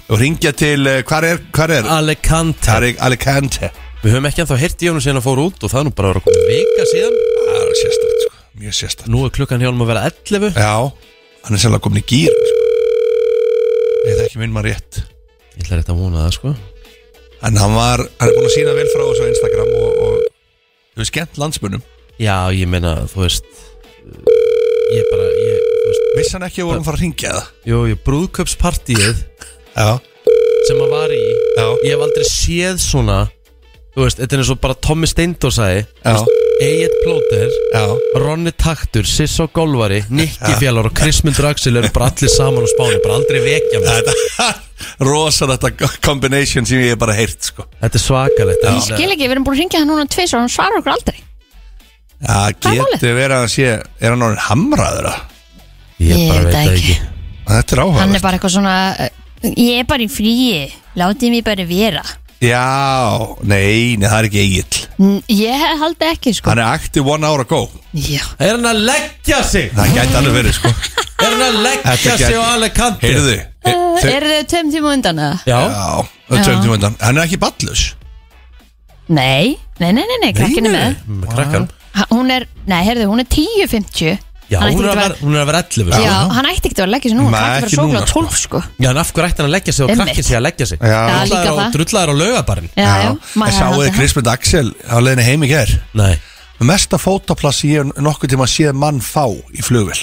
Speaker 10: Og ringja til, eh, hvar er, hvar er?
Speaker 1: Alicante
Speaker 10: Hvar er Alicante
Speaker 1: Við höfum ekki ennþá hirt í honum síðan að fóra út og það er nú bara að vera komið vika síðan
Speaker 10: Það er sérstætt sko, mjög sérstætt
Speaker 1: Nú er klukkan hjá honum að vera 11
Speaker 10: Já, hann er sérlega komin í gýr sko. Ég veit ekki minn maður rétt
Speaker 1: Ég ætla rétt að vona það sko
Speaker 10: En hann var, hann er búin að sína vel frá þessu á Instagram og, og Þú veist, skemmt landsmunum
Speaker 1: Já, ég meina, þú veist Ég bara, ég, þú veist
Speaker 10: Vissi hann ekki að vorum fara að ringja það?
Speaker 1: Jú, jú, brúðköpspartíið
Speaker 10: Já
Speaker 1: Sem að var í
Speaker 10: Já
Speaker 1: Ég hef aldrei séð svona Þú veist, þetta er eins og bara Tommy Steindor sagði
Speaker 10: Já
Speaker 1: Egil Plóter
Speaker 10: Já
Speaker 1: Ronni Taktur, Sissó Golvari Nikki Fjallar og Krismundur Axel eru bara allir saman á spáni, bara aldrei vekja mig
Speaker 10: Þetta, rosa þetta combination sem ég hef bara heyrt sko
Speaker 1: Þetta er svakalegt
Speaker 2: ég skil ekki, við erum búin að ringja hann núna tvisvar og hann svarar okkur aldrei
Speaker 10: Já, getur verið að hann sé, er hann orðin hamraður að?
Speaker 2: Ég bara veit veit það það ekki.
Speaker 10: Þetta er
Speaker 2: Hann
Speaker 10: áhuga
Speaker 2: er bara eitthvað svona uh, Ég er bara í fríi, látið mér bara vera
Speaker 10: Já, nei, nei, það er ekki eigill
Speaker 2: Mm, Ég haldi ekki sko
Speaker 10: Hann er active one hour ago
Speaker 2: Já.
Speaker 1: Er hann að leggja sig?
Speaker 10: Það gæti alveg verið, sko
Speaker 1: Er hann að leggja sig á alle kanti?
Speaker 10: Heyrðu
Speaker 2: Uh,
Speaker 10: þau-
Speaker 2: Eru þau tveim tíma undan eða?
Speaker 1: Já,
Speaker 10: það er tveim tíma undan Hann er ekki ballus
Speaker 2: Nei, nei, nei, nei, nei, krakkin er með
Speaker 1: Krakkan
Speaker 2: Ha- Hún er, nei, heyrðu, hún er 10.50
Speaker 1: Já,
Speaker 2: Hann ætti
Speaker 1: hún er,
Speaker 2: ekki
Speaker 1: að
Speaker 2: að
Speaker 1: vera, hún er að vera 11
Speaker 2: Já, hann ætti ekkert að vera að leggja sér núna
Speaker 1: Nei,
Speaker 2: Hann krakki
Speaker 1: ekki
Speaker 2: fyrir sókla
Speaker 1: núna,
Speaker 2: 12 sko
Speaker 1: Já, en af hverju ætti hann að leggja sig og
Speaker 2: Einmitt.
Speaker 1: krakkið sig að leggja sig?
Speaker 2: Já, líka það.
Speaker 1: Drullar á laugabarinn
Speaker 2: Já, já, maður
Speaker 10: En
Speaker 2: hefði
Speaker 10: sáuði
Speaker 2: haldið það.
Speaker 10: Krismund Axel á leiðinni heim í gær
Speaker 1: Nei
Speaker 10: Mesta fótaplass ég hef nokkuð tíma að séð mann fá í flugvel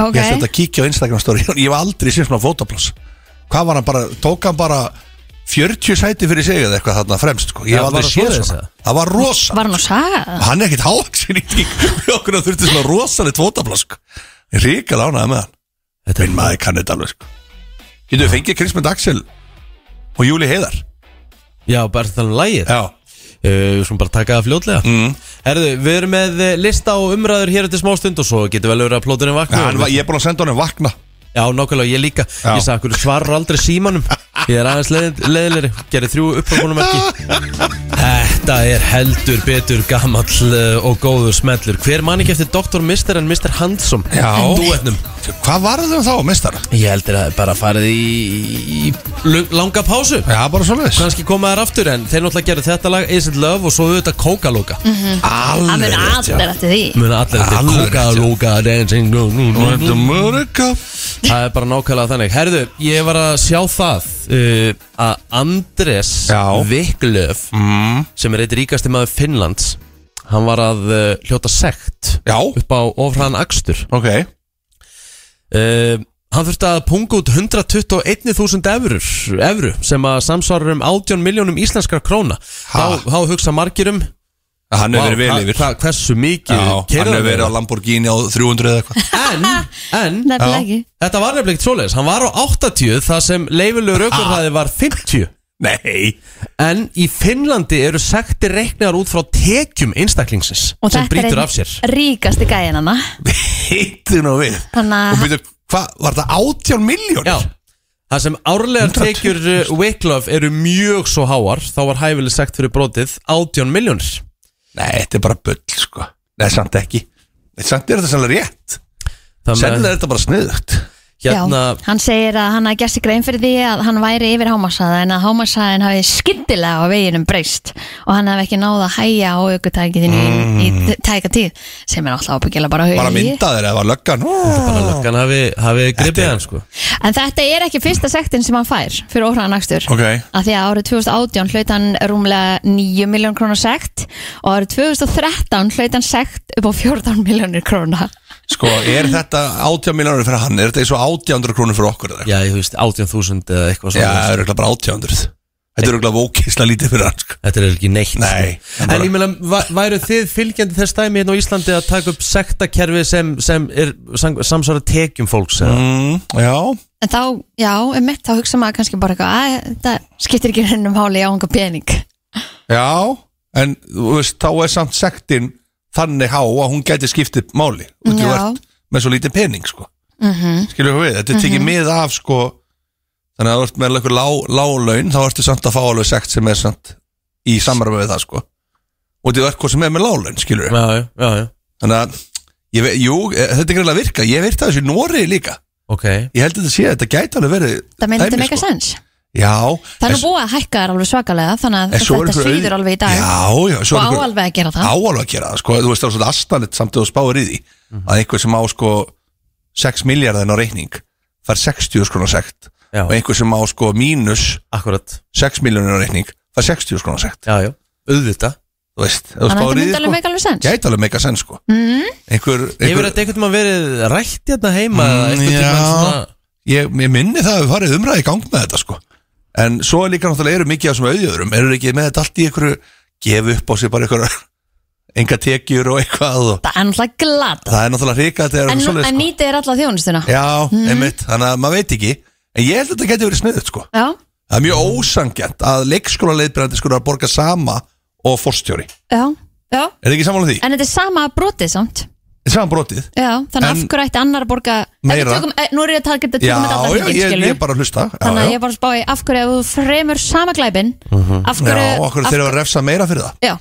Speaker 2: Ok,
Speaker 10: Ég ætti þetta að kíkja á Instagram story Ég hef aldrei séð svona fótaplass Hvað var hann bara, tók hann bara 40 sæti fyrir sig eða eitthvað þarna fremst sko. Ég
Speaker 1: Já,
Speaker 10: hef
Speaker 1: var
Speaker 10: aldrei
Speaker 1: það
Speaker 10: séð
Speaker 1: svoleiðis,
Speaker 10: svona Það var rosa
Speaker 2: var hann að saga
Speaker 10: Hann er ekkit hávaksin í tík Við okkur að þurfti svona rosalegt fótablask Ég ríkal ánaði með hann Minn maður kann þetta alveg sko Getur við fengið Krismund Axel og Júli Heiðar
Speaker 1: Já, bara þannig um lægið
Speaker 10: Já
Speaker 1: Eh, Við skulum bara taka það fljótlega
Speaker 10: mm.
Speaker 1: Herðu, við erum með eh, lista og umræður hér eftir smá stund og svo getur vel verið að plóturinn vakna
Speaker 10: hann, var- Ég er búin að senda honum vakna
Speaker 1: Já, nákvæmlega, ég líka Ég sagði, hvernig svarar aldrei símanum Ég er aðeins leið, leiðilegri, gerir þrjú upphækunum Þetta er heldur betur gamall uh, og góður smellur Hver man ekki eftir Dr. Mister en Mr. Handsome
Speaker 10: Já.
Speaker 1: Dúetnum
Speaker 10: Hvað var þau þá, Mister?
Speaker 1: Ég heldur að þau bara farið í, í lung- langa pásu
Speaker 10: Já, bara svoleiðis
Speaker 1: Kanski koma þær aftur en þeir náttúrulega gerir þetta lag Is it love og svo auðvitað Kókalóka
Speaker 2: Mhm.
Speaker 1: Alveg
Speaker 2: Það mun
Speaker 1: rétt, já. Mm.
Speaker 2: allir eftir því
Speaker 1: Muna allir þetta
Speaker 10: Alveg
Speaker 1: Kúka, lúka, dancing nú, nú, nú,
Speaker 10: Let
Speaker 1: nú.
Speaker 10: America.
Speaker 1: Það er bara nákvæmlega þannig Herðu, ég var að sjá það uh, Að Andres Viklöf
Speaker 10: Mm.
Speaker 1: Sem er eitt ríkasti maður Finnlands Hann var að uh, hljóta sekt
Speaker 10: Já.
Speaker 1: Upp á ofraðan akstur
Speaker 10: Ok
Speaker 1: uh, Hann þurfti að punga út 121.000 eurur, evru Sem að samsvarar um 18 miljónum íslenskra króna Þá, þá hugsa um, margirum
Speaker 10: Hann hefur verið vel yfir.
Speaker 1: Hversu mikið
Speaker 10: Já,
Speaker 1: keyrði
Speaker 10: hann hefur verið á
Speaker 1: með?
Speaker 10: Lamborghini á 300 eða eitthvað
Speaker 1: En, en
Speaker 2: Nefnilega ekki.
Speaker 1: Þetta var nefnilega ekkert svoleiðis Hann var á 80 þar sem leifilegur aukurhæði var 50
Speaker 10: Nei
Speaker 1: En í Finnlandi eru sektir reiknaðar út frá tekjum einstaklingsins
Speaker 2: Og
Speaker 1: sem
Speaker 2: þetta
Speaker 1: brýtur
Speaker 2: er
Speaker 1: af sér
Speaker 2: einn ríkasti gæðin hana
Speaker 10: Hittu nú við
Speaker 2: Þannig
Speaker 10: Og
Speaker 2: að
Speaker 10: byrju, hvað, var þetta 18 miljónir?
Speaker 1: Já Það sem árlegar tekjur uh, Wiklöf eru mjög svo háar þá var hæfileg sekt fyrir brotið 18 miljónir
Speaker 10: Nei, þetta er bara bull, sko Nei, samt ekki Nei, Samt er þetta sannlega rétt Sennilega er þetta bara sniðugt
Speaker 1: hérna
Speaker 2: Já, hann segir að hann hafi gert sér grein fyrir því að hann væri yfir hámasaða en að hámasaðin hafi skyndilega á veginum breyst og hann hafi ekki náð að hæja á aukutækiðinu
Speaker 10: Mm.
Speaker 2: í, í tæka tíð sem er alltaf ábyggilega bara
Speaker 10: Bara
Speaker 2: hugið
Speaker 10: mynda þér eða var löggan
Speaker 1: Bara löggan hafi, hafi gripið hann, sko
Speaker 2: En þetta er ekki fyrsta sektin sem hann fær fyrir óhraðan akstur
Speaker 10: Ok
Speaker 2: að því að árið 2018 hlaut hann rúmlega 9 miljón krónar sekt og árið 2013 hlaut hann sekt upp á 14 miljónir krónar
Speaker 10: Sko, er þetta 18 miljónir fyrir hann? Er þetta eins og 800 krónur fyrir okkur?
Speaker 1: Já, þú veist, 18.000 eða eitthvað
Speaker 10: svona Já, það er örugglega bara 800 Þetta er örugglega vókisla lítið fyrir hann, sko
Speaker 1: Þetta er ekki neitt
Speaker 10: Nei
Speaker 1: En ég meina, va- væru þið fylgjandi þess dæmi hérna á Íslandi að taka upp sektakerfi sem, sem er sam- samsvara tekjum fólks?
Speaker 10: Mm, já
Speaker 2: En þá, já, um mitt, þá hugsa maður kannski bara eitthvað að þetta skiptir ekki hennum háli á unga pening
Speaker 10: Já, en þú veist, þá er samt sektin þannig há að hún gæti skiptið máli út í
Speaker 2: Já.
Speaker 10: vart með svo lítið pening sko.
Speaker 2: Mhm.
Speaker 10: skilur við, þetta er tekið
Speaker 2: Mhm.
Speaker 10: mið af sko, þannig að þú ert með eitthvað lág, lág laun, þá ertu samt að fá alveg sekt sem er samt í samræmi við það sko. og þetta er hvað sem er með lág laun skilur við
Speaker 1: já, já, já.
Speaker 10: þannig að, ég, ve- jú, eh, þetta er greinlega að virka ég virta þessu í Nóri líka
Speaker 1: okay.
Speaker 10: ég held að þetta sé, þetta gæti alveg verið
Speaker 2: Það myndi
Speaker 10: dæmi, sko.
Speaker 2: meika sens
Speaker 10: já,
Speaker 2: Það er
Speaker 10: en-
Speaker 2: nú búið að hækka þær alveg svakalega þannig að
Speaker 10: En svo er
Speaker 2: þetta
Speaker 10: einhver auð-
Speaker 2: svíður alveg í dag
Speaker 10: Já, já, svo er
Speaker 2: Og á
Speaker 10: einhver-
Speaker 2: alveg að gera það
Speaker 10: áalveg að gera það sko, þú veist það er svona astanett samt að þú spáir í því
Speaker 2: Mhm.
Speaker 10: að einhver sem á sko 6 miljardin á reikning fær 60 skrona sekt
Speaker 1: Já.
Speaker 10: og einhver sem á sko mínus
Speaker 1: Akkurat.
Speaker 10: 6 miljonin á reikning fær 60 skrona sekt
Speaker 1: já, já. auðvita
Speaker 10: þú veist, ef þú
Speaker 2: Þannig að
Speaker 10: spáir
Speaker 2: þetta
Speaker 10: í
Speaker 2: myndi
Speaker 10: því sko.
Speaker 2: alveg meika alveg sens
Speaker 10: gæti alveg meika senn sko
Speaker 2: mm.
Speaker 10: einhver,
Speaker 1: Hefur þetta einhvern veginn verið rætt hérna heima? eða
Speaker 10: Mm,
Speaker 1: einhvern
Speaker 10: já,
Speaker 1: tímann svona-
Speaker 10: ég, ég minni það að við farið umræði í gang með þetta sko en svo er líka náttúrulega eru mikið af þessum auðjöðurum eru ekki með þetta allt í einhverju gefa upp á sig bara einhverju enga tekjur og eitthvað og
Speaker 2: Það er náttúrulega glatt
Speaker 10: það er náttúrulega ríka þegar
Speaker 2: En,
Speaker 10: það er svoleiðis, sko.
Speaker 2: en nýtið er alla þjónustuna
Speaker 10: Já,
Speaker 2: Mhm.
Speaker 10: einmitt, þannig að maður veit ekki En ég held að þetta geti verið sniðut sko
Speaker 2: Já,
Speaker 10: Það er mjög ósangjant að leikskóla leiðbyrjandi skur að borga sama og forstjóri Er
Speaker 2: já, já
Speaker 10: þið ekki samanlega því?
Speaker 2: En þetta er sama brotið samt
Speaker 10: Saman brotið
Speaker 2: Já, þannig en,
Speaker 10: En-
Speaker 2: af hverju ætti annar að borga Ef við
Speaker 10: Meira.
Speaker 2: tökum, eh, Nú er ég að taka þetta
Speaker 10: Já,
Speaker 2: tökum þetta
Speaker 10: já,
Speaker 2: allan
Speaker 10: ég,
Speaker 2: hringinn,
Speaker 10: ég er
Speaker 2: skilur
Speaker 10: bara að hlusta já,
Speaker 2: Þannig að
Speaker 10: já. Mhm.
Speaker 2: ég er bara að spá í af hverju ef þú fremur sama glæbin af hverju-
Speaker 10: Já, og okkur
Speaker 2: af-
Speaker 10: þeirra að refsa meira fyrir það
Speaker 2: Já,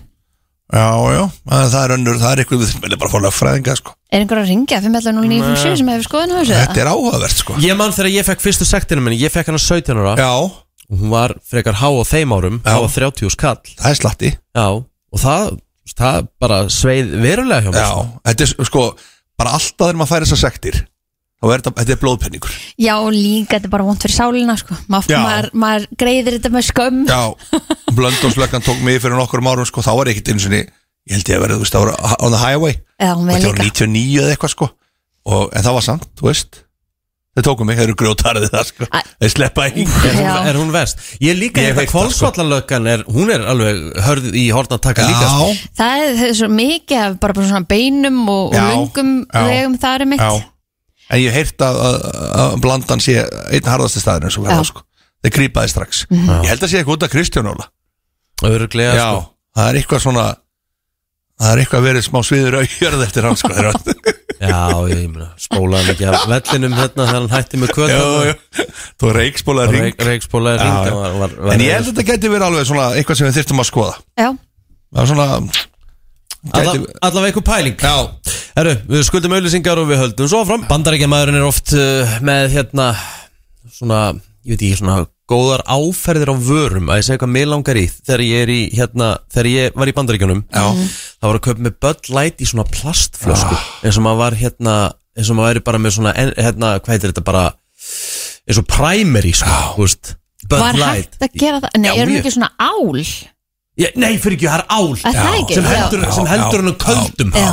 Speaker 10: Já, já, en það er önnur, það er eitthvað við viljum bara fór lögfræðinga sko
Speaker 2: er einhver að ringja 5.09.57 sem hefur skoðin á þessu eða?
Speaker 10: er áhugavert sko
Speaker 1: Ég man þegar ég fekk fyrstu sektinu minni, ég fekk hann á 17 ára
Speaker 10: Já
Speaker 1: Og hún var frekar há á þeim árum, há á 30 skall
Speaker 10: Það er slatti
Speaker 1: Já, og það, það bara sveið verulega hjá mér
Speaker 10: Já, þetta er sko, bara alltaf þegar maður fær þessar sektir þá er þetta, þetta er blóðpenningur
Speaker 2: Já, og líka, þetta er bara vond fyrir sálina sko. Ma,
Speaker 10: Já.
Speaker 2: maður, maður greiðir þetta með skömm
Speaker 10: Já, Blöndónslöggan tók mig fyrir nokkrum árum sko, þá var ég ekkert einu sinni ég held ég að verið, þú veist, það var on the highway
Speaker 2: Já, vel
Speaker 10: þetta var
Speaker 2: líka
Speaker 10: 99 eða eitthvað sko og, en það var samt, þú veist þeir tóku mig, þeir eru grjótarðið það sko þeir sleppa í
Speaker 1: Er hún, er hún verst? Ég líka
Speaker 10: Ég
Speaker 1: hérna
Speaker 10: veit það, sko.
Speaker 1: kvolsvallalökan er, hún er alveg hörð í horna taka líka sko.
Speaker 2: Það er, það er svo mikið af bara, bara svona beinum og, og
Speaker 10: Já,
Speaker 2: lungum
Speaker 10: já,
Speaker 2: vegum þar um mitt
Speaker 10: en ég hef heyrt að, að, að blandan sé einn harðasti staðinu sem verða
Speaker 2: Já.
Speaker 10: sko þeir grípaði strax,
Speaker 2: Mhm.
Speaker 10: ég held að sé eitthvað út af Kristján Óla
Speaker 1: Öruglega
Speaker 10: Já, sko. það er eitthvað svona það er eitthvað verið smá sviður á jörð eftir hann sko þegar-
Speaker 1: Já, Já, ég meina, spólaði hann ekki af vellinum hérna þegar hann hætti með kvöld
Speaker 10: Já, já. Þú reikspólaði hring.
Speaker 1: Reikspólaði
Speaker 10: Já, já.
Speaker 1: hring
Speaker 10: En ég held að
Speaker 2: sko.
Speaker 10: þetta geti verið alveg svona eitthvað sem við þyrstum að skoða
Speaker 2: Já,
Speaker 10: Það er svona
Speaker 1: Alla, allavega eitthvað pæling Já Herru, við skuldum auðlýsingar og við höldum svo fram Bandarækjamaðurinn er oft uh, með hérna Svona, ég veit ekki, svona Góðar áferðir á vörum Að ég segja hvað mig langar í Þegar ég er í, hérna, þegar ég var í Bandaríkjunum Já Ah. Það var að köpa með Bud Light í svona plastflösku Eins og maður var hérna Eins og maður væri bara með svona, en- hérna, hvað heitir þetta bara Eins og primary, sko, þú veist Bud
Speaker 2: var
Speaker 1: Light
Speaker 2: hægt að gera það Nei,
Speaker 1: Já,
Speaker 2: erum við
Speaker 1: mjög.
Speaker 2: ekki svona ál
Speaker 1: Já, nei, fyrir ekki, það er ál
Speaker 2: Er það ekki?
Speaker 1: sem
Speaker 2: Já.
Speaker 1: heldur, sem
Speaker 10: Já,
Speaker 1: heldur
Speaker 10: já,
Speaker 1: hennu köldum
Speaker 2: Já,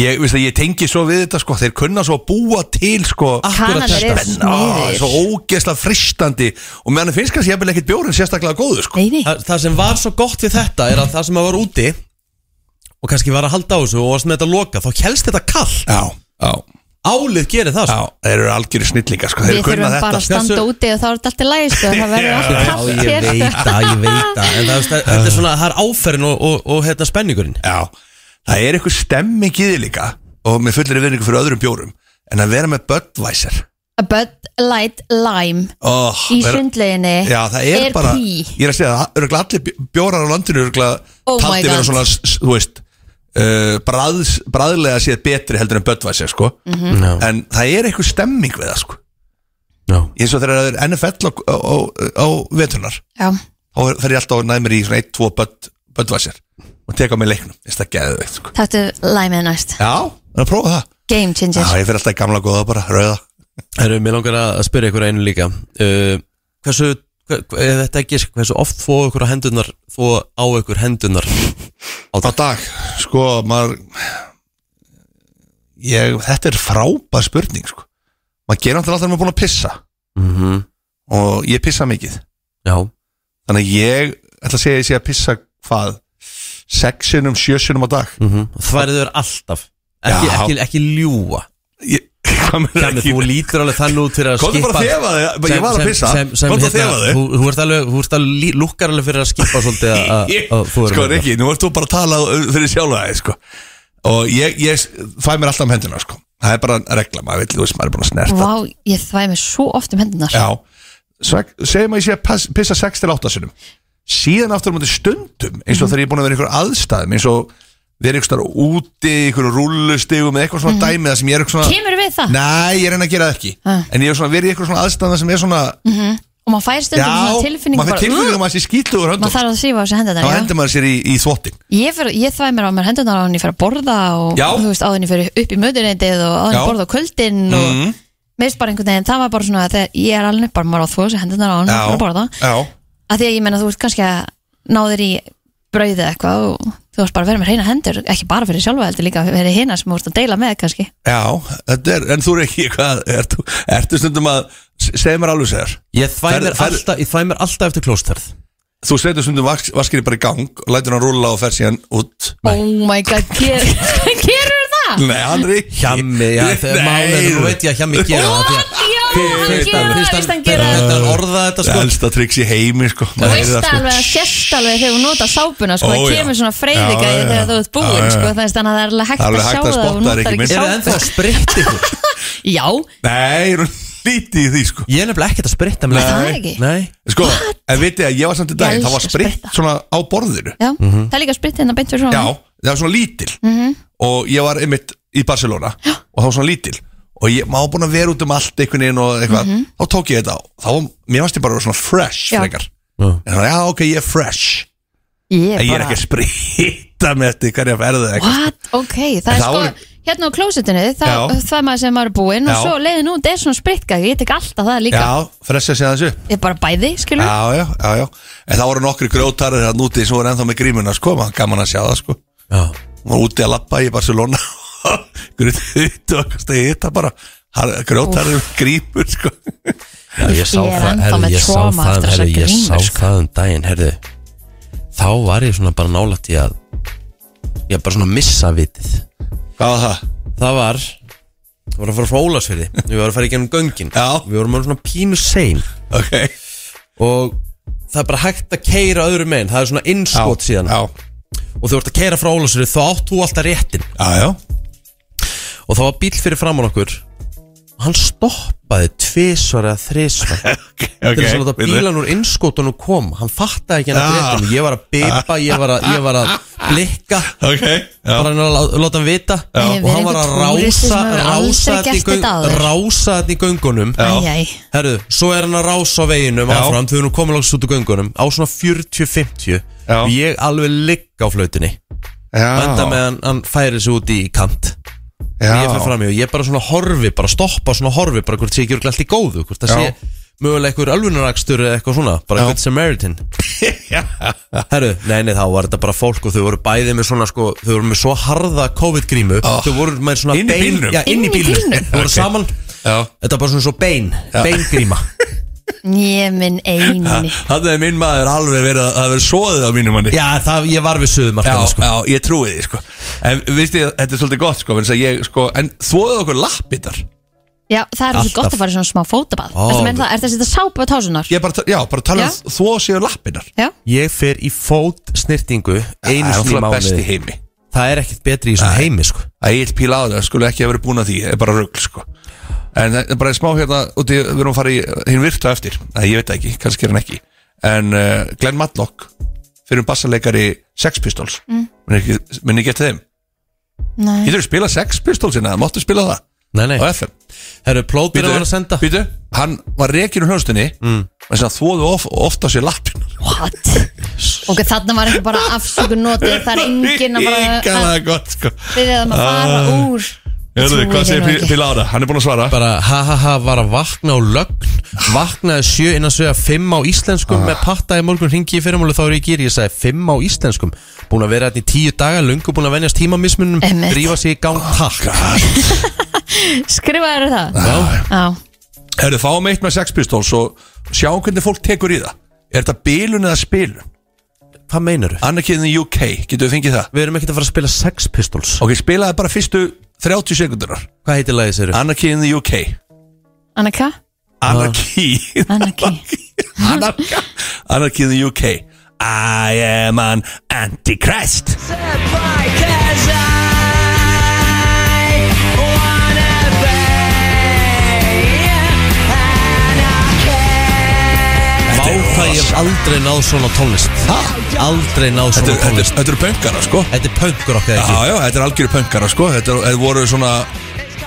Speaker 10: Ég, veist það, ég tengi svo við þetta sko Þeir kunna svo að búa til sko
Speaker 2: Kanadir
Speaker 10: þetta.
Speaker 2: eru
Speaker 10: Spenna,
Speaker 2: sniðugir.
Speaker 10: Svo ógeðslega fristandi Og meðan þeim finnst kannski jafnvel ekkert bjórin sérstaklega góður sko
Speaker 2: Nei, nei
Speaker 1: Þa, Það sem var svo gott við þetta er að það sem að var úti og kannski var að halda á þessu og varst með þetta loka þá helst þetta kall
Speaker 10: Já, já
Speaker 1: Álið gerir það sko.
Speaker 10: Já, þeir eru algjörir snillingar sko
Speaker 2: Við
Speaker 10: Þeir
Speaker 2: þurfum
Speaker 10: kunna
Speaker 2: bara
Speaker 10: þetta
Speaker 2: að standa úti og þá er þetta alltaf lægist og sko. það verður alltaf
Speaker 1: Já,
Speaker 2: kallt
Speaker 1: ég
Speaker 2: hér
Speaker 1: veit það, ég veit það En það, veist, það- þetta er svona, það er áferðin og, og, og hérna spenningurinn
Speaker 10: Já, það er eitthvað stemming í þið líka Og með fullir viðningu fyrir öðrum bjórum En að vera með Budweiser
Speaker 2: A Bud Light Lime
Speaker 10: oh,
Speaker 2: Í
Speaker 10: vera-
Speaker 2: sundleginni
Speaker 10: Já, það er, bara
Speaker 2: pí
Speaker 10: Ég er að segja það, örugglega allir bj- bjórar á landinu Örgla
Speaker 2: Oh my
Speaker 10: taldi vera
Speaker 2: God.
Speaker 10: svona, s- s- þú veist uh, bræðs, Bræðlega séð betri heldur en Budweiser, sko
Speaker 1: Mhm. Já.
Speaker 10: En það er eitthvað stemming við það, sko
Speaker 1: Já.
Speaker 10: Eins og þegar það er NFL á, á, á, á veturnar
Speaker 2: Já,
Speaker 10: Þá er- fer ég alltaf að næða mér í svona 1-2 Bud, Budweiser Og teka á mig leiknum, þess það geðveikt, sko
Speaker 2: taktu limeið næst
Speaker 10: Já, það er að prófa það
Speaker 2: Game changer
Speaker 10: Já, ég fyrir alltaf í gamla góða bara, rauða
Speaker 1: Herru, mér langar að spyrja ykkur einu líka uh, Hversu, hver, hver- ef þetta ekki hversu oft þó ykkur á hendurnar þó á ykkur hendurnar á
Speaker 10: dag, Sko, maður ég, Þetta er frábær spurning, sko Maður gerir alltaf alltaf þegar maður er búin að pissa
Speaker 1: Mhm.
Speaker 10: Og ég pissa mikið
Speaker 1: Já
Speaker 10: Þannig að ég ætla að segja að ég sé að pissa hvað Sexinum, sjösunum á dag
Speaker 1: mm -hmm. Þværið er alltaf Ekki,
Speaker 10: Já.
Speaker 1: ekki, ekki ljúa
Speaker 10: Ég, hvað með
Speaker 1: Kæmi, þú lítur alveg þannig út fyrir að
Speaker 10: Komdu bara að
Speaker 1: skippa-
Speaker 10: þefa þig, bara ég
Speaker 1: Sem-
Speaker 10: var að
Speaker 1: sem-
Speaker 10: pissa.
Speaker 1: sem- sem
Speaker 10: Komdu að
Speaker 1: hérna,
Speaker 10: þefa þig.
Speaker 1: Þú þú ert alveg, þú ert alveg lí- lúkkar alveg fyrir að skipa svolítið að- að- að þú erum
Speaker 10: Sko,
Speaker 1: hérna.
Speaker 10: Rikki, nú ert þú bara að tala uh, fyrir sjálfa þig, sko Og ég, ég fæ mér alltaf um hendina, sko Það er bara regla, maður vill, þú veist, maður er búin að snerta
Speaker 2: Vá, ég þvæði mig svo oft um hendunar
Speaker 10: Já, Sveg- segjum að ég sé að pass- pissa 6 til 8 sinum síðan aftur á móti stundum eins og
Speaker 2: Mhm.
Speaker 10: þegar ég er búin að vera í einhver aðstæðum eins og vera einhver starf úti einhver rúllustigum eða eitthvað svona
Speaker 2: Mhm.
Speaker 10: dæmi það sem ég er eitthvað svona
Speaker 2: Kemur við það?
Speaker 10: Nei, ég reyna að gera það ekki
Speaker 2: Ah.
Speaker 10: en ég er svona verið í eitthvað svona aðstæðum sem er svona
Speaker 2: Mhm. Og maður fær stundum svona tilfinningu
Speaker 10: maður fyrir tilfinningum að sér skýtlu úr höndum
Speaker 2: Maður þarf að sýfa á þessu
Speaker 10: þá
Speaker 2: hendunar
Speaker 10: hendur maður sér í, í þvottin
Speaker 2: Ég, fer, ég þvæði mér á mér hendunar á henni fyrir að borða og
Speaker 10: Já.
Speaker 2: þú veist, á henni fyrir upp í mötuneytið og á henni
Speaker 10: Já.
Speaker 2: borða á kvöldin og
Speaker 10: Mhm.
Speaker 2: mér veist bara einhvern veginn, það var bara svona þegar ég er alveg bara maður á þú þessu hendunar á henni fyrir að borða
Speaker 10: já,
Speaker 2: að því að ég menna þú ert kannski að náður í brauðið eitthvað og þú varst bara að vera með reyna hendur ekki bara fyrir sjálfa heldur líka fyrir hina sem þú ert að deila með kannski
Speaker 10: já, þetta er, en þú er ekki hvað, ertu, ertu stundum að segja mér alveg segjar
Speaker 1: Ég þvæ mér alltaf- ég þvæ mér alltaf eftir klóstarð
Speaker 10: Þú setur stundum vask, vaskirinn bara í gang og lætur hann rúlla og fer síðan út
Speaker 2: Oh my god, ger, gerur það?
Speaker 10: Nei, hann er ekki
Speaker 1: Hjammi, já, þegar
Speaker 10: Nei.
Speaker 1: málið er, nú veit ég að hjammi gera það því að-
Speaker 2: Já, hann
Speaker 1: Fyrst
Speaker 2: gerir
Speaker 1: hann-
Speaker 2: það,
Speaker 1: fyrst
Speaker 2: víst hann
Speaker 1: hann-
Speaker 2: gerir það
Speaker 1: Þetta er orðað þetta sko
Speaker 10: Það elsta triks í heimi sko
Speaker 2: Þú veist alveg að sérst alveg þegar þú nota sápuna
Speaker 10: Ó,
Speaker 2: sko, það
Speaker 10: já.
Speaker 2: kemur svona
Speaker 10: Já,
Speaker 2: freyðiga
Speaker 10: já, já.
Speaker 2: þegar þú ert búinn
Speaker 10: Já, já.
Speaker 2: sko, þannig að það er alveg hægt
Speaker 10: Það er
Speaker 2: að
Speaker 10: alveg
Speaker 2: sjá
Speaker 10: hægt að
Speaker 2: það og
Speaker 10: spotta,
Speaker 2: þú notar
Speaker 10: Rikki
Speaker 2: ekki
Speaker 10: minn.
Speaker 1: Er það
Speaker 2: sápu
Speaker 1: ennþá að spritta ykkur?
Speaker 2: Já,
Speaker 10: Nei, er hún lítið í því sko
Speaker 1: Ég er nefnilega ekkert að spritta mig.
Speaker 2: Það er ekki.
Speaker 1: Nei
Speaker 10: Sko, en vitið að ég var samt í dag
Speaker 2: Ég
Speaker 10: Það var
Speaker 2: elska
Speaker 10: spritt svona á borðinu
Speaker 2: já. það er líka spritt hérna beint fyrir svona
Speaker 10: Mhm. Já, það var svona lítil
Speaker 2: Mhm.
Speaker 10: Og ég var einmitt í Barcelona Og það var svona lítil Og ég, maður var búin að vera út um allt einhvern veginn og eitthvað Þá tók ég þetta á Þá, var- mér varst ég bara svona fresh
Speaker 2: Mhm. Já.
Speaker 10: frekar En það, já, ok, ég er fresh
Speaker 2: Ég
Speaker 10: En ég er
Speaker 2: bara-
Speaker 10: ekki að spritta með þetta í hverja ferðu eða eitthvað sko.
Speaker 2: What? Ok, það
Speaker 10: En
Speaker 2: er
Speaker 10: það
Speaker 2: sko
Speaker 10: voru-
Speaker 2: Hérna á klósitinu, það,
Speaker 10: Já.
Speaker 2: það er maður sem maður er búinn og
Speaker 10: Já.
Speaker 2: svo leiðin út er svona spritgæði, ég tek alltaf það líka
Speaker 10: Já, fressa sig aðeins upp
Speaker 2: Ég er bara bæði, skilur
Speaker 10: Já, já, já, já En það voru nokkri grjótarir hann úti sem voru ennþá með grímuna sko, maður gaman að sjá það sko
Speaker 1: Já
Speaker 10: Hún var úti að lappa í Barcelona Grjótarir og hvað stegi þetta bara Hann- Grjótarir með grímur sko
Speaker 1: Já, ég sá
Speaker 2: Ég er
Speaker 1: það,
Speaker 2: ennþá
Speaker 1: herðu,
Speaker 2: með
Speaker 1: ég sá
Speaker 2: trauma
Speaker 1: það,
Speaker 2: eftir þessa
Speaker 1: herðu, ég
Speaker 2: grímu,
Speaker 1: sá
Speaker 2: sko.
Speaker 1: það um daginn, herðu Þá var ég svona bara nálætt í að Ég bara svona missa vitið
Speaker 10: Hvað var það?
Speaker 1: Það var Það var að fara frá Ólasfyrði Við varum að fara í gennum göngin
Speaker 10: Já
Speaker 1: Við vorum alveg svona pínu sein
Speaker 10: Ok
Speaker 1: Og það er bara hægt að keira öðru megin Það er svona innskot síðan
Speaker 10: Já
Speaker 1: Og þú ert að keira frá Ólasfyrði Þá átt þú alltaf réttin
Speaker 10: Já, já
Speaker 1: og það var bíl fyrir framann okkur og hann stoppaði tvisvar eða þrisvar til þess að láta
Speaker 10: við-
Speaker 1: bílan úr innskotunum kom hann fattaði ekki hann að
Speaker 10: Já.
Speaker 1: breytum ég var að bipa, ég var að, ég var að blikka
Speaker 10: okay,
Speaker 1: bara hann að lá- láta hann vita
Speaker 10: Já.
Speaker 1: og hann var að rása rása þetta í göng- rása þetta í göngunum
Speaker 2: Æ, æ.
Speaker 1: herru, svo er hann að rása á veginum áfram þegar hún komið langs út úr göngunum á svona 40-50 og ég alveg ligg á flautinni enda með hann, hann færi sig út í kant
Speaker 10: Já.
Speaker 1: og ég fyrir fram í og ég bara svona horfi bara stoppa svona horfi, bara hvort sé ekki örugglega allt í góðu hvort það
Speaker 10: Já.
Speaker 1: sé mögulega einhver alvunarakstur eða eitthvað svona, bara good Samaritan Herru, nei, nei, þá var þetta bara fólk og þau voru bæði með svona, sko, þau voru með svo harða COVID-grímu Þau voru með svona
Speaker 10: Ah. Inni í bílnum?
Speaker 1: Já, inn
Speaker 10: Inni
Speaker 1: í
Speaker 10: í
Speaker 1: bílnum
Speaker 10: bílnum?
Speaker 1: Þau voru
Speaker 10: Ok.
Speaker 1: saman Þetta var bara svona svo bein, beingríma
Speaker 2: Ég minn eini
Speaker 10: Þannig að minn maður alveg verið að það verið svoðið á mínum manni
Speaker 1: Já, það, ég var við sko. söðum
Speaker 10: Já, já, ég trúi því, sko En veist ég, þetta er svolítið gott, sko, vegna þess að ég, sko En þvoðið okkur lappitar
Speaker 2: Já, það er
Speaker 10: Alltaf.
Speaker 2: svo gott að fara í svona smá fótabað
Speaker 10: Ó,
Speaker 2: oh, Er það að setja sápu á tásunar?
Speaker 10: Ég bara, já, bara tala um
Speaker 2: Já.
Speaker 10: að þvoð séu lappirnar
Speaker 2: Já.
Speaker 1: Ég fer í fót snirtingu einu
Speaker 10: það er
Speaker 1: sinni í
Speaker 10: náttúrulega
Speaker 1: mánuði
Speaker 10: best í heimi.
Speaker 1: Það er ekkert betri í þessum heimi sko
Speaker 10: Ægilt píla á það, skulle ekki að vera búin að því Er bara rugl, sko En það er bara smá hérna, úti, við erum að fara í hinn virta eftir Nei, ég veit það ekki, kannski er hann ekki En uh, Glenn Matlock Fyrir um bassarleikari Sex Pistols
Speaker 2: Mm.
Speaker 10: Minn ekki, minn ekki geta þeim
Speaker 2: Nei
Speaker 10: Getur þú spila Sex Pistolsina, máttu spila það
Speaker 1: Nei, nei
Speaker 10: Á FM
Speaker 1: Herru, plótur
Speaker 10: var
Speaker 1: var að senda
Speaker 10: Býtu, hann var rekin úr hljóðstinni mm. Þannig að þvóðu of, ofta sér lappin
Speaker 2: What? Ok, þarna var einhver bara afsökun notið Það er enginn að
Speaker 10: Íkka
Speaker 2: bara
Speaker 10: það
Speaker 2: að
Speaker 10: er gott sko
Speaker 2: byrja þeim að fara
Speaker 10: Ah.
Speaker 2: úr
Speaker 10: Hörðu,
Speaker 2: Trúi
Speaker 10: hvað
Speaker 2: þér
Speaker 10: segir
Speaker 2: nú
Speaker 10: Pí-
Speaker 2: ekki.
Speaker 10: Píla Ára? Hann er búin að svara
Speaker 1: Bara ha ha ha var að vakna á lögn Vaknaði sjö innan svega fimm á
Speaker 10: Ah.
Speaker 1: íslenskum Með patta í morgun hringi í fyrirmáli þá er ég gýr Ég sagði fimm á íslenskum Búin að vera hérna í tíu daga Lungu búin að venjast tímamismunum
Speaker 2: Einmitt.
Speaker 1: Drífa sig í gang
Speaker 10: Ah,
Speaker 1: takk
Speaker 2: Skrifaðu það?
Speaker 10: Já.
Speaker 2: Já
Speaker 10: Hörðu, fáum eitt með Sex Pistols og sjáum hvernig fólk tekur í það Er þetta bilun eða spilun?
Speaker 1: Hvað meinar þú?
Speaker 10: Annarkiðin í UK, getur við fengið það?
Speaker 1: Við erum ekkert að fara að spila Sex Pistols
Speaker 10: Ok, spilaði bara fyrstu 30 sekundurar
Speaker 1: Hvað heitir lagið sér?
Speaker 10: Annarkiðin í UK
Speaker 2: Annika?
Speaker 1: Ah.
Speaker 10: Anarchy
Speaker 2: Anarchy
Speaker 10: Anarka Anarchy in the UK I am an antichrist Ah,
Speaker 1: Vá hvað ég hef aldrei náð svona tónlist Aldrei náð
Speaker 10: Þetta
Speaker 1: svona
Speaker 10: er-
Speaker 1: tónlist
Speaker 10: Þetta eru pöngara sko
Speaker 1: Þetta er pöngur
Speaker 10: Já,
Speaker 1: okkar ekki
Speaker 10: já, þetta er algjöru pöngara sko Þetta eru- þetta voru svona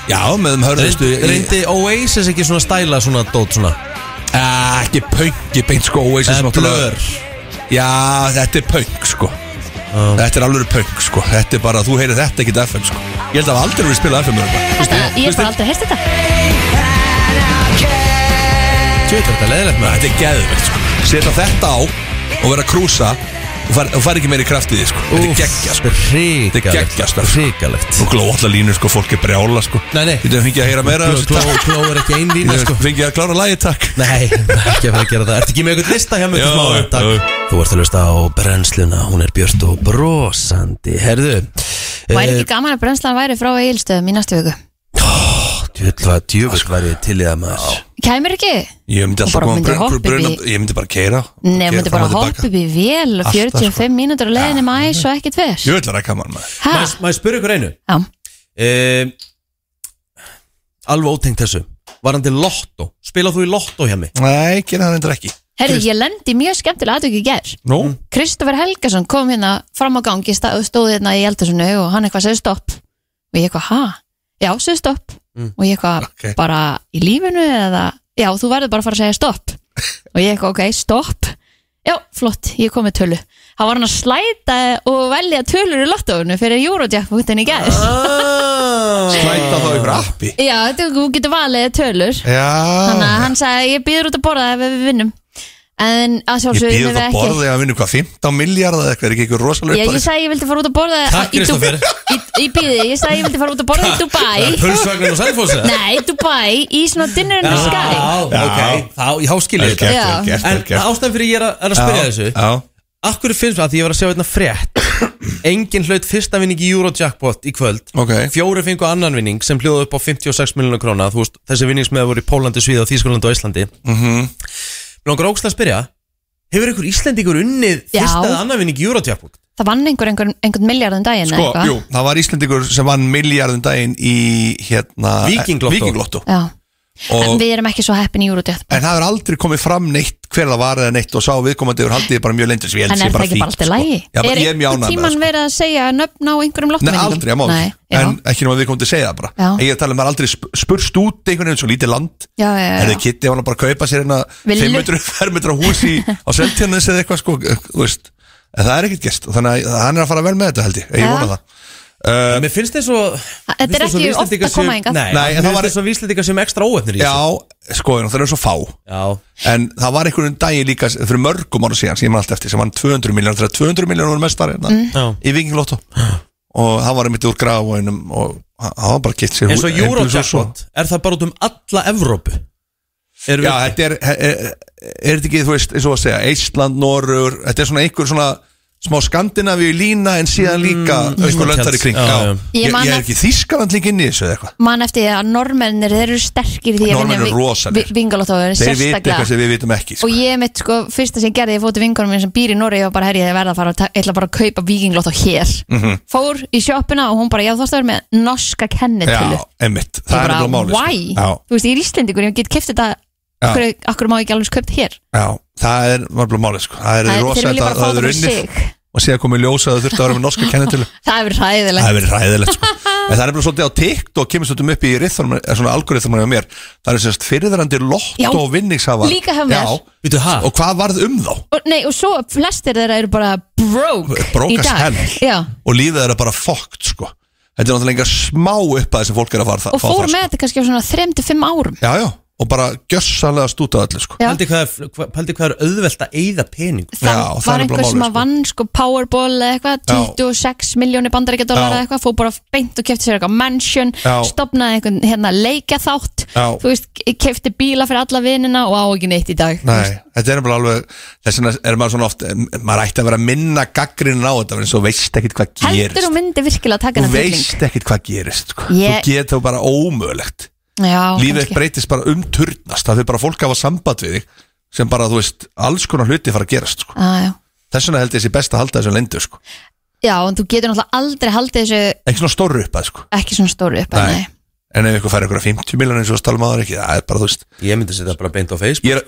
Speaker 10: Já, með þeim hörðustu
Speaker 1: Reyndi- Reyndi Oasis ekki svona stæla svona dót svona
Speaker 10: Ah, Ekki pöngi beint sko Oasis
Speaker 1: Eða
Speaker 10: náttúrulega-
Speaker 1: Blur.
Speaker 10: Já, þetta er pöng sko Þetta er alveg pöng sko Þetta er bara, þú heyrir þetta ekki FM sko Ég held að hafa aldrei verið spilað FM örugglega.
Speaker 2: Þetta, ég hef bara aldrei heist þetta
Speaker 1: Tjóður þetta leðilegt með
Speaker 10: Þetta er geðvegt sko Seta þetta á og vera að krúsa og far, og far ekki meiri kraft í því sko Þetta er geggja sko Þetta er geggja sko
Speaker 1: Ríkalegt
Speaker 10: Og gló allar línur sko, fólk er brjála sko
Speaker 1: Nei, nei.
Speaker 10: Þetta er fengið að heyra meira af þessu,
Speaker 1: Gló-
Speaker 10: takk.
Speaker 1: gló- Gló er ekki ein lína
Speaker 10: Ég
Speaker 1: sko
Speaker 10: Fengið að klára lagi takk
Speaker 1: Nei, ekki að fara að gera það Ertu ekki með eitthvað lista hjá mig?
Speaker 10: Já,
Speaker 1: Smára?
Speaker 10: já,
Speaker 1: Takk. Þú ert að lusta á brennsluna Hún er björt og brosandi Herðu
Speaker 2: Væri
Speaker 10: Eh.
Speaker 2: ekki gaman að brennslan væri frá Egilstöðum í næstu viku?
Speaker 1: Djöfull var ég til í það maður
Speaker 2: Kæmur ekki?
Speaker 10: Ég myndi
Speaker 2: Og
Speaker 10: alltaf
Speaker 2: bara
Speaker 10: koma
Speaker 2: myndi
Speaker 10: brun-
Speaker 2: hoppa upp
Speaker 10: brun-
Speaker 2: í-
Speaker 10: brun- Ég myndi bara keira
Speaker 2: Nei, hún myndi bara hoppa upp í vél
Speaker 10: Alltaf,
Speaker 2: 45
Speaker 10: sko.
Speaker 2: mínútur á leiðinni mæs og ekkert vers
Speaker 10: Ég vil að rækka mann maður
Speaker 2: Ha?
Speaker 1: Má ég spyrja ykkur einu?
Speaker 2: Já.
Speaker 1: Ehm, Alveg ótengt þessu Varandi lottó Spilað þú í lottó hjá mig?
Speaker 10: Nei, gera það endur ekki
Speaker 2: Herri, ég lendi í mjög skemmtilega aðtöku í ger
Speaker 10: Nú?
Speaker 2: Kristoffer Helgason kom hérna fram á gangi sta- stóð hérna í eldhúsinu og hann eitthvað segði stopp og ég eitthvað, ha? Já, segði stopp
Speaker 1: Mm.
Speaker 2: og ég eitthvað,
Speaker 10: Ok.
Speaker 2: bara í lífinu eða, já, þú verður bara að fara að segja stopp og ég eitthvað, ok, stopp já, flott, ég kom með tölu hann var hann að slæta og velja tölur í lottóinu fyrir Eurojackpotin í ger
Speaker 10: Ah. Slæta þá ykkur appi
Speaker 2: já, þetta, þú getur valið tölur þannig að
Speaker 10: Já
Speaker 2: hann sagði, ég býður út að borða ef við vinnum en að
Speaker 10: Ég
Speaker 2: sjálfsögum
Speaker 10: býður það borðið að vinna hvað 15 miljard eða eitthvað, er ekki ykkur rosalega
Speaker 2: Ég, ég
Speaker 10: upphæð?
Speaker 2: sagði ég vildi fara út að borða
Speaker 1: Takk,
Speaker 2: í Dú-
Speaker 1: Kristófer.
Speaker 2: Í, í bíði, ég sagði ég vildi fara út að borða í Dubai
Speaker 1: Pulsvagnin og Selfossi?
Speaker 2: Nei, Dubai, í svona dinner in the sky
Speaker 1: Já, ok, þá, já, skil ég
Speaker 10: Vel gert,
Speaker 2: Já.
Speaker 10: vel gert,
Speaker 1: En
Speaker 10: vel gert.
Speaker 1: ástæðan fyrir ég er að, er að spyrja
Speaker 10: Já,
Speaker 1: þessu
Speaker 10: Já,
Speaker 1: Akkur finnst það að því ég var að sjá hérna frétt Engin hlaut fyrsta vinning í Eurojackpot í kvöld
Speaker 10: ok
Speaker 1: Fjóri fengu annan vinning sem hljóði upp á 56 miljonar króna Þú veist, þessi vinningsmeða voru í Pólandi, Svíða, Þískulandi og Íslandi
Speaker 10: Mhm.
Speaker 1: Mér langar ógst að spyrja Hefur einhver Íslendingur unnið
Speaker 2: Já.
Speaker 1: fyrsta eða annan vinning í Eurojackpot?
Speaker 2: Það vann einhver einhvern, einhvern miljardin daginn eða
Speaker 10: Sko,
Speaker 2: eitthvað.
Speaker 10: jú, það var Íslendingur sem vann miljardum daginn í hérna
Speaker 1: Víkinglottó.
Speaker 10: Víkinglottó.
Speaker 2: Já. En
Speaker 10: Og,
Speaker 2: við erum ekki svo heppin í Eurojackpot
Speaker 10: En það er aldrei komið fram neitt hver það var eða neitt og sá viðkomandi yfir haldið bara mjög lendur sem ég held
Speaker 2: En
Speaker 10: sé
Speaker 2: er það
Speaker 10: bara fínt
Speaker 2: ekki bara
Speaker 10: sko.
Speaker 2: allt í lægi?
Speaker 10: Já, bara ég er mjög
Speaker 2: einhvern
Speaker 10: ánægð með sko.
Speaker 2: tíman verið að segja nöfn á einhverjum
Speaker 10: Nei,
Speaker 2: lottmenningum?
Speaker 10: aldrei, ég má ekki,
Speaker 2: já.
Speaker 10: en ekki nema við komum til að segja það bara
Speaker 2: Já.
Speaker 10: En ég er að tala um að aldrei sp- spurst út einhvern veginn svo lítið land
Speaker 2: Já, já, já,
Speaker 10: Er
Speaker 2: já.
Speaker 10: þið kitti, hann bara að kaupa sér hérna
Speaker 2: Villu.
Speaker 10: 500 fermetra hús í, á Seltjarnes eða eitthvað sko, eh, þú veist En það er ekkert gest, þannig að hann er að fara vel með þetta held ég, ég
Speaker 2: Já.
Speaker 10: vona það uh,
Speaker 1: Mér finnst þið svo
Speaker 2: Þetta er ekki oft að koma hingað.
Speaker 1: Nei, Nei
Speaker 10: en
Speaker 1: það
Speaker 10: það var
Speaker 1: var svo víslendingar sem ekstra óöfnir í
Speaker 10: Já, sko, það eru svo fá
Speaker 1: Já.
Speaker 10: En það var einhvern dagi líka fyrir mörgum ára síðan sem ég man allt eftir sem vann 200 miljónur þegar 200 miljónur var mestar hérna,
Speaker 1: Mm. Já.
Speaker 10: í Vinginglóttu og það var einmitt úr gráinum og hann hann var bara kitt sér
Speaker 1: En svo
Speaker 10: hú- einbýlishús og-
Speaker 1: Eurojackpot, er það bara út um alla Evrópu?
Speaker 10: Já, þetta er, er, er, er þetta ekki, þú veist, eins og að segja, Ísland, Norrur, þetta er svona einhver svona smá skandinavíu lína en síðan líka mm, einhver löndar í kring.
Speaker 1: Já, já.
Speaker 10: Já,
Speaker 2: Ég
Speaker 10: Ég,
Speaker 2: man
Speaker 10: ég er
Speaker 2: að-
Speaker 10: ekki Þískaland líka inn í þessu eða eitthvað.
Speaker 2: Man eftir því að normennir, þeir eru sterkir í því að
Speaker 10: Norðmenn eru rosalegir.
Speaker 2: vingalótt á þeir
Speaker 10: Þeir vita eitthvað sem við vitum ekki. Sko.
Speaker 2: Og ég mitt sko, fyrsta sem ég gerði, ég fóti vingunum minn sem býr í Norri, ég var bara herrið að verða að fara að ta- ég ætla bara að kaupa vikinglótt á hér
Speaker 10: Mhm.
Speaker 2: Fór í sjoppuna og hún bara, já þú ætti að vera með norska kennitölu
Speaker 10: Já, emmitt,
Speaker 2: Ég
Speaker 10: það er
Speaker 2: bara,
Speaker 10: nefnilega máli. sko.
Speaker 2: why?
Speaker 10: Já,
Speaker 2: Þú veist, ég er Íslendingur, ég get keft þetta
Speaker 10: Já.
Speaker 2: akkur, akkur má ég ekki alveg kaupt hér
Speaker 10: já, það er nefnilega máli, sko. Það er
Speaker 2: Það er- þeir vilja
Speaker 10: rosalega
Speaker 2: bara fá
Speaker 10: það
Speaker 2: það
Speaker 10: er
Speaker 2: fyrir sig.
Speaker 10: unnið og síðan komið ljósa að það þurfti að vera með norska kennetölu.
Speaker 2: Það hefur ræðilegt
Speaker 10: Það hefur verið ræðilegt sko En það er bara svolítið á TikTok kemur svolítið upp í rithorm, svona algoritmanum á mér Það er sérst fyrirverandi
Speaker 2: Já.
Speaker 10: lotto og vinningshafa
Speaker 2: Líka hjá mér.
Speaker 10: Vitu, Og hvað varð um þá?
Speaker 2: og, Nei, og svo flestir þeirra eru bara broke,
Speaker 10: Broke
Speaker 2: í
Speaker 10: as
Speaker 2: dag
Speaker 10: hell.
Speaker 2: Já,
Speaker 10: Og lífið þeirra bara fokkt sko Þetta er náttúrulega engar smá upphæði sem fólk er að fara fá
Speaker 2: og
Speaker 10: sko. þar,
Speaker 2: fór með þetta kannski á svona 3-5 árum
Speaker 10: sko. Já, já, og bara gjössalega stúta öllu sko
Speaker 2: Já.
Speaker 1: Paldi hvað, er- paldi hvað er auðvelt að eyða pening
Speaker 2: Það var einhver sem að vann sko Powerball eða eitthvað, 26 miljónir
Speaker 1: Já.
Speaker 2: bandaríkjadólar eða eitthvað, fór bara beint og kefti sér eitthvað mansion,
Speaker 1: Já.
Speaker 2: stopnaði einhvern hérna leikaþátt,
Speaker 10: Já.
Speaker 2: þú veist kefti bíla fyrir alla vinina og á ekki neitt í dag
Speaker 10: Nei, þetta er bara alveg Þess vegna er maður svona oft Maður ætti að vera að minna gaggrinn á þetta En svo veist ekkit hvað gerist
Speaker 2: Heldur þú myndi virkilega að taka
Speaker 10: Þú
Speaker 2: þetta fylling?
Speaker 10: veist ekkit hvað gerist sko.
Speaker 2: Ég-
Speaker 10: Þú getur bara ómögulegt
Speaker 2: Já,
Speaker 10: lífið
Speaker 2: kannski.
Speaker 10: breytist bara umturnast það er bara fólk hafa samband við þig sem bara, þú veist, alls konar hluti fara að gerast sko.
Speaker 2: Ah, já.
Speaker 10: þess vegna held ég sé best að halda þessu lendu sko.
Speaker 2: já, en þú getur náttúrulega aldrei haldið þessu
Speaker 10: ekki svona stóru upp að sko.
Speaker 2: ekki svona stóru upp
Speaker 10: Nei. en ef ykkur fær ykkur 50 miljonar eins og stálum aður um ekki það er bara, þú veist
Speaker 1: Ég myndi setja bara beint á Facebook
Speaker 10: ég,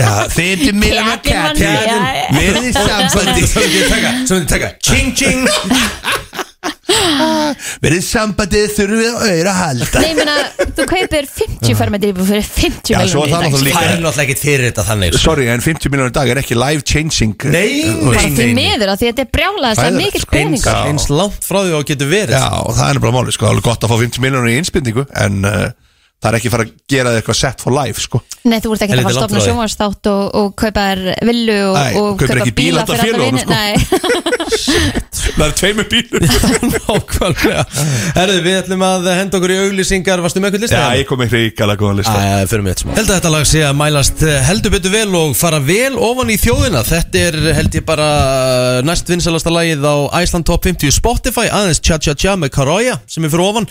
Speaker 10: ja, Þið er miljonar
Speaker 2: Kjartan, já, já.
Speaker 10: verið í sambandi
Speaker 1: Svo myndi ég taka- svo myndi ég taka Ching ching
Speaker 10: verið í sambandi þurfum við að auðra að halda
Speaker 2: Nei, ég meina, þú kaupir 50 fermetri íbúð fyrir 50
Speaker 10: Já, svo
Speaker 2: miljónir
Speaker 10: það
Speaker 2: í dag.
Speaker 10: náttúrulega líka
Speaker 1: Það er náttúrulega ekkert fyrir þetta þannig
Speaker 10: Sorry, en 50 miljonar dag er ekki life changing
Speaker 1: Nei,
Speaker 10: Þú
Speaker 2: Bara
Speaker 10: veist.
Speaker 2: því miður að því þetta er brjálaðast að
Speaker 10: Hræðilegt,
Speaker 2: mikill
Speaker 10: sko.
Speaker 2: peningur
Speaker 10: Já.
Speaker 1: Eins langt frá því að getur verið
Speaker 10: Já, og það er bara máli, sko, það er alveg gott að fá 50 miljonar í innspendingu en uh, það er ekki fara að gera þið eitthvað set for life, sko
Speaker 2: Nei, þú ert ekki
Speaker 10: En
Speaker 2: að
Speaker 10: þetta er langt
Speaker 2: fara að stofna
Speaker 10: frá því.
Speaker 2: sjónvarsþátt og, og kaupa þér villu og,
Speaker 10: Nei,
Speaker 2: og
Speaker 10: og kaupir
Speaker 2: kaupa
Speaker 10: ekki bíla
Speaker 2: bíla
Speaker 10: handa
Speaker 2: fyrir alla
Speaker 10: félögunum,
Speaker 2: vini
Speaker 10: sko.
Speaker 2: Nei,
Speaker 10: Það er tveimur bílur
Speaker 1: Nákvæmlega Herðu, við ætlum að henda okkur í auglýsingar Varstu með eitthvað lista?
Speaker 10: Já, ég kom með hrikalega góðan lista
Speaker 1: Æ, Eh, fyrir mig eitt smá Held að þetta lag sé að mælast eh, heldur betur vel og fara vel ofan í þjóðina Þetta er held ég bara eh, næst vinsalasta lagið á Iceland Top 50 Spotify aðeins Tja Tja Tja með Karoja sem er fyrir ofan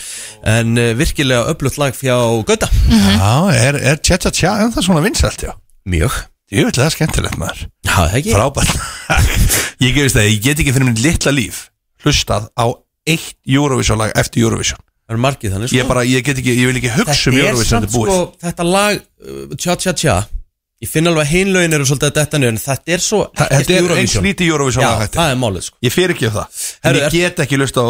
Speaker 1: en eh, virkilega öflutt lag fjá Gauta
Speaker 10: Já, er, er tja tja tja, en það er svona vinsælt, já
Speaker 1: Mjög
Speaker 10: Ég vil það er skemmtilegt maður
Speaker 1: Já, það ekki
Speaker 10: Frábært Ég gefist það, ég get ekki fyrir minn litla líf hlustað á eitt Eurovision lag eftir Eurovision
Speaker 1: Það eru margið þannig sko.
Speaker 10: Ég bara, ég get ekki, ég vil ekki hugsa um
Speaker 1: Þetta er
Speaker 10: Eurovision
Speaker 1: samt
Speaker 10: þetta er búið
Speaker 1: sko, þetta lag uh, Tja Tja Tja Ég finn alveg að hinlaugin eru svolítið að detta niður en þetta er svo
Speaker 10: Þa-
Speaker 1: ekkert
Speaker 10: Þetta er eins
Speaker 1: Eurovision.
Speaker 10: lítið Eurovision
Speaker 1: Já,
Speaker 10: lag hætti
Speaker 1: það er málið sko
Speaker 10: Ég fyrir ekki af það En
Speaker 1: Herru,
Speaker 10: ég
Speaker 1: ert-
Speaker 10: get ekki lusta á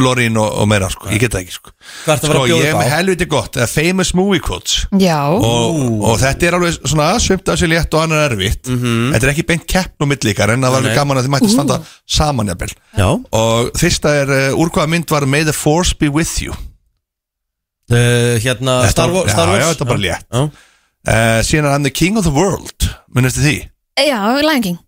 Speaker 10: Lorín og, og meira sko. Ég get það ekki sko.
Speaker 1: Hvað ertu að fara
Speaker 10: Sko,
Speaker 1: að bjóða
Speaker 10: ég er
Speaker 1: upp á?
Speaker 10: með helviti gott eh, Famous movie quotes
Speaker 2: já
Speaker 10: og, og þetta er alveg svona Svimt af sér létt og annar erfitt Þetta er ekki beint keppn og milli ykkar En það var
Speaker 1: Mhm. Nei,
Speaker 10: alveg
Speaker 1: nei.
Speaker 10: gaman að þið mætti
Speaker 1: Ú.
Speaker 10: standa saman jafnvel
Speaker 1: Já.
Speaker 10: Og fyrsta er uh, Úr hvaða mynd var May the force be with you
Speaker 1: uh, Hérna
Speaker 10: Þetta-
Speaker 1: Star Wars
Speaker 10: já,
Speaker 1: Star Wars?
Speaker 10: Já, þetta er bara létt
Speaker 1: Já.
Speaker 10: uh, Síðan er hann the king of the world Minnist þið því?
Speaker 2: já, Lion King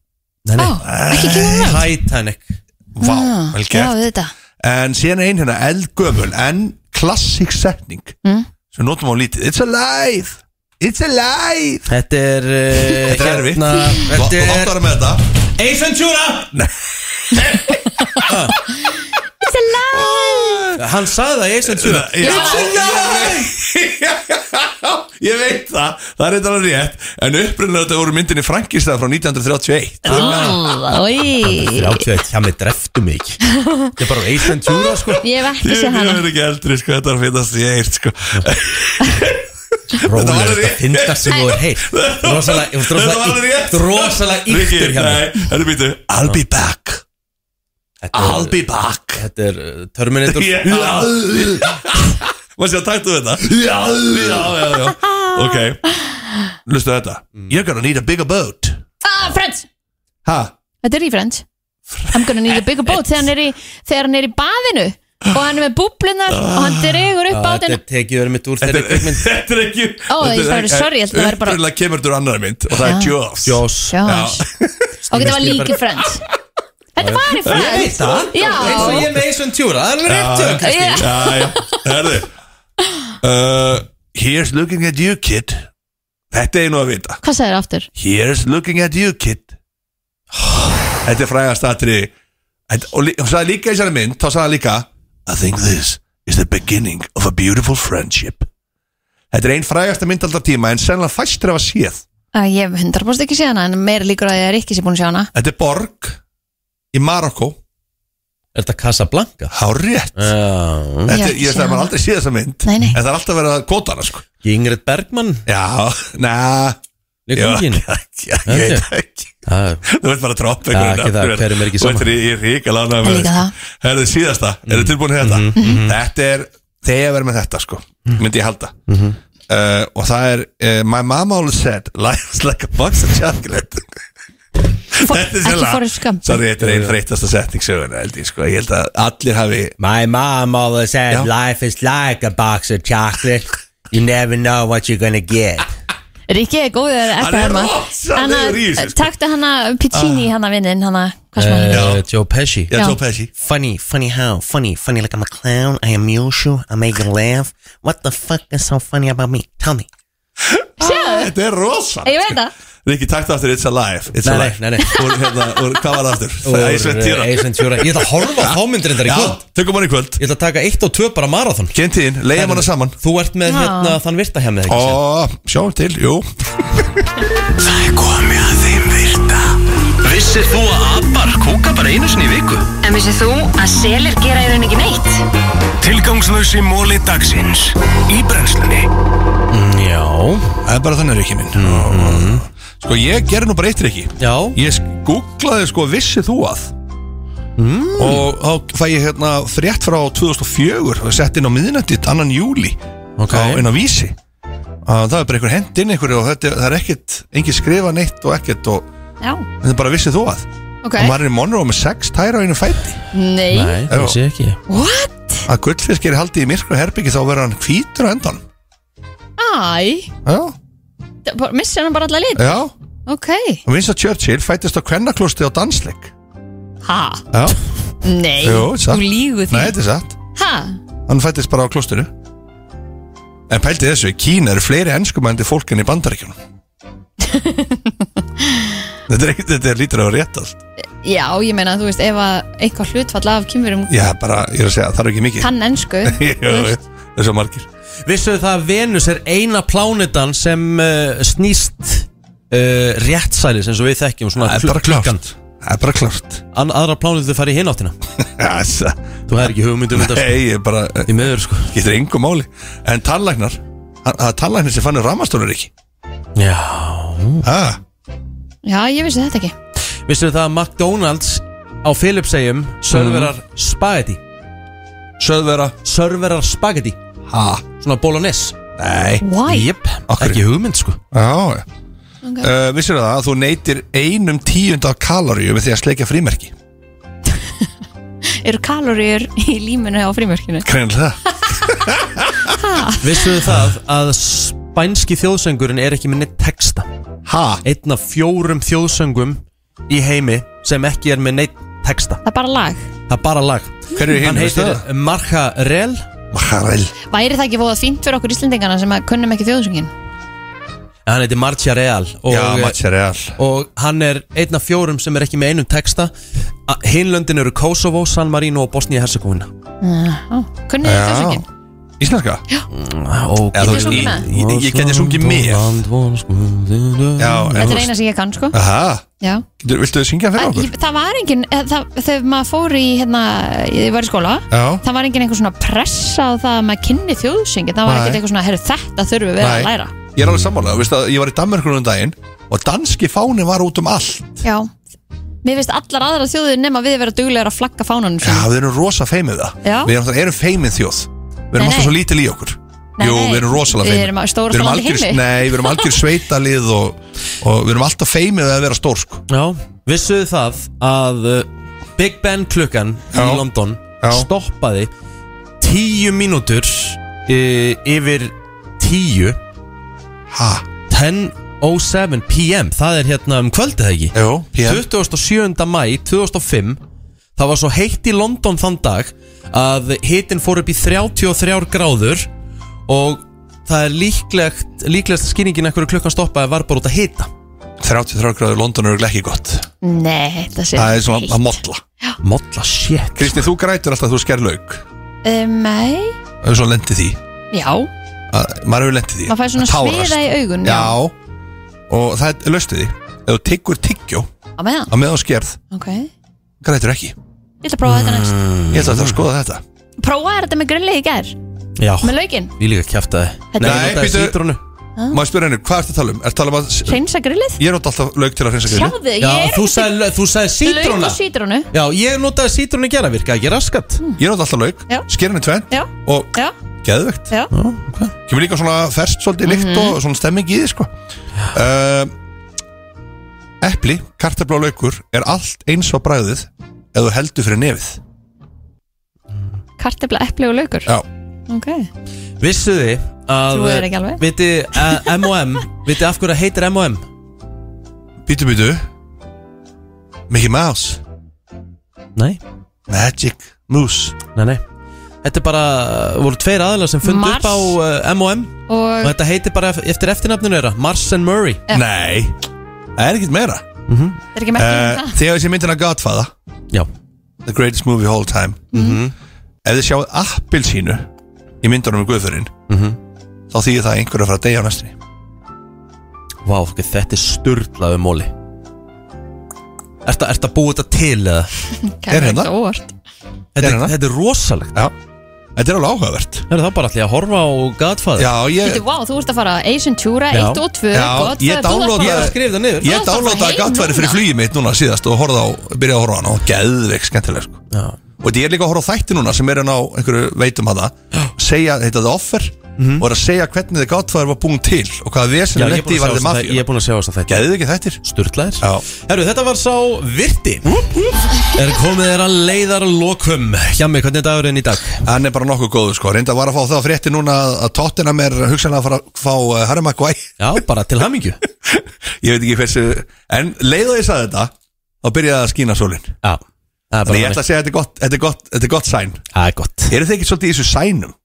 Speaker 1: Nei,
Speaker 2: nei Ekki King of the World
Speaker 1: Titanic
Speaker 10: Vá,
Speaker 2: Ah,
Speaker 10: vel
Speaker 2: Já,
Speaker 10: gert
Speaker 2: við þetta
Speaker 10: En síðan er ein hérna eldgöful En klassik setning
Speaker 2: Mm.
Speaker 10: Sem við notum á lítið It's alive It's alive
Speaker 1: Þetta er uh,
Speaker 10: Þetta er erfitt
Speaker 1: hérna,
Speaker 10: Þú
Speaker 1: Þetta
Speaker 10: þátt að
Speaker 1: er
Speaker 10: vera með þetta
Speaker 1: Ace Ventura
Speaker 2: It's alive
Speaker 1: Hann sagði það Ace Ventura
Speaker 10: It's alive Ég veit það, það er eitthvað rétt En upprunnilega þetta voru myndinni Frankistad frá 1931
Speaker 1: 31, hjá mig dreftu mig Þetta er bara Asian Tura sko
Speaker 2: Ég hef ekki
Speaker 10: Ég
Speaker 2: séð hana
Speaker 10: verður ekki eldri, sko, þetta var finnast ég eitt, sko
Speaker 1: Róður þetta fyndast sem þú er heitt Rosalega, þú ert
Speaker 10: Þetta var alveg
Speaker 1: rosalega
Speaker 10: rétt
Speaker 1: ýkt- Rosalega
Speaker 10: Rikki,
Speaker 1: yktur hjá
Speaker 10: nei,
Speaker 1: mig
Speaker 10: Þetta býtu, I'll be back I'll be back
Speaker 1: Þetta er uh, Terminator
Speaker 10: Yeah. Má sé að taktu um þetta Já, já, já, já Ok, lustu þetta You're gonna need a bigger boat
Speaker 2: Ah, Friends
Speaker 10: Ha?
Speaker 2: Þetta er í Friends I'm gonna need a bigger boat þegar hann er í, þegar hann er í baðinu og hann er með búblunar og hann dregur upp
Speaker 10: Ah,
Speaker 1: Já,
Speaker 2: bátinn
Speaker 1: Þetta er tekið verið mitt úr þeirri kvikmynd
Speaker 10: Þetta er ekki
Speaker 2: Ó, ég bara verið sorry, ég held að það væri bara-
Speaker 10: Upprunnilega kemur þetta úr annar mynd Og það er
Speaker 2: Já.
Speaker 10: Jaws
Speaker 1: Jaws
Speaker 2: Jaws. og þetta var líki Friends Þetta var í
Speaker 1: Ég veit
Speaker 2: Friends
Speaker 1: það
Speaker 2: Já.
Speaker 1: Eins og ég með Asian Tura Það er alveg rétt
Speaker 10: Já,
Speaker 1: hjá þér, Kristín
Speaker 10: já, já, herði uh, Here's looking at you, kid Þetta er nú að vita
Speaker 2: Hvað sagði það aftur?
Speaker 10: Here's looking at you, kid Þetta er frægast aðri Og lí- hún sagði líka í þessari mynd Þá sagði hann líka I think this is the beginning of a beautiful friendship Þetta er einn frægasta mynd alltaf tíma En sennilega fæstir hafa séð
Speaker 2: Æ, Ég hef 100% ekki séð hana en meira líkur að ég er ekki sér búin að sjá hana
Speaker 10: Þetta er borg Í Marokko
Speaker 1: Er þetta Casablanca?
Speaker 10: Há rétt
Speaker 1: Þetta
Speaker 10: Þetta,
Speaker 2: Já,
Speaker 10: er- Ég veist
Speaker 2: séð
Speaker 10: að maður
Speaker 2: hana.
Speaker 10: aldrei séð þessa mynd
Speaker 2: Nei, nei.
Speaker 10: En það er alltaf verið að kóta hana sko
Speaker 1: Ingrid Bergman
Speaker 10: Já, næ
Speaker 1: Ég
Speaker 10: Já,
Speaker 1: kom ekki
Speaker 10: já, Ég veit það ekki Þú veit bara að droppa einhverjum
Speaker 1: Já, ekki það,
Speaker 10: nöfnum.
Speaker 1: hverjum er ekki
Speaker 10: Og
Speaker 1: sama.
Speaker 10: Þetta er í ríka lánaði
Speaker 2: Líka það.
Speaker 10: sko. Herðu síðasta, mm. eru tilbúin í þetta
Speaker 1: Mhm,
Speaker 10: Mhm. Þetta er, þegar ég verið með þetta sko Myndi ég halda
Speaker 1: Mhm.
Speaker 10: uh, Og það er, uh, my mama always said Life is like a box of chocolate Þetta er
Speaker 2: Ekki
Speaker 10: sennilega-
Speaker 2: Forrest Gump
Speaker 10: Sorry, þetta er einn þreytasta setning söguna held ég, sko. ég held að allir hafi
Speaker 1: My mom always said life is like a box of chocolate You never know what you're gonna get
Speaker 2: Ríkki er góður að
Speaker 10: Hann
Speaker 2: ekka
Speaker 10: er
Speaker 2: hana
Speaker 10: rosalegur í þessu, sko.
Speaker 2: Taktu hana Piccini
Speaker 10: Ah.
Speaker 2: hana vinnin hana Hvað
Speaker 10: Eh,
Speaker 2: sem hann heitir?
Speaker 1: uh, Joe Pesci
Speaker 10: Já, Joe Pesci
Speaker 1: Funny, funny how? Funny, funny like I'm a clown I amuse you, I make you laugh What the fuck is so funny about me? Tell me
Speaker 2: Sjáðu,
Speaker 10: Þetta er rosa
Speaker 2: ég veit það
Speaker 10: Rikki, taktu aftur It's Alive It's
Speaker 1: Nei, nei,
Speaker 10: alive.
Speaker 1: nei, nei.
Speaker 10: Úr, hérna, úr, Hvað var það aftur?
Speaker 1: Úr,
Speaker 10: Ace Ventura.
Speaker 1: eh, Ace Ventura. Ég ætla að horfa á þá myndir reyndar í
Speaker 10: Já,
Speaker 1: kvöld.
Speaker 10: Tökum hann í kvöld
Speaker 1: Ég ætla að taka eitt og tvö bara marathon
Speaker 10: Kentíðin, leiðum hana saman
Speaker 1: Þú ert með
Speaker 2: Já.
Speaker 1: hérna þann virta hjá mig ekki satt?
Speaker 10: Ó, sjáum til, jú
Speaker 3: Það er komið að þeim virta Vissir þú að abar kúka bara einu sinni í viku?
Speaker 11: En vissið þú að selir gera í raun ekki neitt?
Speaker 3: Tilgangslösi móli dagsins Í brennslunni
Speaker 1: Mm, Já,
Speaker 10: Það er bara þannig Rikki minn Sko, ég gerði nú bara eitt Rikki
Speaker 1: já
Speaker 10: Ég googlaði sko Vissi þú að mm. Og þá fæ ég hérna frétt frá 2004 og sett inn á miðnættið annan júli
Speaker 1: Ok.
Speaker 10: á, inn á vísi að það er bara einhver hend inn einhverju og þetta, er- það er ekkert, engin skrifa neitt og ekkert og
Speaker 2: Já,
Speaker 10: þetta er bara vissið þú að
Speaker 2: ok
Speaker 10: og maður er í Monroe með sex tæra á einu fæti
Speaker 2: Nei,
Speaker 1: Nei, það
Speaker 10: Já.
Speaker 1: sé ekki
Speaker 2: what?
Speaker 10: að gullfisk er haldið í myrkru herbyggi þá verður hann hvítur á endan
Speaker 2: Æ,
Speaker 10: já,
Speaker 2: það bara- missi hann bara alla lit
Speaker 10: já
Speaker 2: Ok,
Speaker 10: og Winston Churchill fættist á kvennaklosti á dansleik
Speaker 2: ha,
Speaker 10: já,
Speaker 2: nei
Speaker 10: Jú, satt.
Speaker 2: Þú lígu
Speaker 10: nei,
Speaker 2: því
Speaker 10: þetta er satt
Speaker 2: Ha,
Speaker 10: hann fættist bara á klostinu en pælti þessu, í Kína eru fleiri ennskumændi fólk enn í bandaríkjunum þetta, er, ekki- þetta er lítur á rétt allt
Speaker 2: já, ég meina þú veist ef að eitthvað hlutfall af kymverum
Speaker 10: já, bara, ég er að segja, það er ekki mikið
Speaker 2: kann ennsku
Speaker 10: Jú, jú, það er svo margir
Speaker 1: Vissuðu það að Venus er eina plánetan sem uh, snýst uh, réttsælis eins og við þekkjum svona
Speaker 10: það er bara
Speaker 1: klukkan.
Speaker 10: klárt það er bara klárt
Speaker 1: An, Aðra plánetu fari í hináttina
Speaker 10: Já, það-
Speaker 1: Þú hefði ekki hugmyndum þetta sko.
Speaker 10: nei, ég er bara
Speaker 1: Í meður sko
Speaker 10: getur engu máli en tannlæknar, hann- það er tannlæknar sem fannur ramastónur ekki sko.
Speaker 1: Já
Speaker 10: ah,
Speaker 2: Já, ég vissi þetta ekki
Speaker 1: Vissum við það að McDonalds á Philipseyjum serverar
Speaker 10: Mhm.
Speaker 1: spagetti Servera Serverar spagetti
Speaker 10: ha,
Speaker 1: Svona bolognese
Speaker 10: nei
Speaker 2: Why?
Speaker 1: Jep,
Speaker 10: Af hverju?
Speaker 1: ekki hugmynd sko
Speaker 10: Já, já.
Speaker 2: Ok.
Speaker 10: uh, vissir það að þú neytir einum tíund af kaloríu með því að sleikja frímerki
Speaker 2: Eru kaloríur í líminu á frímörkinu?
Speaker 10: Greinlega það
Speaker 1: Vissum við það að spænski þjóðsöngurinn er ekki með neitt texta
Speaker 10: Ha?
Speaker 1: Einn af fjórum þjóðsöngum í heimi sem ekki er með neitt texta
Speaker 2: Það er bara lag
Speaker 1: Það er bara lag
Speaker 10: Hverju hinn
Speaker 1: Hann heitir Marha Rel
Speaker 10: Makarel
Speaker 2: Væri það ekki fóða fínt fyrir okkur Íslendingana sem að kunnum ekki þjóðsöngin?
Speaker 1: Hann heitir Marcha Real og,
Speaker 10: Já, Makarel
Speaker 1: og hann er einn af fjórum sem er ekki með einum texta Hinlöndin eru Kosovo, San Marino og Bosnia-Herzegovina
Speaker 2: Uh, Kunnum þið
Speaker 10: Já.
Speaker 2: þjóðsöngin?
Speaker 10: Íslenska? Já
Speaker 1: Eða,
Speaker 10: þú veist,
Speaker 2: Ah, sungið
Speaker 10: í-
Speaker 2: með?
Speaker 10: ég, ég geti sungið með Já,
Speaker 2: Þetta er eina sem ég kann sko
Speaker 10: Aha,
Speaker 2: Já
Speaker 10: getur, viltu þau syngja fyrir
Speaker 2: Að-
Speaker 10: okkur?
Speaker 2: ég- Það var engin, eh, það, þegar maður fór í, hérna, ég var í skóla
Speaker 10: Já.
Speaker 2: Það var engin einhver svona pressa á það að maður kynni þjóðsyngi Það var
Speaker 10: Nei.
Speaker 2: ekkert eitthvað svona, herru þetta þurfum við
Speaker 10: Nei.
Speaker 2: að læra
Speaker 10: Ég er alveg sammála, veist að ég var í Danmörkunum um daginn og danski fáni var út um allt
Speaker 2: Já Mér finnst allar aðra þjóðir nema við vera duglegar að flagga fánanum
Speaker 10: Já,
Speaker 2: sínum.
Speaker 10: við erum rosa feimið það
Speaker 2: Já.
Speaker 10: Við erum, erum feimið þjóð Við erum
Speaker 2: Nei,
Speaker 10: alltaf
Speaker 2: nei.
Speaker 10: svo lítil í okkur
Speaker 2: Nei,
Speaker 10: Jú,
Speaker 2: nei.
Speaker 10: við erum rosalega
Speaker 2: Við
Speaker 10: feimið
Speaker 2: erum stórasta
Speaker 10: Við erum
Speaker 2: land í
Speaker 10: algjör-
Speaker 2: heimi.
Speaker 10: Nei, við erum algjör sveitalið og, og við erum alltaf feimið að vera stór sko.
Speaker 1: Já, vissuðu það að uh, Big Ben klukkan í London stoppaði tíu mínútur uh, yfir tíu
Speaker 10: ha?
Speaker 1: 10.07 p.m. það er hérna um kvöldið það ekki
Speaker 10: Jó, PM.
Speaker 1: 27. mæ 2005 það var svo heitt í London þann dag að hitin fór upp í 33 gráður og það er líklegt líklegast skýringin ekkur klukkan stoppaði var bara út að hita
Speaker 10: 33 gráður London eru ekki gott
Speaker 2: Nei, það sé
Speaker 10: Það er svona
Speaker 2: heitt.
Speaker 10: að modla
Speaker 1: Modla, shit
Speaker 10: Kristi, þú grætur alltaf að þú sker lauk
Speaker 2: Um, Nei,
Speaker 10: Það er svo lendið því
Speaker 2: já,
Speaker 10: að, Maður hefur lendið því
Speaker 2: maður fær svona
Speaker 10: Að tárast.
Speaker 2: sviða í augun
Speaker 10: Já, og það er löstu því Ef þú tyggur tyggjó
Speaker 2: Á meðan,
Speaker 10: að meðan þú skerð,
Speaker 2: ok Ég
Speaker 10: grætur ekki
Speaker 2: ætla að prófa þetta næst
Speaker 10: Ég ætla að það er að skoða þetta
Speaker 2: Prófaði þetta með grillið í gær
Speaker 1: Já.
Speaker 2: Með laukinn
Speaker 1: Ég líka kjæfta þið
Speaker 10: Nei, Nei
Speaker 1: notaði
Speaker 10: býtu, maður spyrir henni, hvað ertu að tala um? Er tala um að,
Speaker 2: Hreinsa grillið
Speaker 10: ég er nota alltaf lauk til að hreinsa grillið
Speaker 2: Sjáðu, ég er
Speaker 1: þú sagði, þú sagði
Speaker 2: Lauk
Speaker 1: sítróna
Speaker 2: og sítrónu
Speaker 1: Já, ég notaði sítrónu gera virka ekki raskat
Speaker 2: Hmm.
Speaker 10: Ég nota alltaf lauk,
Speaker 2: Já.
Speaker 10: sker henni tvent
Speaker 2: Já,
Speaker 10: og
Speaker 2: já,
Speaker 10: geðvegt
Speaker 2: já Mhm.
Speaker 10: Kemur líka svona ferst svolítið lykt og svona stemming í því sko uh, Epli, kartabla og laukur er allt eins á bræðið ef þú heldur fyrir nefið
Speaker 2: Kartefla, epli og laukur
Speaker 10: Já.
Speaker 2: Ok,
Speaker 1: Vissu þið að eh,
Speaker 2: Þú er ekki alveg.
Speaker 1: Viti að M&M Viti af hverju það heitir M&M
Speaker 10: Býtu, býtu Mickey Mouse
Speaker 1: Nei
Speaker 10: Magic Moose
Speaker 1: Nei, nei Þetta er bara Voru tveir aðlar sem fundu
Speaker 2: Mars.
Speaker 1: upp á uh, M&M
Speaker 2: Og-
Speaker 1: Og þetta heitir bara eftir eftirnafninu þeirra Mars and Murray
Speaker 2: Já.
Speaker 10: Nei Það er ekkert meira
Speaker 2: það er ekki merkilegt um
Speaker 10: Eh,
Speaker 2: það
Speaker 10: Þegar þessi myndina Godfather
Speaker 1: Já
Speaker 10: The greatest movie of all time
Speaker 2: Mhm.
Speaker 10: Mhm. Ef þið sjáuð appilsínu í myndunum um Guðförinn
Speaker 2: Mhm.
Speaker 10: þá þýðir það að einhver er að fara að deyja á næstinni
Speaker 1: Vá, ok, þetta er sturdlaðu móli Ertu ertu að búa þetta til eða?
Speaker 2: Kæmi
Speaker 10: er hérna.
Speaker 2: þetta óvart
Speaker 1: Þetta er, þetta er rosalegt
Speaker 10: Já Þetta er alveg áhugavert
Speaker 1: Það er það bara allir að horfa á Godfather
Speaker 10: Já, ég,
Speaker 2: Þú, vá, þú ert að fara Asian Tura
Speaker 1: Já.
Speaker 2: 1 og 2
Speaker 10: Eh. já,
Speaker 2: gott,
Speaker 10: ég
Speaker 1: Ég
Speaker 10: dálótaði
Speaker 1: skrif það niður
Speaker 2: Þú
Speaker 10: Ég
Speaker 2: ert að fara
Speaker 10: dálótaði
Speaker 2: heim
Speaker 10: Godfather fyrir
Speaker 2: núna.
Speaker 10: flugið mitt núna síðast og horfði á, byrjaði að horfa á hana og geðveik skemmtileg sko.
Speaker 1: Já.
Speaker 10: og þetta er líka að horfa á þætti núna sem er hann á einhverju veitum hana segja, þetta er offer og er að segja hvernig þið Godfather var búin til og hvaða vesinu
Speaker 1: Mhm. Já, ég er
Speaker 10: lendi
Speaker 1: búin
Speaker 10: í
Speaker 1: að sjá
Speaker 10: varðið
Speaker 1: þessa þætti- ég
Speaker 10: mafíu
Speaker 1: er búin að sjá þess að þetta
Speaker 10: Geðveikir þættir
Speaker 1: Sturlaðir
Speaker 10: Já.
Speaker 1: Herru, þetta var sá virti Er komið þeirra leiðar lokum Hjami, hvernig er dagurinn í dag?
Speaker 10: Hann er bara nokkuð góður sko, reynda var að fá það frétti núna að- að Tottenham er hugsanlega að fara að fá uh, Harry Maguire
Speaker 1: Já, bara til hamingju
Speaker 10: Ég veit ekki hversu, en leið og ég sagði þetta þá byrjaði að skína sólin
Speaker 1: Já, það er
Speaker 10: Þannig
Speaker 1: bara
Speaker 10: ég ætla að segja að þetta er gott, þetta er gott, þetta er gott sæn
Speaker 1: Það er gott
Speaker 10: Eru þið ekki svolítið í þessu sænum?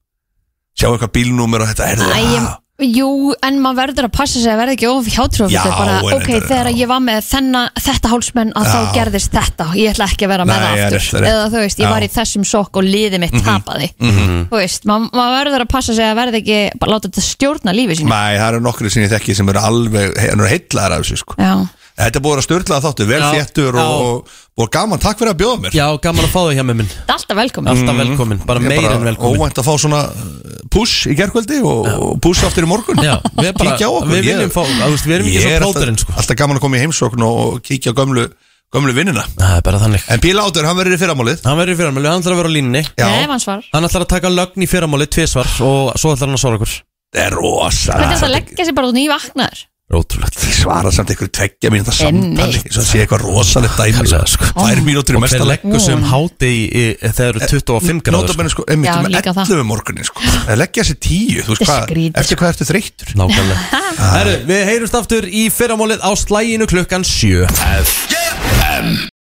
Speaker 10: Sjáu eitthvað bílnúmer og þetta er
Speaker 2: Æ,
Speaker 10: það
Speaker 2: ég- Jú, en maður verður að passa sig að verða ekki of hjátrúf
Speaker 10: Já,
Speaker 2: bara,
Speaker 10: en
Speaker 2: Ok,
Speaker 10: þetta-
Speaker 2: þegar ég var með þenna, þetta hálsmenn að
Speaker 10: Já.
Speaker 2: þá gerðist þetta Ég ætla ekki að vera með
Speaker 10: Nei, það
Speaker 2: það
Speaker 10: er
Speaker 2: aftur
Speaker 10: rétt, það er rétt.
Speaker 2: Eða þú veist, ég
Speaker 10: Já.
Speaker 2: var í þessum sokk og liði mitt tapaði
Speaker 10: Mhm.
Speaker 2: Þú veist, ma- maður verður að passa sig að verða ekki bara láta þetta stjórna lífi sín
Speaker 10: Nei, það eru nokkru sem ég þekki sem eru alveg he- eru heitlaðar af þessu sko
Speaker 2: Já,
Speaker 10: Þetta er búið að störla þáttu, vel
Speaker 1: Já,
Speaker 10: þéttur og,
Speaker 1: já.
Speaker 10: og, og gaman, takk fyrir að bjóða mér
Speaker 1: Já, gaman að fá þau hjá með minn
Speaker 2: þetta er alltaf velkomin
Speaker 10: Mm.
Speaker 1: Alltaf velkomin, bara
Speaker 10: Ég er
Speaker 1: meira en velkomin
Speaker 10: Óvænt að fá svona uh, push í gerkvöldi og, og push aftur í morgun
Speaker 1: Já, við bara,
Speaker 10: Kíkja á okkur
Speaker 1: við viljum
Speaker 10: ég-
Speaker 1: fá að, veist, Við erum ekki
Speaker 10: Ég er
Speaker 1: svo
Speaker 10: alltaf,
Speaker 1: plóterinn sko
Speaker 10: alltaf gaman að koma í heimsókn og kíkja á gömlu, gömlu vinnina
Speaker 1: Það er bara þannig
Speaker 10: En Bíl Átur, hann verður í fyrramálið
Speaker 1: Hann verður í fyrramálið, hann ætlar að vera á línni
Speaker 2: Ef hans var
Speaker 1: Hann ætlar að taka lögn í fyrramálið tvisvar og svo ætlar hann að svara okkur
Speaker 10: Það er rosa
Speaker 2: Hvernig er þetta að leggja sig bara út nývaknar?
Speaker 1: Rótrúlegt
Speaker 10: Ég svara samt einhverju tveggja mínúta samtali
Speaker 2: Einmitt.
Speaker 10: Svo það sé eitthvað rosalegt dæmi sko.
Speaker 1: Kallega, sko.
Speaker 10: Tvær mínútur í
Speaker 1: Og hver
Speaker 10: mesta legg
Speaker 1: leggur sem háti í, í, þegar
Speaker 10: Eh,
Speaker 1: eru 25 gráður sko.
Speaker 10: Nótabenni sko, einmitt
Speaker 2: Já,
Speaker 10: um
Speaker 2: líka það.
Speaker 10: 11 morgunin sko Það leggja sér 10, þú veist
Speaker 2: Þetta er sko.
Speaker 10: hvað
Speaker 2: skrítið,
Speaker 10: Eftir hvað ertu þreyttur
Speaker 1: Nákvæmlega Herru, við heyrumst aftur í fyrramálið á slæginu klukkan 7